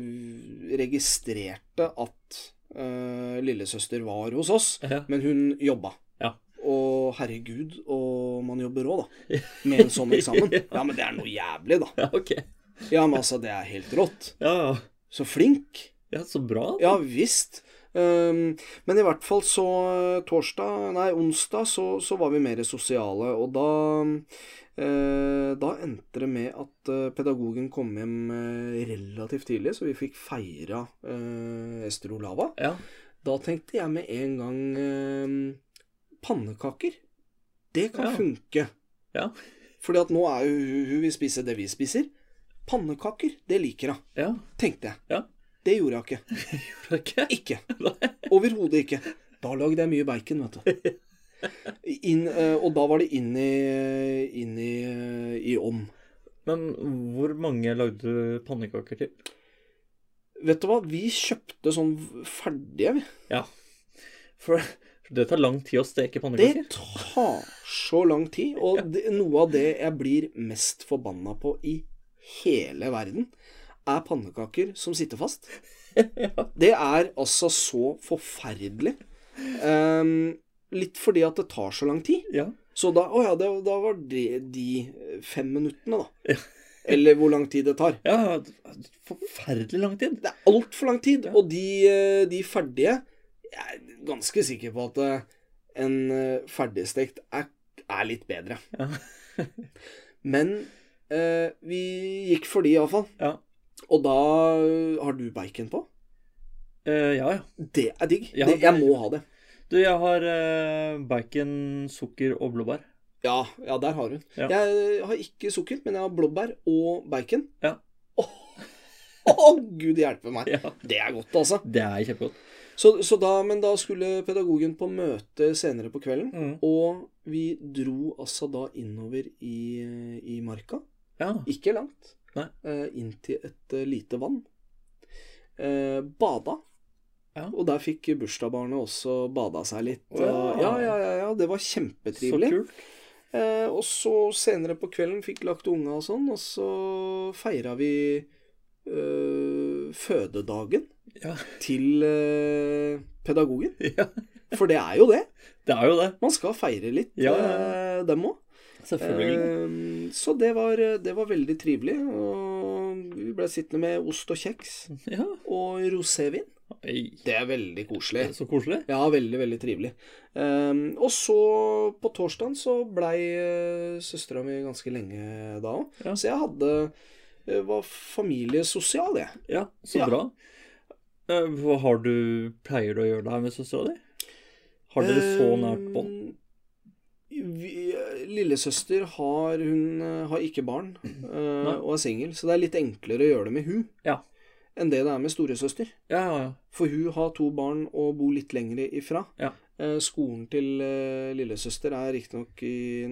Speaker 1: registrerte at eh, lillesøster var hos oss,
Speaker 2: Ja.
Speaker 1: men hun jobba.
Speaker 2: Ja.
Speaker 1: Og og herregud, og man jobber òg, da. Med en sånn eksamen. Ja, men det er noe jævlig, da.
Speaker 2: Ja, ok.
Speaker 1: Ja, men altså, det er helt rått.
Speaker 2: Ja, ja.
Speaker 1: Så flink.
Speaker 2: Ja, så bra. da.
Speaker 1: Ja visst. Ehm, men i hvert fall så eh, torsdag, nei onsdag, så, så var vi mer sosiale. Og da, eh, da endte det med at eh, pedagogen kom hjem eh, relativt tidlig, så vi fikk feira eh, Estero Lava.
Speaker 2: Ja.
Speaker 1: Da tenkte jeg med en gang eh, pannekaker. Det kan
Speaker 2: Ja.
Speaker 1: funke.
Speaker 2: Ja.
Speaker 1: Fordi at nå er jo hun, hun vil spise det vi spiser. Pannekaker, det liker hun,
Speaker 2: Ja.
Speaker 1: tenkte jeg.
Speaker 2: Ja.
Speaker 1: Det gjorde hun ikke.
Speaker 2: Ok.
Speaker 1: Ikke. Overhodet ikke. Da lagde jeg mye bacon, vet du. Inn, eh, og da var det inn i, inn i, eh, i om.
Speaker 2: Men hvor mange lagde du pannekaker til?
Speaker 1: Vet du hva, vi kjøpte sånn ferdige, vi.
Speaker 2: Ja. For det tar lang tid å steke pannekaker.
Speaker 1: Det tar så lang tid. Og det, noe av det jeg blir mest forbanna på i hele verden, er pannekaker som sitter fast. Det er altså så forferdelig. Ehm, litt fordi at det tar så lang tid.
Speaker 2: Ja.
Speaker 1: Så da, å ja, det, da var det de fem minuttene, da. Eller hvor lang tid det tar.
Speaker 2: ja. Forferdelig lang tid.
Speaker 1: Det er altfor lang tid,
Speaker 2: Ja.
Speaker 1: og de, eh, de ferdige Jeg er ganske sikker på at eh, en eh, ferdigstekt er, er litt bedre.
Speaker 2: Ja.
Speaker 1: Men eh, vi gikk for de, iallfall.
Speaker 2: Ja.
Speaker 1: Og da eh, har du bacon på.
Speaker 2: Eh, ja, ja.
Speaker 1: Det er digg.
Speaker 2: Ja,
Speaker 1: det,
Speaker 2: det-
Speaker 1: jeg må ha det.
Speaker 2: Du, jeg har eh, bacon, sukker og blåbær.
Speaker 1: Ja, ja der har hun.
Speaker 2: Ja.
Speaker 1: Jeg eh, har ikke sukker, men jeg har blåbær og bacon.
Speaker 2: Ja.
Speaker 1: Åh, åh, gud hjelpe meg.
Speaker 2: Ja.
Speaker 1: Det er godt, altså.
Speaker 2: Det er kjempegodt.
Speaker 1: Så, så da, men da skulle pedagogen på møte senere på kvelden.
Speaker 2: Mm.
Speaker 1: Og vi dro altså da innover i, i marka.
Speaker 2: Ja.
Speaker 1: Ikke langt.
Speaker 2: Nei.
Speaker 1: Eh, inn til et eh, lite vann. Eh, bada.
Speaker 2: Ja.
Speaker 1: Og der fikk bursdagsbarnet også bada seg litt.
Speaker 2: Å, ja.
Speaker 1: Og- Ja, ja, ja, ja. Det var kjempetrivelig.
Speaker 2: Så kult.
Speaker 1: Eh, og så senere på kvelden fikk lagt unga og sånn, og så feira vi eh, fødedagen
Speaker 2: Ja.
Speaker 1: til eh, pedagogen.
Speaker 2: ja.
Speaker 1: For det er jo det.
Speaker 2: Det er jo det.
Speaker 1: Man skal feire litt,
Speaker 2: Ja, ja,
Speaker 1: eh, dem òg. Eh,
Speaker 2: Selvfølgelig.
Speaker 1: så det var, det var veldig trivelig. Og vi ble sittende med ost og kjeks
Speaker 2: Ja.
Speaker 1: og rosévin.
Speaker 2: Oi.
Speaker 1: Det er veldig koselig.
Speaker 2: Så koselig.
Speaker 1: Ja, veldig, veldig trivelig. Ehm, og så på torsdagen så blei eh, søstera mi ganske lenge da òg.
Speaker 2: Ja.
Speaker 1: Så jeg hadde eh, var familiesosial, jeg.
Speaker 2: Ja, så
Speaker 1: Ja.
Speaker 2: bra. Eh, Hva har du Pleier du å gjøre det her med søstera di? Har dere så nært bånd?
Speaker 1: Ehm, Vi- eh, Lillesøster har Hun eh, har ikke barn eh, og er singel, så det er litt enklere å gjøre det med hun
Speaker 2: Mm. Ja.
Speaker 1: enn det det er med storesøster.
Speaker 2: Ja, ja, ja.
Speaker 1: For hun har to barn og bor litt lengre ifra.
Speaker 2: Ja.
Speaker 1: Eh, Skolen til eh, lillesøster er riktignok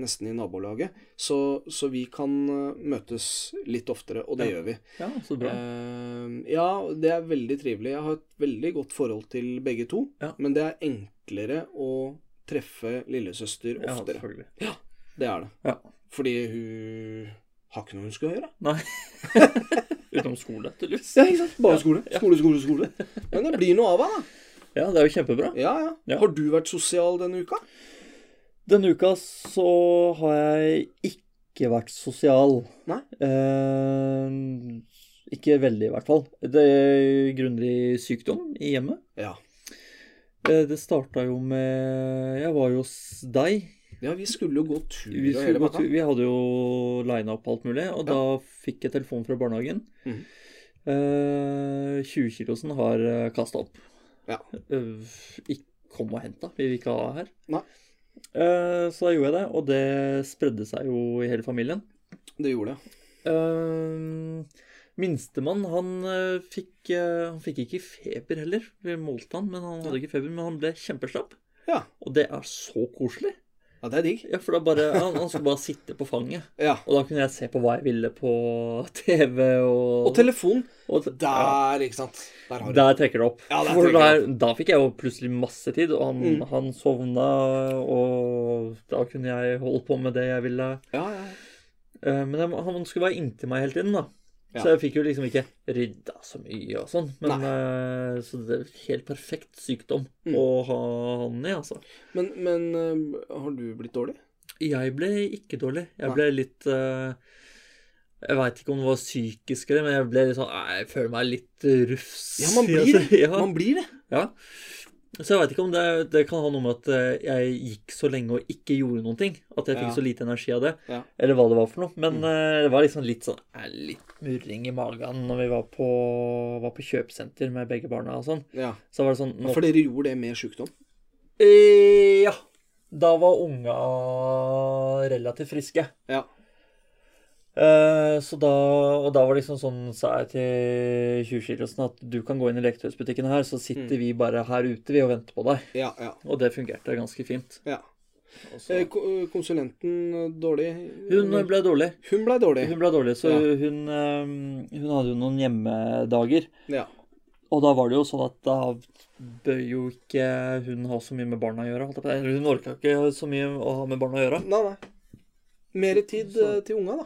Speaker 1: nesten i nabolaget, så, så vi kan eh, møtes litt oftere, og det
Speaker 2: Ja.
Speaker 1: gjør vi.
Speaker 2: ja så bra.
Speaker 1: Eh, ja, det er veldig trivelig. Jeg har et veldig godt forhold til begge to,
Speaker 2: Ja.
Speaker 1: men det er enklere å treffe lillesøster
Speaker 2: Ja,
Speaker 1: oftere.
Speaker 2: selvfølgelig.
Speaker 1: det er det.
Speaker 2: Ja.
Speaker 1: Fordi hun har ikke noe hun skal gjøre.
Speaker 2: Nei. Utenom skole, tydeligvis.
Speaker 1: Ja, ikke sant? Bare skole. Skole, skole, skole. Men det blir noe av henne, da.
Speaker 2: Ja, det er jo kjempebra.
Speaker 1: Ja, ja.
Speaker 2: Ja.
Speaker 1: Har du vært sosial denne uka?
Speaker 2: Denne uka så har jeg ikke vært sosial.
Speaker 1: Nei.
Speaker 2: Eh, ikke veldig, i hvert fall. Det grunner i sykdom i hjemmet.
Speaker 1: Ja.
Speaker 2: Eh, det starta jo med Jeg var jo hos deg.
Speaker 1: Ja, vi skulle jo gå tur
Speaker 2: Vi,
Speaker 1: og
Speaker 2: skulle
Speaker 1: hele
Speaker 2: gå
Speaker 1: pakka.
Speaker 2: tur, vi hadde jo lina opp alt mulig, og da fikk jeg telefon fra barnehagen.
Speaker 1: Mhm.
Speaker 2: Eh, 20-kilosen har uh, kasta opp.
Speaker 1: Ja.
Speaker 2: Eh, ikke kom og hent, da. Vi vil ikke ha her.
Speaker 1: Nei.
Speaker 2: Eh, så da gjorde jeg det, og det spredde seg jo i hele familien.
Speaker 1: Det gjorde det.
Speaker 2: Eh, Minstemann, han eh, fikk eh, Han fikk ikke feber heller. Vi målte han, men han hadde ikke feber. Men han ble kjempeslapp.
Speaker 1: Ja.
Speaker 2: Og det er så koselig.
Speaker 1: Ja, det er digg.
Speaker 2: Ja, for da bare Han, han skulle bare sitte på fanget.
Speaker 1: Ja.
Speaker 2: Og da kunne jeg se på hva jeg ville på TV og
Speaker 1: Og telefon
Speaker 2: og te- ja,
Speaker 1: der, ikke sant. Der har du
Speaker 2: Der trekker det opp.
Speaker 1: Ja, der
Speaker 2: For
Speaker 1: trekker
Speaker 2: der,
Speaker 1: det
Speaker 2: da fikk jeg jo plutselig masse tid, og han,
Speaker 1: Mm.
Speaker 2: han sovna, og da kunne jeg holde på med det jeg ville.
Speaker 1: Ja, ja.
Speaker 2: Eh, Men jeg, må- han skulle være inntil meg hele tiden, da.
Speaker 1: Ja.
Speaker 2: Så jeg fikk jo liksom ikke rydda så mye og sånn. Men eh, Så det er helt perfekt sykdom
Speaker 1: Mm.
Speaker 2: å ha han i, altså.
Speaker 1: Men, men eh, har du blitt dårlig?
Speaker 2: Jeg ble ikke dårlig. Jeg
Speaker 1: Nei.
Speaker 2: ble litt eh, Jeg veit ikke om det var psykisk eller men jeg ble litt sånn nei, Jeg føler meg litt rufs.
Speaker 1: Ja, man blir det.
Speaker 2: Ja.
Speaker 1: Man blir det.
Speaker 2: Ja. Så jeg veit ikke om det, det kan ha noe med at eh, jeg gikk så lenge og ikke gjorde noen ting. At jeg fikk
Speaker 1: Ja.
Speaker 2: så lite energi av det.
Speaker 1: Ja. Mm.
Speaker 2: Eller hva det var for noe. Men eh, det var liksom litt sånn eh, litt murring i magen når vi var på, var på kjøpesenter med begge barna og sånn.
Speaker 1: Ja.
Speaker 2: Så var det sånn
Speaker 1: Ja,
Speaker 2: nå,
Speaker 1: For dere gjorde det med sjukdom?
Speaker 2: Eh, Ja. Da var unga relativt friske.
Speaker 1: Ja.
Speaker 2: Eh, Så da, og da var det liksom sånn, sa jeg til 20-kilosen at du kan gå inn i leketøysbutikken her, så sitter
Speaker 1: Mm.
Speaker 2: vi bare her ute vi og venter på deg.
Speaker 1: Ja, ja.
Speaker 2: Og det fungerte ganske fint.
Speaker 1: ja.
Speaker 2: Og så-
Speaker 1: Eh, ko- eh, Konsulenten eh, dårlig?
Speaker 2: Hun ble dårlig.
Speaker 1: Hun ble dårlig.
Speaker 2: Hun ble dårlig, så
Speaker 1: Mm. Ja.
Speaker 2: hun, eh, hun hadde jo noen hjemmedager.
Speaker 1: Ja.
Speaker 2: Og da var det jo sånn at da bør jo ikke hun ha så mye med barna å gjøre. Holdt jeg på. å si. Eller Hun orka ikke så mye å ha med barna å gjøre.
Speaker 1: Nei, nei. Mer tid eh, til unga, da.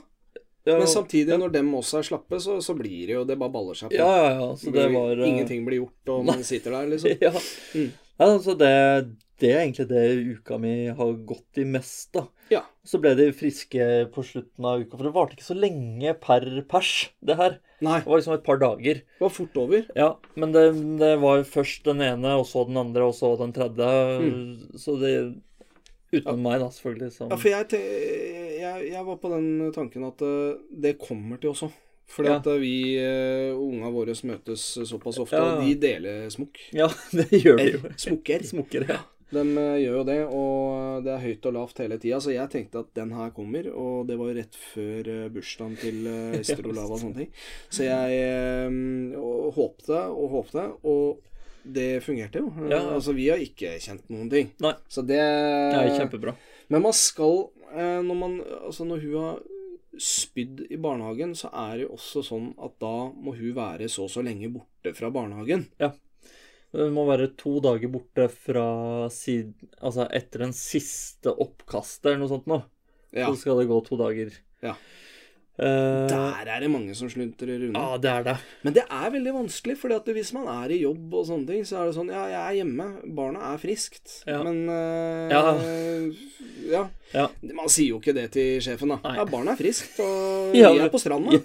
Speaker 2: Ja,
Speaker 1: Men samtidig, når dem også er slappe, så, så blir det jo Det bare baller seg på.
Speaker 2: ja, ja, ja. Så det var eh,
Speaker 1: Ingenting blir gjort, og man sitter der, liksom.
Speaker 2: ja.
Speaker 1: Mm.
Speaker 2: ja, så det, det er egentlig det uka mi har gått i mest, da.
Speaker 1: Ja.
Speaker 2: Så ble de friske på slutten av uka, for det varte ikke så lenge per pers, det her.
Speaker 1: Nei.
Speaker 2: Det var liksom et par dager.
Speaker 1: Det var fort over.
Speaker 2: Ja, men det, det var jo først den ene, og så den andre, og så den tredje. Så det Utenom meg, da, selvfølgelig. Som,
Speaker 1: Ja, for jeg, te jeg, jeg var på den tanken at eh, det kommer til også. Fordi
Speaker 2: Ja.
Speaker 1: at eh, vi eh, og unga våre møtes såpass ofte,
Speaker 2: Ja.
Speaker 1: og de deler smokk.
Speaker 2: ja det gjør det jo.
Speaker 1: Smokker.
Speaker 2: Smokker, ja.
Speaker 1: De eh, gjør jo det, og eh, det er høyt og lavt hele tida. Så jeg tenkte at den her kommer, og det var jo rett før eh, bursdagen til eh, Ester Olava og sånne ting. Så jeg eh, og håpte og håpte, og det fungerte jo. Eh,
Speaker 2: Ja.
Speaker 1: Altså, vi har ikke kjent noen ting.
Speaker 2: Nei.
Speaker 1: Så det
Speaker 2: Det er jo kjempebra.
Speaker 1: Men man skal eh, når, man, altså når hun har spydd i barnehagen, så er det jo også sånn at da må hun være så og så lenge borte fra barnehagen.
Speaker 2: Det må være to dager borte fra siden Altså etter den siste oppkastet eller noe sånt nå.
Speaker 1: Ja.
Speaker 2: Så skal det gå to dager.
Speaker 1: Ja.
Speaker 2: Eh,
Speaker 1: Der er det mange som sluntrer unna.
Speaker 2: Ja, det er det.
Speaker 1: Men det er veldig vanskelig, fordi at hvis man er i jobb og sånne ting, så er det sånn Ja, jeg er hjemme, barna er friskt,
Speaker 2: Ja.
Speaker 1: men eh, ja.
Speaker 2: Ja.
Speaker 1: Man sier jo ikke det til sjefen, da.
Speaker 2: Nei.
Speaker 1: Ja, barna er friskt, og
Speaker 2: Ja,
Speaker 1: vi
Speaker 2: men-
Speaker 1: er på stranda.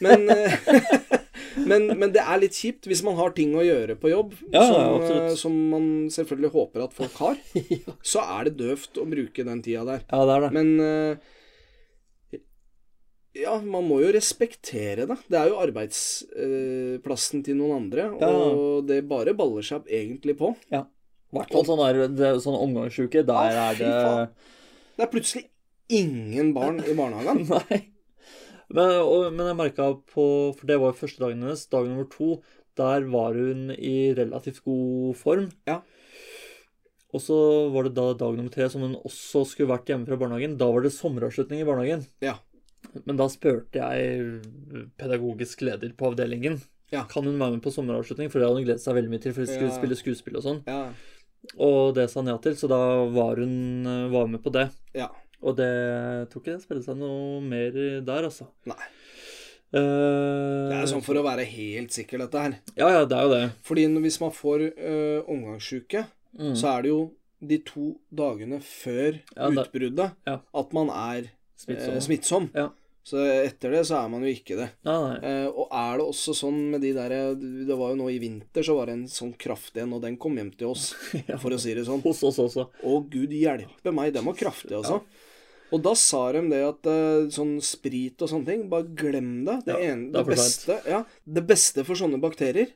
Speaker 1: Men, eh, men, men det er litt kjipt hvis man har ting å gjøre på jobb,
Speaker 2: Ja, ja,
Speaker 1: som, eh,
Speaker 2: absolutt.
Speaker 1: som man selvfølgelig håper at folk har. Så er det døvt å bruke den tida der.
Speaker 2: Ja, det er det.
Speaker 1: Men eh, Ja, man må jo respektere det. Det er jo arbeidsplassen til noen andre,
Speaker 2: Ja.
Speaker 1: og det bare baller seg egentlig på.
Speaker 2: I hvert fall sånn, der- det er jo sånn omgangsuke. Der
Speaker 1: Ja,
Speaker 2: er
Speaker 1: fy
Speaker 2: det
Speaker 1: faen. Det er plutselig ingen barn i barnehagen.
Speaker 2: Nei. Men, og, men jeg merka på For det var jo første dagen hennes. Dag nummer to, der var hun i relativt god form.
Speaker 1: Ja.
Speaker 2: Og så var det da dag nummer tre, som hun også skulle vært hjemme fra barnehagen. Da var det sommeravslutning i barnehagen.
Speaker 1: Ja.
Speaker 2: Men da spurte jeg pedagogisk leder på avdelingen
Speaker 1: Ja.
Speaker 2: Kan hun være med på sommeravslutning, for det hadde hun gledet seg veldig mye til. For de skulle
Speaker 1: Ja.
Speaker 2: spille skuespill og sånn.
Speaker 1: Ja.
Speaker 2: Og det sa han ja til, så da var hun eh, var hun med på det.
Speaker 1: ja.
Speaker 2: Og det jeg tror ikke det spiller seg noe mer der, altså.
Speaker 1: Nei.
Speaker 2: Eh,
Speaker 1: Det er sånn for å være helt sikker, dette her.
Speaker 2: Ja, ja, det er jo det.
Speaker 1: Fordi når- hvis man får eh, omgangssjuke,
Speaker 2: Mm.
Speaker 1: så er det jo de to dagene før
Speaker 2: Ja, da-
Speaker 1: utbruddet
Speaker 2: Ja.
Speaker 1: at man er
Speaker 2: Smittsom.
Speaker 1: eh, smittsom.
Speaker 2: Ja.
Speaker 1: Så etter det så er man jo ikke det.
Speaker 2: Nei, nei.
Speaker 1: Eh, og er det også sånn med de der Det var jo nå i vinter, så var det en sånn kraftig en, og den kom hjem til oss,
Speaker 2: Ja.
Speaker 1: for å si det sånn.
Speaker 2: Hos oss også.
Speaker 1: Å, gud hjelpe meg, den var kraftig, altså. Og da sa de det at eh, sånn sprit og sånne ting, bare glem det. Det,
Speaker 2: Ja,
Speaker 1: ene,
Speaker 2: det
Speaker 1: det,
Speaker 2: er for
Speaker 1: beste, ja, det beste for sånne bakterier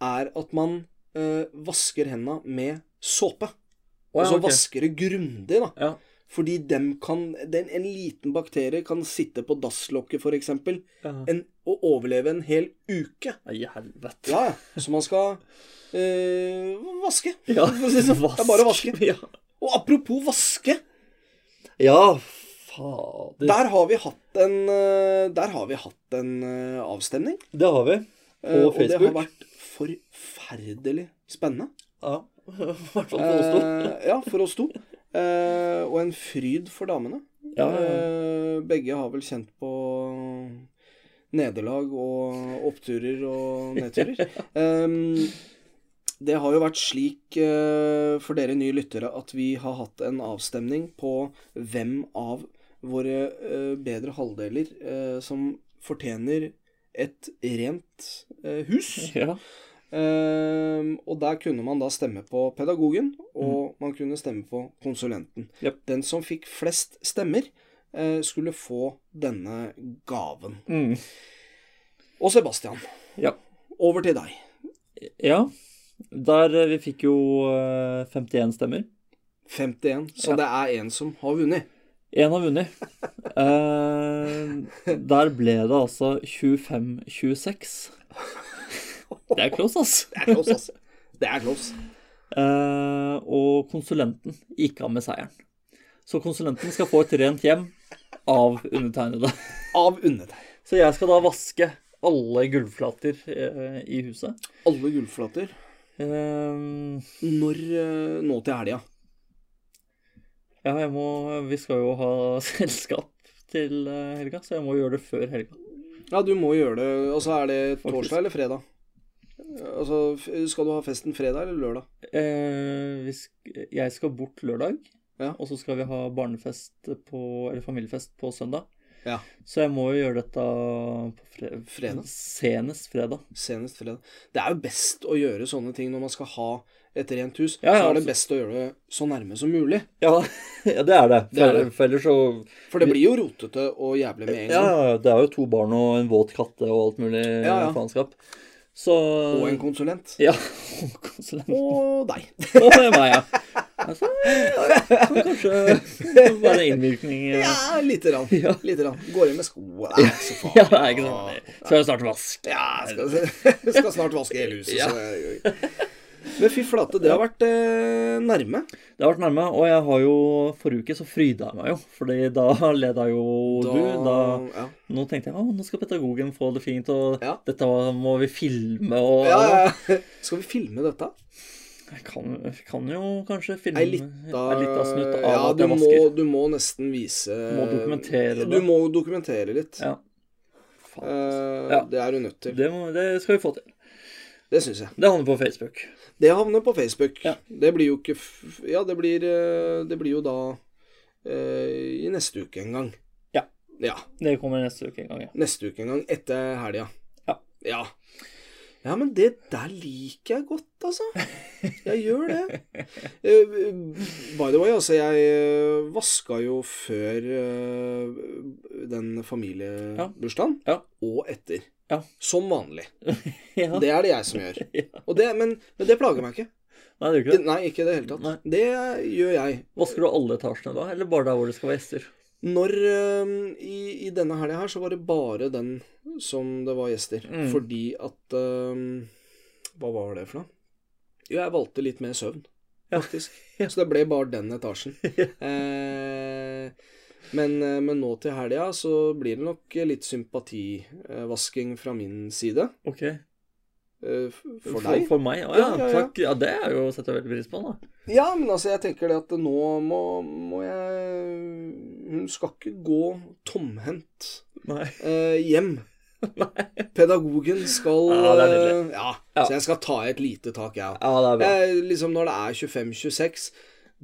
Speaker 1: er at man eh, vasker henda med såpe.
Speaker 2: Å,
Speaker 1: og
Speaker 2: ja,
Speaker 1: så
Speaker 2: ok.
Speaker 1: vasker det grundig, da.
Speaker 2: Ja.
Speaker 1: Fordi dem kan, den, en liten bakterie kan sitte på dasslokket, f.eks.,
Speaker 2: Ja.
Speaker 1: og overleve en hel uke.
Speaker 2: Nei, i helvete.
Speaker 1: Ja, ja. Så man skal eh, vaske.
Speaker 2: Ja,
Speaker 1: for å si det sånn. Det er bare å vaske.
Speaker 2: Ja,
Speaker 1: Og apropos vaske,
Speaker 2: ja fader.
Speaker 1: der har vi hatt en, eh, der har vi hatt en eh, avstemning.
Speaker 2: Det har vi.
Speaker 1: Eh,
Speaker 2: På
Speaker 1: og det har
Speaker 2: Facebook.
Speaker 1: vært forferdelig spennende.
Speaker 2: Ja. I hvert fall for oss to.
Speaker 1: Eh, ja, for oss to. Eh, og en fryd for damene.
Speaker 2: Ja, ja, ja.
Speaker 1: Eh, begge har vel kjent på nederlag og oppturer og nedturer. Ehm, det har jo vært slik eh, for dere nye lyttere at vi har hatt en avstemning på hvem av våre eh, bedre halvdeler eh, som fortjener et rent eh, hus.
Speaker 2: Ja.
Speaker 1: Ehm, og der kunne man da stemme på pedagogen, og man kunne stemme på konsulenten.
Speaker 2: Mm. Jep.
Speaker 1: Den som fikk flest stemmer, eh, skulle få denne gaven.
Speaker 2: Mm.
Speaker 1: Og Sebastian,
Speaker 2: Ja.
Speaker 1: over til deg.
Speaker 2: ja. Der eh, vi fikk jo eh, 51 stemmer.
Speaker 1: 51. Så
Speaker 2: Ja.
Speaker 1: det er en som har vunnet.
Speaker 2: Én har vunnet. Eh, der ble det altså 25-26. Det er close, altså.
Speaker 1: Det er close, altså. Det er close.
Speaker 2: Eh, og konsulenten gikk av med seieren. Så konsulenten skal få et rent hjem av undertegnede.
Speaker 1: Av unnet deg.
Speaker 2: Så jeg skal da vaske alle gulvflater eh, i huset.
Speaker 1: Alle gullflater.
Speaker 2: Eh,
Speaker 1: Når eh, nå til helga?
Speaker 2: ja, jeg må Vi skal jo ha selskap til eh, helga, så jeg må gjøre det før helga.
Speaker 1: Ja, du må gjøre det. Altså, er det
Speaker 2: Faktisk.
Speaker 1: torsdag eller fredag? Altså, f- skal du ha festen fredag eller lørdag?
Speaker 2: Eh, vi sk jeg skal bort lørdag,
Speaker 1: Ja.
Speaker 2: og så skal vi ha barnefest på, eller familiefest på søndag.
Speaker 1: Ja.
Speaker 2: Så jeg må jo gjøre dette på fre
Speaker 1: Fredag?
Speaker 2: senest fredag.
Speaker 1: Senest fredag. Det er jo best å gjøre sånne ting når man skal ha et rent hus.
Speaker 2: Ja, altså-
Speaker 1: så
Speaker 2: ja,
Speaker 1: er
Speaker 2: absolutt.
Speaker 1: det best å gjøre det så nærme som mulig.
Speaker 2: Ja, ja, det er det. For,
Speaker 1: Det er det.
Speaker 2: for ellers så
Speaker 1: For det blir jo rotete og jævlig med en
Speaker 2: Ja,
Speaker 1: gang.
Speaker 2: det er jo to barn og en våt katte og alt mulig
Speaker 1: Ja, ja.
Speaker 2: faenskap. Så
Speaker 1: Og en konsulent.
Speaker 2: Ja. Og konsulent.
Speaker 1: Og deg.
Speaker 2: Og det er meg, ja. Altså, ja, kan kanskje være innvirkning eh.
Speaker 1: Ja, lite grann.
Speaker 2: Ja.
Speaker 1: Lite grann. Går inn med sko. Det er ikke så farlig.
Speaker 2: Ja, det er ikke sant. Skal jo snart vaske.
Speaker 1: Ja, skal, skal snart vaske hele huset, så det er gøy. Men fy flate, det har vært eh, nærme.
Speaker 2: Det har vært nærme, og jeg har jo Forrige uke så fryda jeg meg jo, fordi da leda jo du. Da
Speaker 1: ja.
Speaker 2: Nå tenkte jeg å, nå skal pedagogen få det fint, og
Speaker 1: Ja.
Speaker 2: dette må vi filme og
Speaker 1: Ja, ja. Skal vi filme dette?
Speaker 2: Jeg kan, jeg kan jo kanskje filme
Speaker 1: Ei lita
Speaker 2: ei lita snutt av
Speaker 1: Ja,
Speaker 2: at
Speaker 1: du
Speaker 2: jeg
Speaker 1: må,
Speaker 2: vasker.
Speaker 1: du må nesten vise
Speaker 2: Må dokumentere det.
Speaker 1: Du må dokumentere litt.
Speaker 2: Ja. Faen.
Speaker 1: Eh,
Speaker 2: Ja.
Speaker 1: Det er du nødt til.
Speaker 2: Det, må, det skal vi få til.
Speaker 1: Det syns jeg.
Speaker 2: Det havner på Facebook.
Speaker 1: Det havner på Facebook.
Speaker 2: Ja.
Speaker 1: Det blir jo ikke f Ja, det blir, eh, det blir jo da eh, i neste uke en gang.
Speaker 2: Ja.
Speaker 1: ja.
Speaker 2: Det kommer neste uke en gang, ja.
Speaker 1: Neste uke en gang. Etter helga.
Speaker 2: Ja.
Speaker 1: ja. Ja, men det der liker jeg godt, altså. Jeg gjør det. Eh, By the way, altså, jeg eh, vaska jo før eh, den familiebursdagen,
Speaker 2: Ja.
Speaker 1: og etter.
Speaker 2: Ja.
Speaker 1: Som vanlig.
Speaker 2: ja.
Speaker 1: Det er det jeg som gjør.
Speaker 2: Ja.
Speaker 1: Og det, men, men det plager meg ikke.
Speaker 2: Nei, det gjør ikke det.
Speaker 1: Nei, ikke i det hele tatt.
Speaker 2: Nei.
Speaker 1: Det gjør jeg.
Speaker 2: Vasker du alle etasjene da, eller bare der hvor det skal være gjester?
Speaker 1: Når eh, i, i denne helga her, så var det bare den som det var gjester.
Speaker 2: Mm.
Speaker 1: Fordi at eh, Hva var det for noe? Jo, jeg valgte litt mer søvn,
Speaker 2: Ja.
Speaker 1: faktisk.
Speaker 2: Ja.
Speaker 1: Så det ble bare den etasjen. eh, men, eh, men nå til helga så blir det nok litt sympativasking fra min side.
Speaker 2: Ok.
Speaker 1: eh, f- for deg.
Speaker 2: For meg? Å ja,
Speaker 1: Ja, ja, ja.
Speaker 2: takk. Ja, det er jo setter jeg veldig pris på, da.
Speaker 1: Ja, men altså, jeg tenker det at nå må, må jeg Hun skal ikke gå tomhendt
Speaker 2: Nei.
Speaker 1: eh, hjem. Pedagogen skal
Speaker 2: Ja, det er nydelig.
Speaker 1: eh, ja,
Speaker 2: Ja.
Speaker 1: Så jeg skal ta et lite tak, jeg
Speaker 2: Ja, det er bra.
Speaker 1: Eh, liksom når det er 25-26,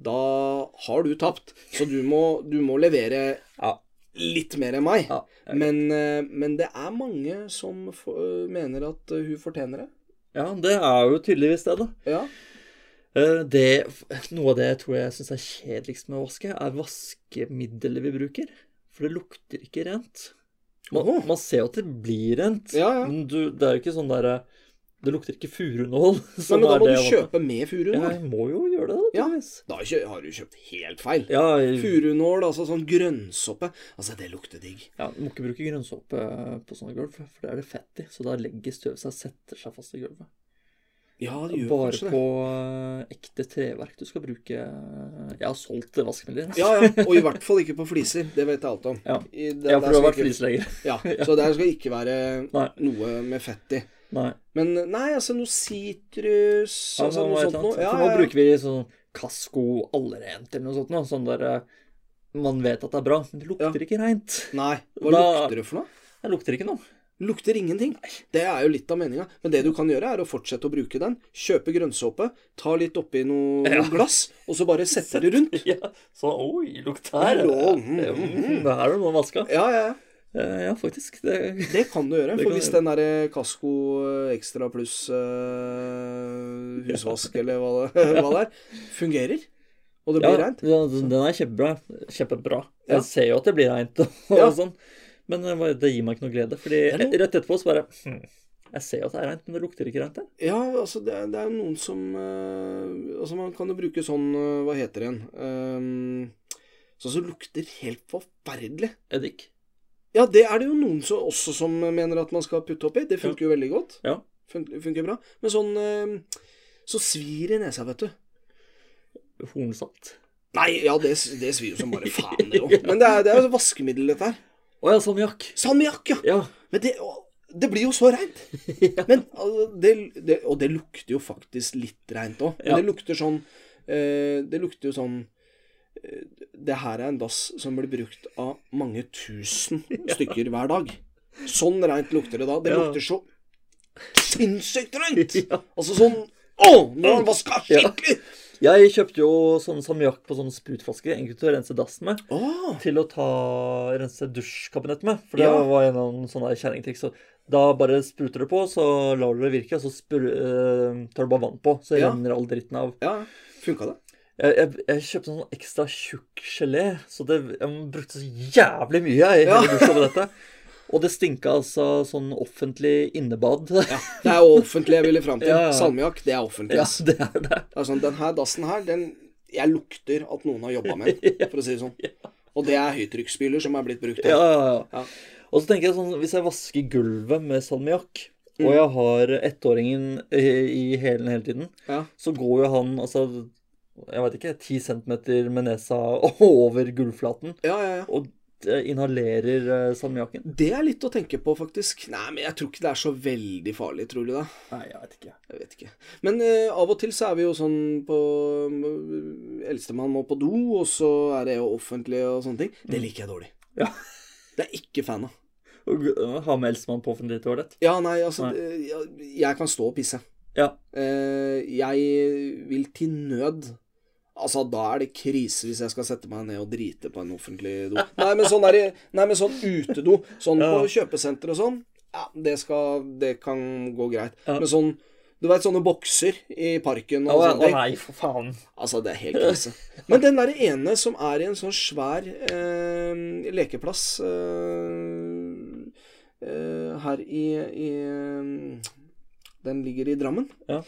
Speaker 1: da har du tapt. Så du må, du må levere
Speaker 2: Ja.
Speaker 1: litt mer enn meg.
Speaker 2: Ja.
Speaker 1: Men, eh, men det er mange som f mener at eh, hun fortjener det.
Speaker 2: ja, det er jo tydeligvis det, da.
Speaker 1: Ja.
Speaker 2: Eh, Det, noe av det jeg tror jeg syns er kjedeligst med å vaske, er vaskemiddelet vi bruker. For det lukter ikke rent. Man,
Speaker 1: Åh.
Speaker 2: man ser jo at det blir rent,
Speaker 1: Ja, ja.
Speaker 2: men du, det er jo ikke sånn derre Det lukter ikke furunål.
Speaker 1: Nei,
Speaker 2: som
Speaker 1: men da
Speaker 2: er
Speaker 1: må
Speaker 2: det
Speaker 1: du
Speaker 2: jeg vant med.
Speaker 1: kjøpe med furunål.
Speaker 2: Ja, jeg må jo gjøre det, da,
Speaker 1: Ja.
Speaker 2: tydeligvis.
Speaker 1: Da kjø- har du kjøpt helt feil.
Speaker 2: Ja, jeg-
Speaker 1: Furunål, altså sånn grønnsoppe. Altså, det lukter digg.
Speaker 2: ja, du må ikke bruke grønnsåpe eh, på sånne gulv, for da er det fett i. Så da legger støvet seg, setter seg fast i gulvet.
Speaker 1: Ja, det gjør
Speaker 2: Bare
Speaker 1: kanskje det.
Speaker 2: på eh, ekte treverk du skal bruke eh, Jeg har solgt vaskemidler.
Speaker 1: Ja, ja. Og i hvert fall ikke på fliser. Det vet jeg alt om.
Speaker 2: Ja.
Speaker 1: I det- der
Speaker 2: ja, for du
Speaker 1: skal
Speaker 2: har vært
Speaker 1: ikke-
Speaker 2: flisleger.
Speaker 1: Ja, så der skal ikke være
Speaker 2: Nei.
Speaker 1: noe med fett i.
Speaker 2: Nei.
Speaker 1: Men nei, altså noe sitrus
Speaker 2: Ja,
Speaker 1: altså,
Speaker 2: nå
Speaker 1: Noe
Speaker 2: var
Speaker 1: sånt
Speaker 2: det et eller
Speaker 1: noe.
Speaker 2: annet.
Speaker 1: Ja, ja,
Speaker 2: For nå
Speaker 1: ja.
Speaker 2: bruker vi sånn Casco allrent eller noe sånt. Noe. Sånn der eh, Man vet at det er bra, men det lukter ikke reint.
Speaker 1: Nei, hva
Speaker 2: Da-
Speaker 1: lukter det for noe?
Speaker 2: Det lukter ikke noe.
Speaker 1: Lukter ingenting. Det er jo litt av meninga. Men det du kan gjøre, er å fortsette å bruke den. Kjøpe grønnsåpe, ta litt oppi noe
Speaker 2: Ja.
Speaker 1: glass, og så bare sette det rundt.
Speaker 2: Ja, sånn Oi, lukt her.
Speaker 1: Hallo,
Speaker 2: Mm, Det her er det noe vaska.
Speaker 1: Ja, ja, ja.
Speaker 2: Eh, Ja, faktisk. Det
Speaker 1: Det kan du gjøre.
Speaker 2: Det
Speaker 1: For
Speaker 2: kan
Speaker 1: hvis
Speaker 2: du
Speaker 1: den der eh, Kasko Ekstra pluss eh, husvask, eller hva det, hva det er, fungerer, og det blir
Speaker 2: ja,
Speaker 1: reint
Speaker 2: ja, den den er kjempebra. Kjempebra. Jeg
Speaker 1: Ja.
Speaker 2: ser jo at det blir reint og,
Speaker 1: Ja.
Speaker 2: og sånn, men eh, bare- det gir meg ikke noe glede. Fordi
Speaker 1: Det er noe-
Speaker 2: rett etterpå så bare hm, Jeg ser jo at det er reint, men det lukter ikke reint her.
Speaker 1: Ja, altså, det er, det er noen som eh, Altså, man kan jo bruke sånn eh, Hva heter det igjen? Ehm, sånn som lukter helt forferdelig.
Speaker 2: Eddik.
Speaker 1: Ja, det er det jo noen som, også som mener at man skal putte oppi. Det funker jo veldig godt.
Speaker 2: Ja.
Speaker 1: Fun funker bra. Men sånn eh, Så svir i nesa, vet du.
Speaker 2: Hornsalt.
Speaker 1: Nei, ja, det, det svir jo som bare faen, det òg. Men det er, det er jo vaskemiddel, dette her.
Speaker 2: Å ja, salmiakk.
Speaker 1: Salmiakk, ja.
Speaker 2: Ja.
Speaker 1: Men det, å, det blir jo så reint. Men altså, det, det, og det lukter jo faktisk litt reint òg. Men
Speaker 2: Ja.
Speaker 1: det lukter sånn eh, Det lukter jo sånn eh, Det her er en dass som blir brukt av mange tusen stykker hver dag. Sånn reint lukter det da. Det
Speaker 2: Ja.
Speaker 1: lukter så sinnssykt reint!
Speaker 2: ja.
Speaker 1: Altså sånn Å, nå har han vaska skikkelig!
Speaker 2: Jeg kjøpte jo sånn salmiakk på sånne sprutflasker, egentlig til å rense dassen med.
Speaker 1: Å,
Speaker 2: Til å ta, rense dusjkabinettet med. For det
Speaker 1: Ja.
Speaker 2: var en av sånne kjerringtriks. så Da bare spruter du på, så lar du det virke, og så spru, eh, tar du bare vann på. Så
Speaker 1: Ja.
Speaker 2: renner all dritten av.
Speaker 1: ja. Funka det?
Speaker 2: Jeg, jeg, jeg kjøpte sånn ekstra tjukk gelé, så det, jeg brukte så jævlig mye jeg, i
Speaker 1: Ja.
Speaker 2: hele dusja på dette. Og det stinka altså sånn offentlig innebad. Ja,
Speaker 1: Det er jo offentlig jeg ville fram til.
Speaker 2: Ja, ja.
Speaker 1: Salmiakk, det er offentlig. ass.
Speaker 2: det er det.
Speaker 1: Det er sånn, den her dassen her, den Jeg lukter at noen har jobba med den, for å si det sånn. Og det er høytrykksspyler som er blitt brukt her.
Speaker 2: Ja, ja, ja.
Speaker 1: Ja.
Speaker 2: Og så tenker jeg sånn, hvis jeg vasker gulvet med salmiakk, og jeg har ettåringen i, i hælen hele tiden,
Speaker 1: Ja.
Speaker 2: så går jo han altså jeg veit ikke, ti centimeter med nesa over gulvflaten
Speaker 1: Ja, ja, ja.
Speaker 2: og eh, inhalerer eh, salmiakken.
Speaker 1: Det er litt å tenke på, faktisk. Nei, men jeg tror ikke det er så veldig farlig, tror du det?
Speaker 2: Nei, jeg veit ikke.
Speaker 1: Jeg vet ikke. Men eh, av og til så er vi jo sånn på eh, Eldstemann må på do, og så er det jo offentlig og sånne ting. Det liker jeg dårlig.
Speaker 2: Mm. Ja.
Speaker 1: Det er jeg ikke fan av.
Speaker 2: Og, eh, Ha med Elsemann på offentlig toalett.
Speaker 1: Ja, nei, altså
Speaker 2: Nei.
Speaker 1: det- Jeg, jeg kan stå og pisse.
Speaker 2: Ja.
Speaker 1: Eh, jeg vil til nød Altså, da er det krise hvis jeg skal sette meg ned og drite på en offentlig do. Nei, men sånn, der, nei, men sånn utedo, sånn
Speaker 2: Ja.
Speaker 1: på kjøpesenter og sånn, ja, det, skal, det kan gå greit.
Speaker 2: Ja.
Speaker 1: Men sånn du veit sånne bokser i parken og sånne ting.
Speaker 2: nei, for faen.
Speaker 1: Altså, det er helt krise. Men den derre ene som er i en sånn svær eh, lekeplass eh, eh, her i, i eh, Den ligger i Drammen.
Speaker 2: Ja.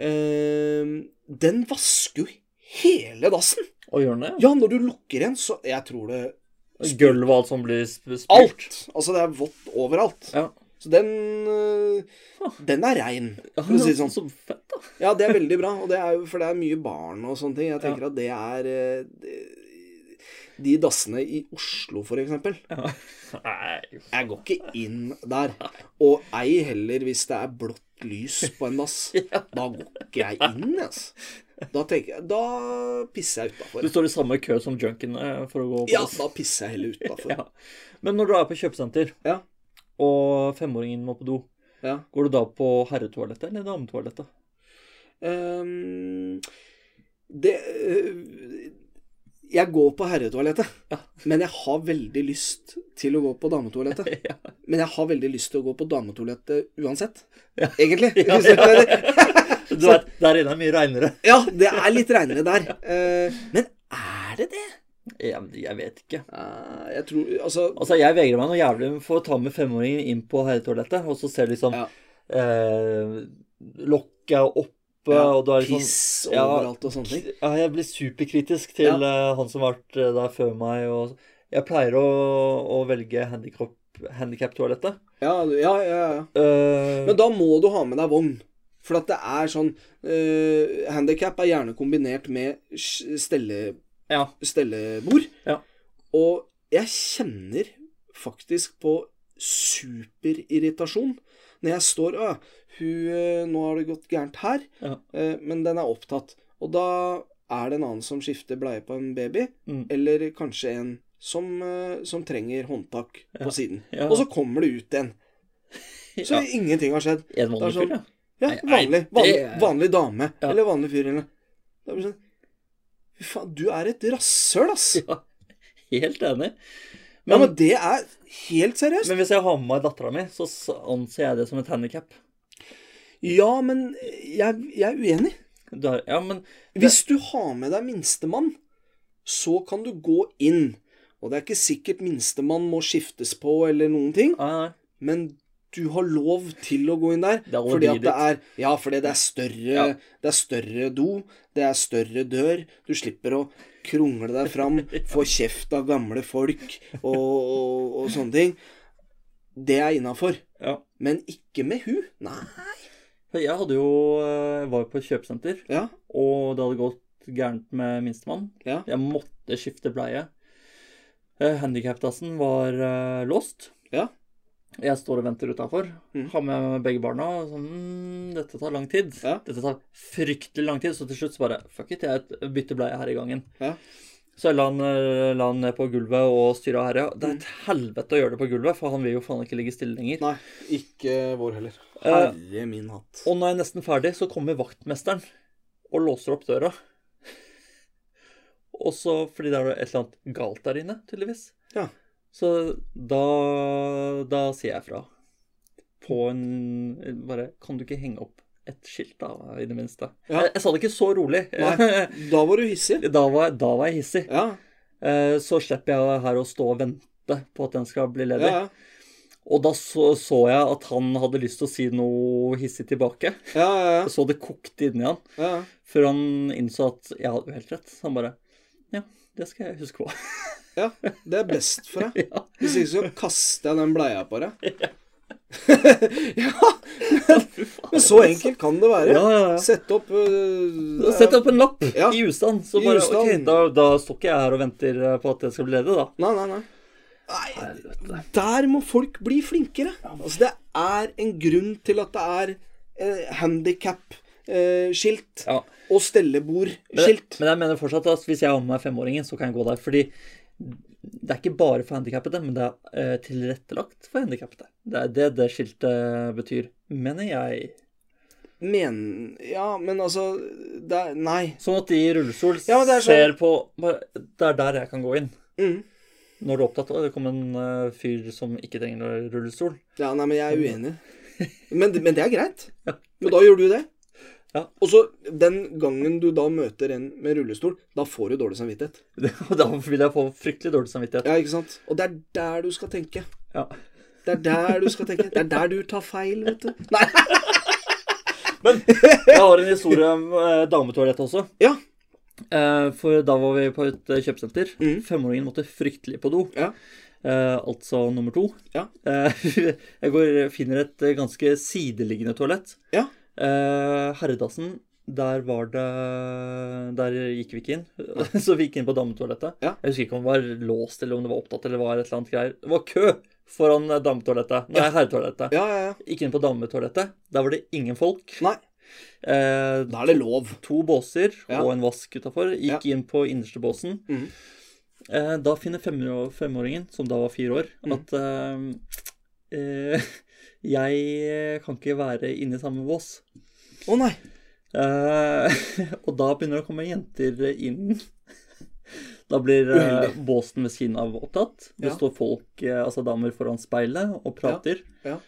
Speaker 1: Eh, den vasker jo hele dassen!
Speaker 2: Og gjør den det?
Speaker 1: Ja, når du lukker igjen, så Jeg tror det
Speaker 2: Gulvet og alt som blir sp- spurt.
Speaker 1: Alt! Altså, det er vått overalt.
Speaker 2: Ja.
Speaker 1: Så den eh, Den er rein. for å si det sånn.
Speaker 2: Så fett, da.
Speaker 1: Ja, det er veldig bra, og det er, jo- for det er mye barn og sånne ting. Jeg tenker at det er eh, det- De dassene i Oslo, for eksempel.
Speaker 2: Ja. Nei.
Speaker 1: Jeg går ikke inn der. Og ei heller hvis det er blått lys på en dass. Da går ikke jeg inn, altså. Da, tenker jeg, da pisser jeg
Speaker 2: Du
Speaker 1: utafor.
Speaker 2: står i samme kø som junkiene for å gå på
Speaker 1: Ja,
Speaker 2: dass.
Speaker 1: da pisser jeg heller utafor.
Speaker 2: Ja. Men når du er på kjøpesenter,
Speaker 1: Ja.
Speaker 2: og femåringen må på do,
Speaker 1: Ja.
Speaker 2: går du da på herretoalettet eller dametoalettet?
Speaker 1: Ehm, det eh, Jeg går på herretoalettet,
Speaker 2: Ja.
Speaker 1: men jeg har veldig lyst til å gå på dametoalettet.
Speaker 2: Ja.
Speaker 1: Men jeg har veldig lyst til å gå på dametoalettet uansett.
Speaker 2: Ja.
Speaker 1: Egentlig.
Speaker 2: Ja,
Speaker 1: Hvis du
Speaker 2: ja.
Speaker 1: skjønner det.
Speaker 2: Du vet, der inne er mye reinere.
Speaker 1: ja, det er litt reinere der. Eh, Men er det det?
Speaker 2: Jeg, jeg vet ikke.
Speaker 1: Eh, Jeg tror Altså
Speaker 2: Altså, jeg vegrer meg noe jævlig for å ta med femåringen inn på herretoalettet, og så ser du liksom
Speaker 1: Ja.
Speaker 2: eh, Lokket er oppe,
Speaker 1: ja,
Speaker 2: og du er liksom
Speaker 1: Piss
Speaker 2: ja,
Speaker 1: overalt og sånne ting.
Speaker 2: Ja, jeg blir superkritisk til eh, han som har vært eh, der før meg. Og jeg pleier å, å velge handikap-toalettet.
Speaker 1: Ja, du- ja, ja. ja.
Speaker 2: Eh,
Speaker 1: Men da må du ha med deg vogn. For at det er sånn uh, Handikap er gjerne kombinert med s- stelle,
Speaker 2: ja.
Speaker 1: stellebord.
Speaker 2: Ja.
Speaker 1: Og jeg kjenner faktisk på superirritasjon når jeg står «Å, hun, eh, Nå har det gått gærent her,
Speaker 2: Ja.
Speaker 1: eh, men den er opptatt. Og da er det en annen som skifter bleie på en baby,
Speaker 2: Mm.
Speaker 1: eller kanskje en som, eh, som trenger håndtak på siden.
Speaker 2: Ja.
Speaker 1: Og så kommer det ut en. Så
Speaker 2: Ja.
Speaker 1: ingenting har skjedd.
Speaker 2: En vanlig
Speaker 1: Det er sånn-
Speaker 2: fyr, ja.
Speaker 1: Ja,
Speaker 2: Nei, nei,
Speaker 1: vanlig, vanlig,
Speaker 2: det-
Speaker 1: vanlig dame.
Speaker 2: Ja.
Speaker 1: Eller vanlig fyr, eller Det er bare sånn Fy faen, du er et rasshøl, ass!
Speaker 2: ja. Helt enig.
Speaker 1: Ja,
Speaker 2: Men,
Speaker 1: men det er helt seriøst.
Speaker 2: men hvis jeg har med meg dattera mi, så s- anser jeg det som et handikap.
Speaker 1: Ja, men jeg, jeg er uenig.
Speaker 2: Ja, men
Speaker 1: Hvis du har med deg minstemann, så kan du gå inn. Og det er ikke sikkert minstemann må skiftes på eller noen ting,
Speaker 2: Nei, nei.
Speaker 1: men du har lov til å gå inn der.
Speaker 2: Det er
Speaker 1: Fordi at
Speaker 2: allerede
Speaker 1: det er Ja, fordi det er større
Speaker 2: Ja.
Speaker 1: Det er større do, det er større dør. Du slipper å krongle deg fram, få kjeft av gamle folk og, og, og sånne ting. Det er innafor.
Speaker 2: Ja.
Speaker 1: Men ikke med hu. Nei.
Speaker 2: For jeg hadde jo eh, var jo på et kjøpesenter,
Speaker 1: Ja.
Speaker 2: og det hadde gått gærent med minstemann.
Speaker 1: Ja.
Speaker 2: Jeg måtte skifte bleie. Handikapdassen var eh, låst.
Speaker 1: Ja.
Speaker 2: Jeg står og venter utafor.
Speaker 1: Mm.
Speaker 2: Har med meg begge barna. og Sånn, «Mm, dette tar lang tid.
Speaker 1: Ja.
Speaker 2: Dette tar fryktelig lang tid. Så til slutt så bare Fuck it, jeg bytter bleie her i gangen.
Speaker 1: Ja.
Speaker 2: Så jeg la han, eh, la han ned på gulvet og styra herja. Det
Speaker 1: Mm.
Speaker 2: er et helvete å gjøre det på gulvet, for han vil jo faen ikke ligge stille lenger.
Speaker 1: Nei, ikke vår heller.
Speaker 2: Eh,
Speaker 1: Herre min hatt.
Speaker 2: Og når jeg er nesten ferdig, så kommer vaktmesteren og låser opp døra. Og så, fordi det er et eller annet galt der inne, tydeligvis.
Speaker 1: Ja.
Speaker 2: Så da, da sier jeg fra. På en Bare Kan du ikke henge opp et skilt, da, i det minste?
Speaker 1: Ja.
Speaker 2: Jeg, jeg sa det ikke så rolig.
Speaker 1: Nei. Da var du hissig.
Speaker 2: da, var, da var jeg hissig.
Speaker 1: Ja,
Speaker 2: Eh, Så slipper jeg her å stå og vente på at den skal bli
Speaker 1: ja,
Speaker 2: ledig.
Speaker 1: ja.
Speaker 2: Og da så, så jeg at han hadde lyst til å si noe hissig tilbake.
Speaker 1: ja, ja,
Speaker 2: Jeg så det kokte inni han.
Speaker 1: ja, ja.
Speaker 2: Før han innså at jeg hadde jo helt rett. Så han bare Ja, det skal jeg huske på.
Speaker 1: ja. Det er best for deg.
Speaker 2: ja.
Speaker 1: Hvis ikke så kaster jeg den bleia på deg. ja,
Speaker 2: Fy faen,
Speaker 1: men så enkelt kan det
Speaker 2: altså.
Speaker 1: være.
Speaker 2: Ja, ja, ja.
Speaker 1: Sett opp øh,
Speaker 2: Sett opp en lapp
Speaker 1: Ja.
Speaker 2: i ustand, så
Speaker 1: I
Speaker 2: bare
Speaker 1: ustand.
Speaker 2: OK, da, da står ikke jeg her og venter eh, på at det skal bli ledig, da.
Speaker 1: Nei, nei, nei. Nei, der må folk bli flinkere. Altså, det er en grunn til at det er eh, handikap-skilt
Speaker 2: Ja.
Speaker 1: og stellebordskilt.
Speaker 2: Men jeg mener fortsatt at hvis jeg har med meg femåringen, så kan jeg gå der. Fordi det er ikke bare for handikappede, men det er eh, tilrettelagt for handikappede. Det er det det skiltet betyr, mener jeg.
Speaker 1: Men Ja, men altså det er, Nei.
Speaker 2: Sånn at de i rullestol
Speaker 1: Ja, men det er sånn-
Speaker 2: ser på bare, Det er der jeg kan gå inn.
Speaker 1: Mm.
Speaker 2: Når du er opptatt av det, kom en eh, fyr som ikke trenger rullestol.
Speaker 1: Ja, nei, men jeg er uenig. Men, men det er greit. Men da gjør du det.
Speaker 2: Ja.
Speaker 1: Og så, den gangen du da møter en med rullestol, da får du dårlig samvittighet.
Speaker 2: Og da vil jeg få fryktelig dårlig samvittighet.
Speaker 1: Ja, ikke sant? Og det er der du skal tenke.
Speaker 2: Ja.
Speaker 1: Det er der du skal tenke. Det er der du tar feil, vet du. Nei,
Speaker 2: Men jeg har en historie om eh, dametoalett også.
Speaker 1: Ja.
Speaker 2: Eh, for da var vi på et eh, kjøpesenter.
Speaker 1: Mhm.
Speaker 2: Femåringen måtte fryktelig på do.
Speaker 1: Ja.
Speaker 2: Eh, altså nummer to.
Speaker 1: Ja.
Speaker 2: Eh, jeg går, finner et eh, ganske sideliggende toalett.
Speaker 1: Ja.
Speaker 2: Eh, herredassen, der var det Der gikk vi ikke inn. Så vi gikk inn på dametoalettet.
Speaker 1: Ja.
Speaker 2: Jeg husker ikke om det var låst, eller om det var opptatt, eller var et eller annet greier. Det var kø foran eh, dametoalettet. Nei, herretoalettet.
Speaker 1: Ja, ja, ja.
Speaker 2: Gikk inn på dametoalettet. Der var det ingen folk.
Speaker 1: Nei.
Speaker 2: Eh,
Speaker 1: Da er det lov.
Speaker 2: to båser
Speaker 1: Ja.
Speaker 2: og en vask utafor. Gikk inn på innerste båsen.
Speaker 1: Mhm.
Speaker 2: Eh, da finner femåringen, femåringen, som da var fire år,
Speaker 1: Mhm.
Speaker 2: at eh, eh, jeg kan ikke være inni samme bås.
Speaker 1: Å nei.
Speaker 2: Eh, og da begynner det å komme jenter inn. Da blir eh,
Speaker 1: Uheldig.
Speaker 2: båsen ved siden av opptatt. Det
Speaker 1: Ja.
Speaker 2: står folk, eh, altså damer, foran speilet og prater.
Speaker 1: Ja,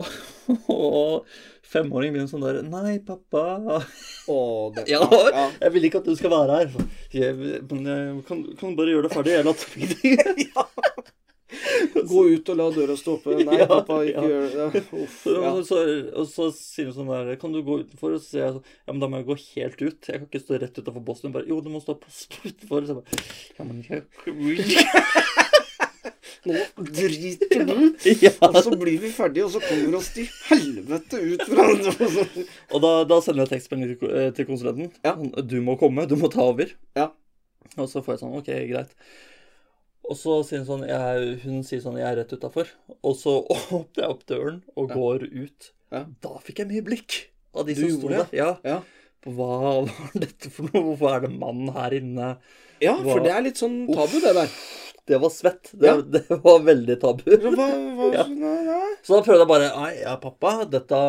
Speaker 2: og femåringen begynner sånn der Nei, pappa.
Speaker 1: Å, det
Speaker 2: Ja,
Speaker 1: ja.
Speaker 2: jeg vil ikke at du skal være her. Jeg, men jeg kan, kan du bare gjøre det ferdig? Jeg lar det
Speaker 1: Gå ut og la døra stå oppe. Nei,
Speaker 2: Ja,
Speaker 1: pappa,
Speaker 2: ja.
Speaker 1: ikke gjør det. Uff. Ja.
Speaker 2: Og så, og så sier hun sånn der Kan du gå utenfor? Og så sier jeg sånn Ja, men da må jeg gå helt ut. Jeg kan ikke stå rett utenfor bossen. Hun Bare, jo, du må stå på stå utenfor. Så jeg bare, ja, men jeg
Speaker 1: Nå driter du. Og
Speaker 2: ja.
Speaker 1: så blir vi ferdige, og så kommer vi oss til helvete ut fra det.
Speaker 2: Og da, da sender jeg tekstmelding til, eh, til konsulenten.
Speaker 1: Ja.
Speaker 2: Sånn, Du må komme. Du må ta over.
Speaker 1: Ja.
Speaker 2: Og så får jeg sånn OK, greit. Og så sier hun sånn jeg, Hun sier sånn Jeg er rett utafor. Og så åpner jeg opp døren og
Speaker 1: Ja.
Speaker 2: går ut.
Speaker 1: Ja.
Speaker 2: Da fikk jeg mye blikk av de
Speaker 1: Du
Speaker 2: som sto
Speaker 1: gjorde
Speaker 2: der.
Speaker 1: det?
Speaker 2: Ja.
Speaker 1: Ja.
Speaker 2: Hva var dette for noe? Hvorfor er det mannen her inne?
Speaker 1: Ja, for det er litt sånn tabu, det der.
Speaker 2: det var svett. Det,
Speaker 1: Ja.
Speaker 2: det var veldig tabu.
Speaker 1: Hva, hva,
Speaker 2: Ja.
Speaker 1: nei, nei.
Speaker 2: Så da prøvde jeg bare Nei, ja, pappa, dette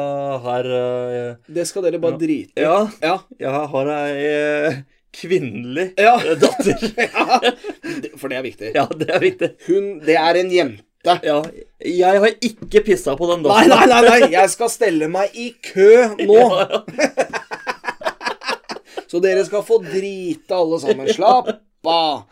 Speaker 2: her eh,
Speaker 1: Det skal dere bare
Speaker 2: Ja.
Speaker 1: drite i.
Speaker 2: Ja,
Speaker 1: Ja.
Speaker 2: jeg har ei eh, kvinnelig
Speaker 1: Ja.
Speaker 2: eh, datter.
Speaker 1: Ja. Det- For det er viktig.
Speaker 2: Ja, det er viktig.
Speaker 1: Hun Det er en jente.
Speaker 2: Ja, jeg har ikke pissa på den
Speaker 1: Nei,
Speaker 2: datteren.
Speaker 1: nei, nei, nei. Jeg skal stelle meg i kø nå.
Speaker 2: Ja,
Speaker 1: Så dere skal få drite, alle sammen. Slapp av.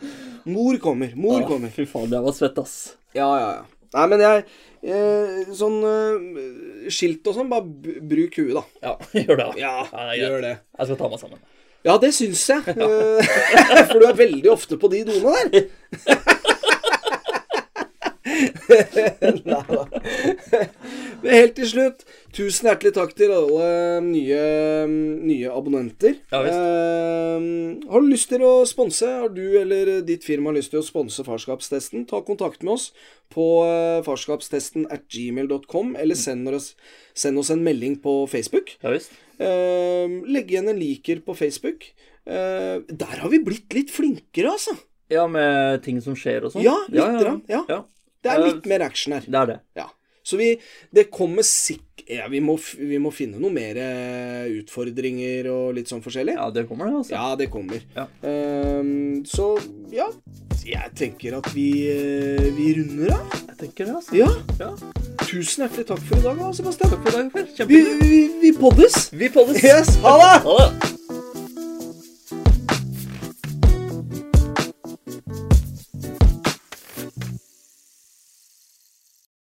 Speaker 1: Mor kommer. Mor
Speaker 2: ja.
Speaker 1: kommer.
Speaker 2: Fy faen, jeg var svett, ass.
Speaker 1: Ja, ja, ja. Nei, men jeg eh, Sånn eh, skilt og sånn, bare b- bruk huet, da.
Speaker 2: Ja, gjør det. da.
Speaker 1: Ja,
Speaker 2: Ja, det er greit.
Speaker 1: gjør det.
Speaker 2: Jeg skal ta meg sammen.
Speaker 1: Ja, det syns jeg. Eh, For du er veldig ofte på de doene der. Neida. Men helt til slutt, tusen hjertelig takk til alle nye, nye abonnenter.
Speaker 2: Ja, visst.
Speaker 1: Eh, har du lyst til å sponse, har du eller ditt firma lyst til å sponse Farskapstesten, ta kontakt med oss på eh, farskapstesten at gmail.com, eller send oss, send oss en melding på Facebook.
Speaker 2: Ja visst.
Speaker 1: Eh, legg igjen en liker på Facebook. Eh, der har vi blitt litt flinkere, altså.
Speaker 2: Ja, med ting som skjer og sånn.
Speaker 1: Ja, litt grann, ja.
Speaker 2: ja.
Speaker 1: Det er
Speaker 2: Ja.
Speaker 1: litt mer action her.
Speaker 2: Det er det.
Speaker 1: Ja. Så vi Det kommer sikk... Ja, vi må, f- vi må finne noen mer eh, utfordringer og litt sånn forskjellig.
Speaker 2: Ja, det kommer det, altså.
Speaker 1: Ja, det kommer.
Speaker 2: Ja.
Speaker 1: Eh, så ja Jeg tenker at vi, eh, vi runder av.
Speaker 2: Jeg tenker det, altså.
Speaker 1: Ja.
Speaker 2: Ja.
Speaker 1: Tusen hjertelig takk for i dag, da, Sebastian.
Speaker 2: Takk for i dag, Per.
Speaker 1: Vi,
Speaker 2: Kjempegøy.
Speaker 1: vi, vi poddes!
Speaker 2: Vi poddes.
Speaker 1: Yes, ha det!
Speaker 2: Ha det.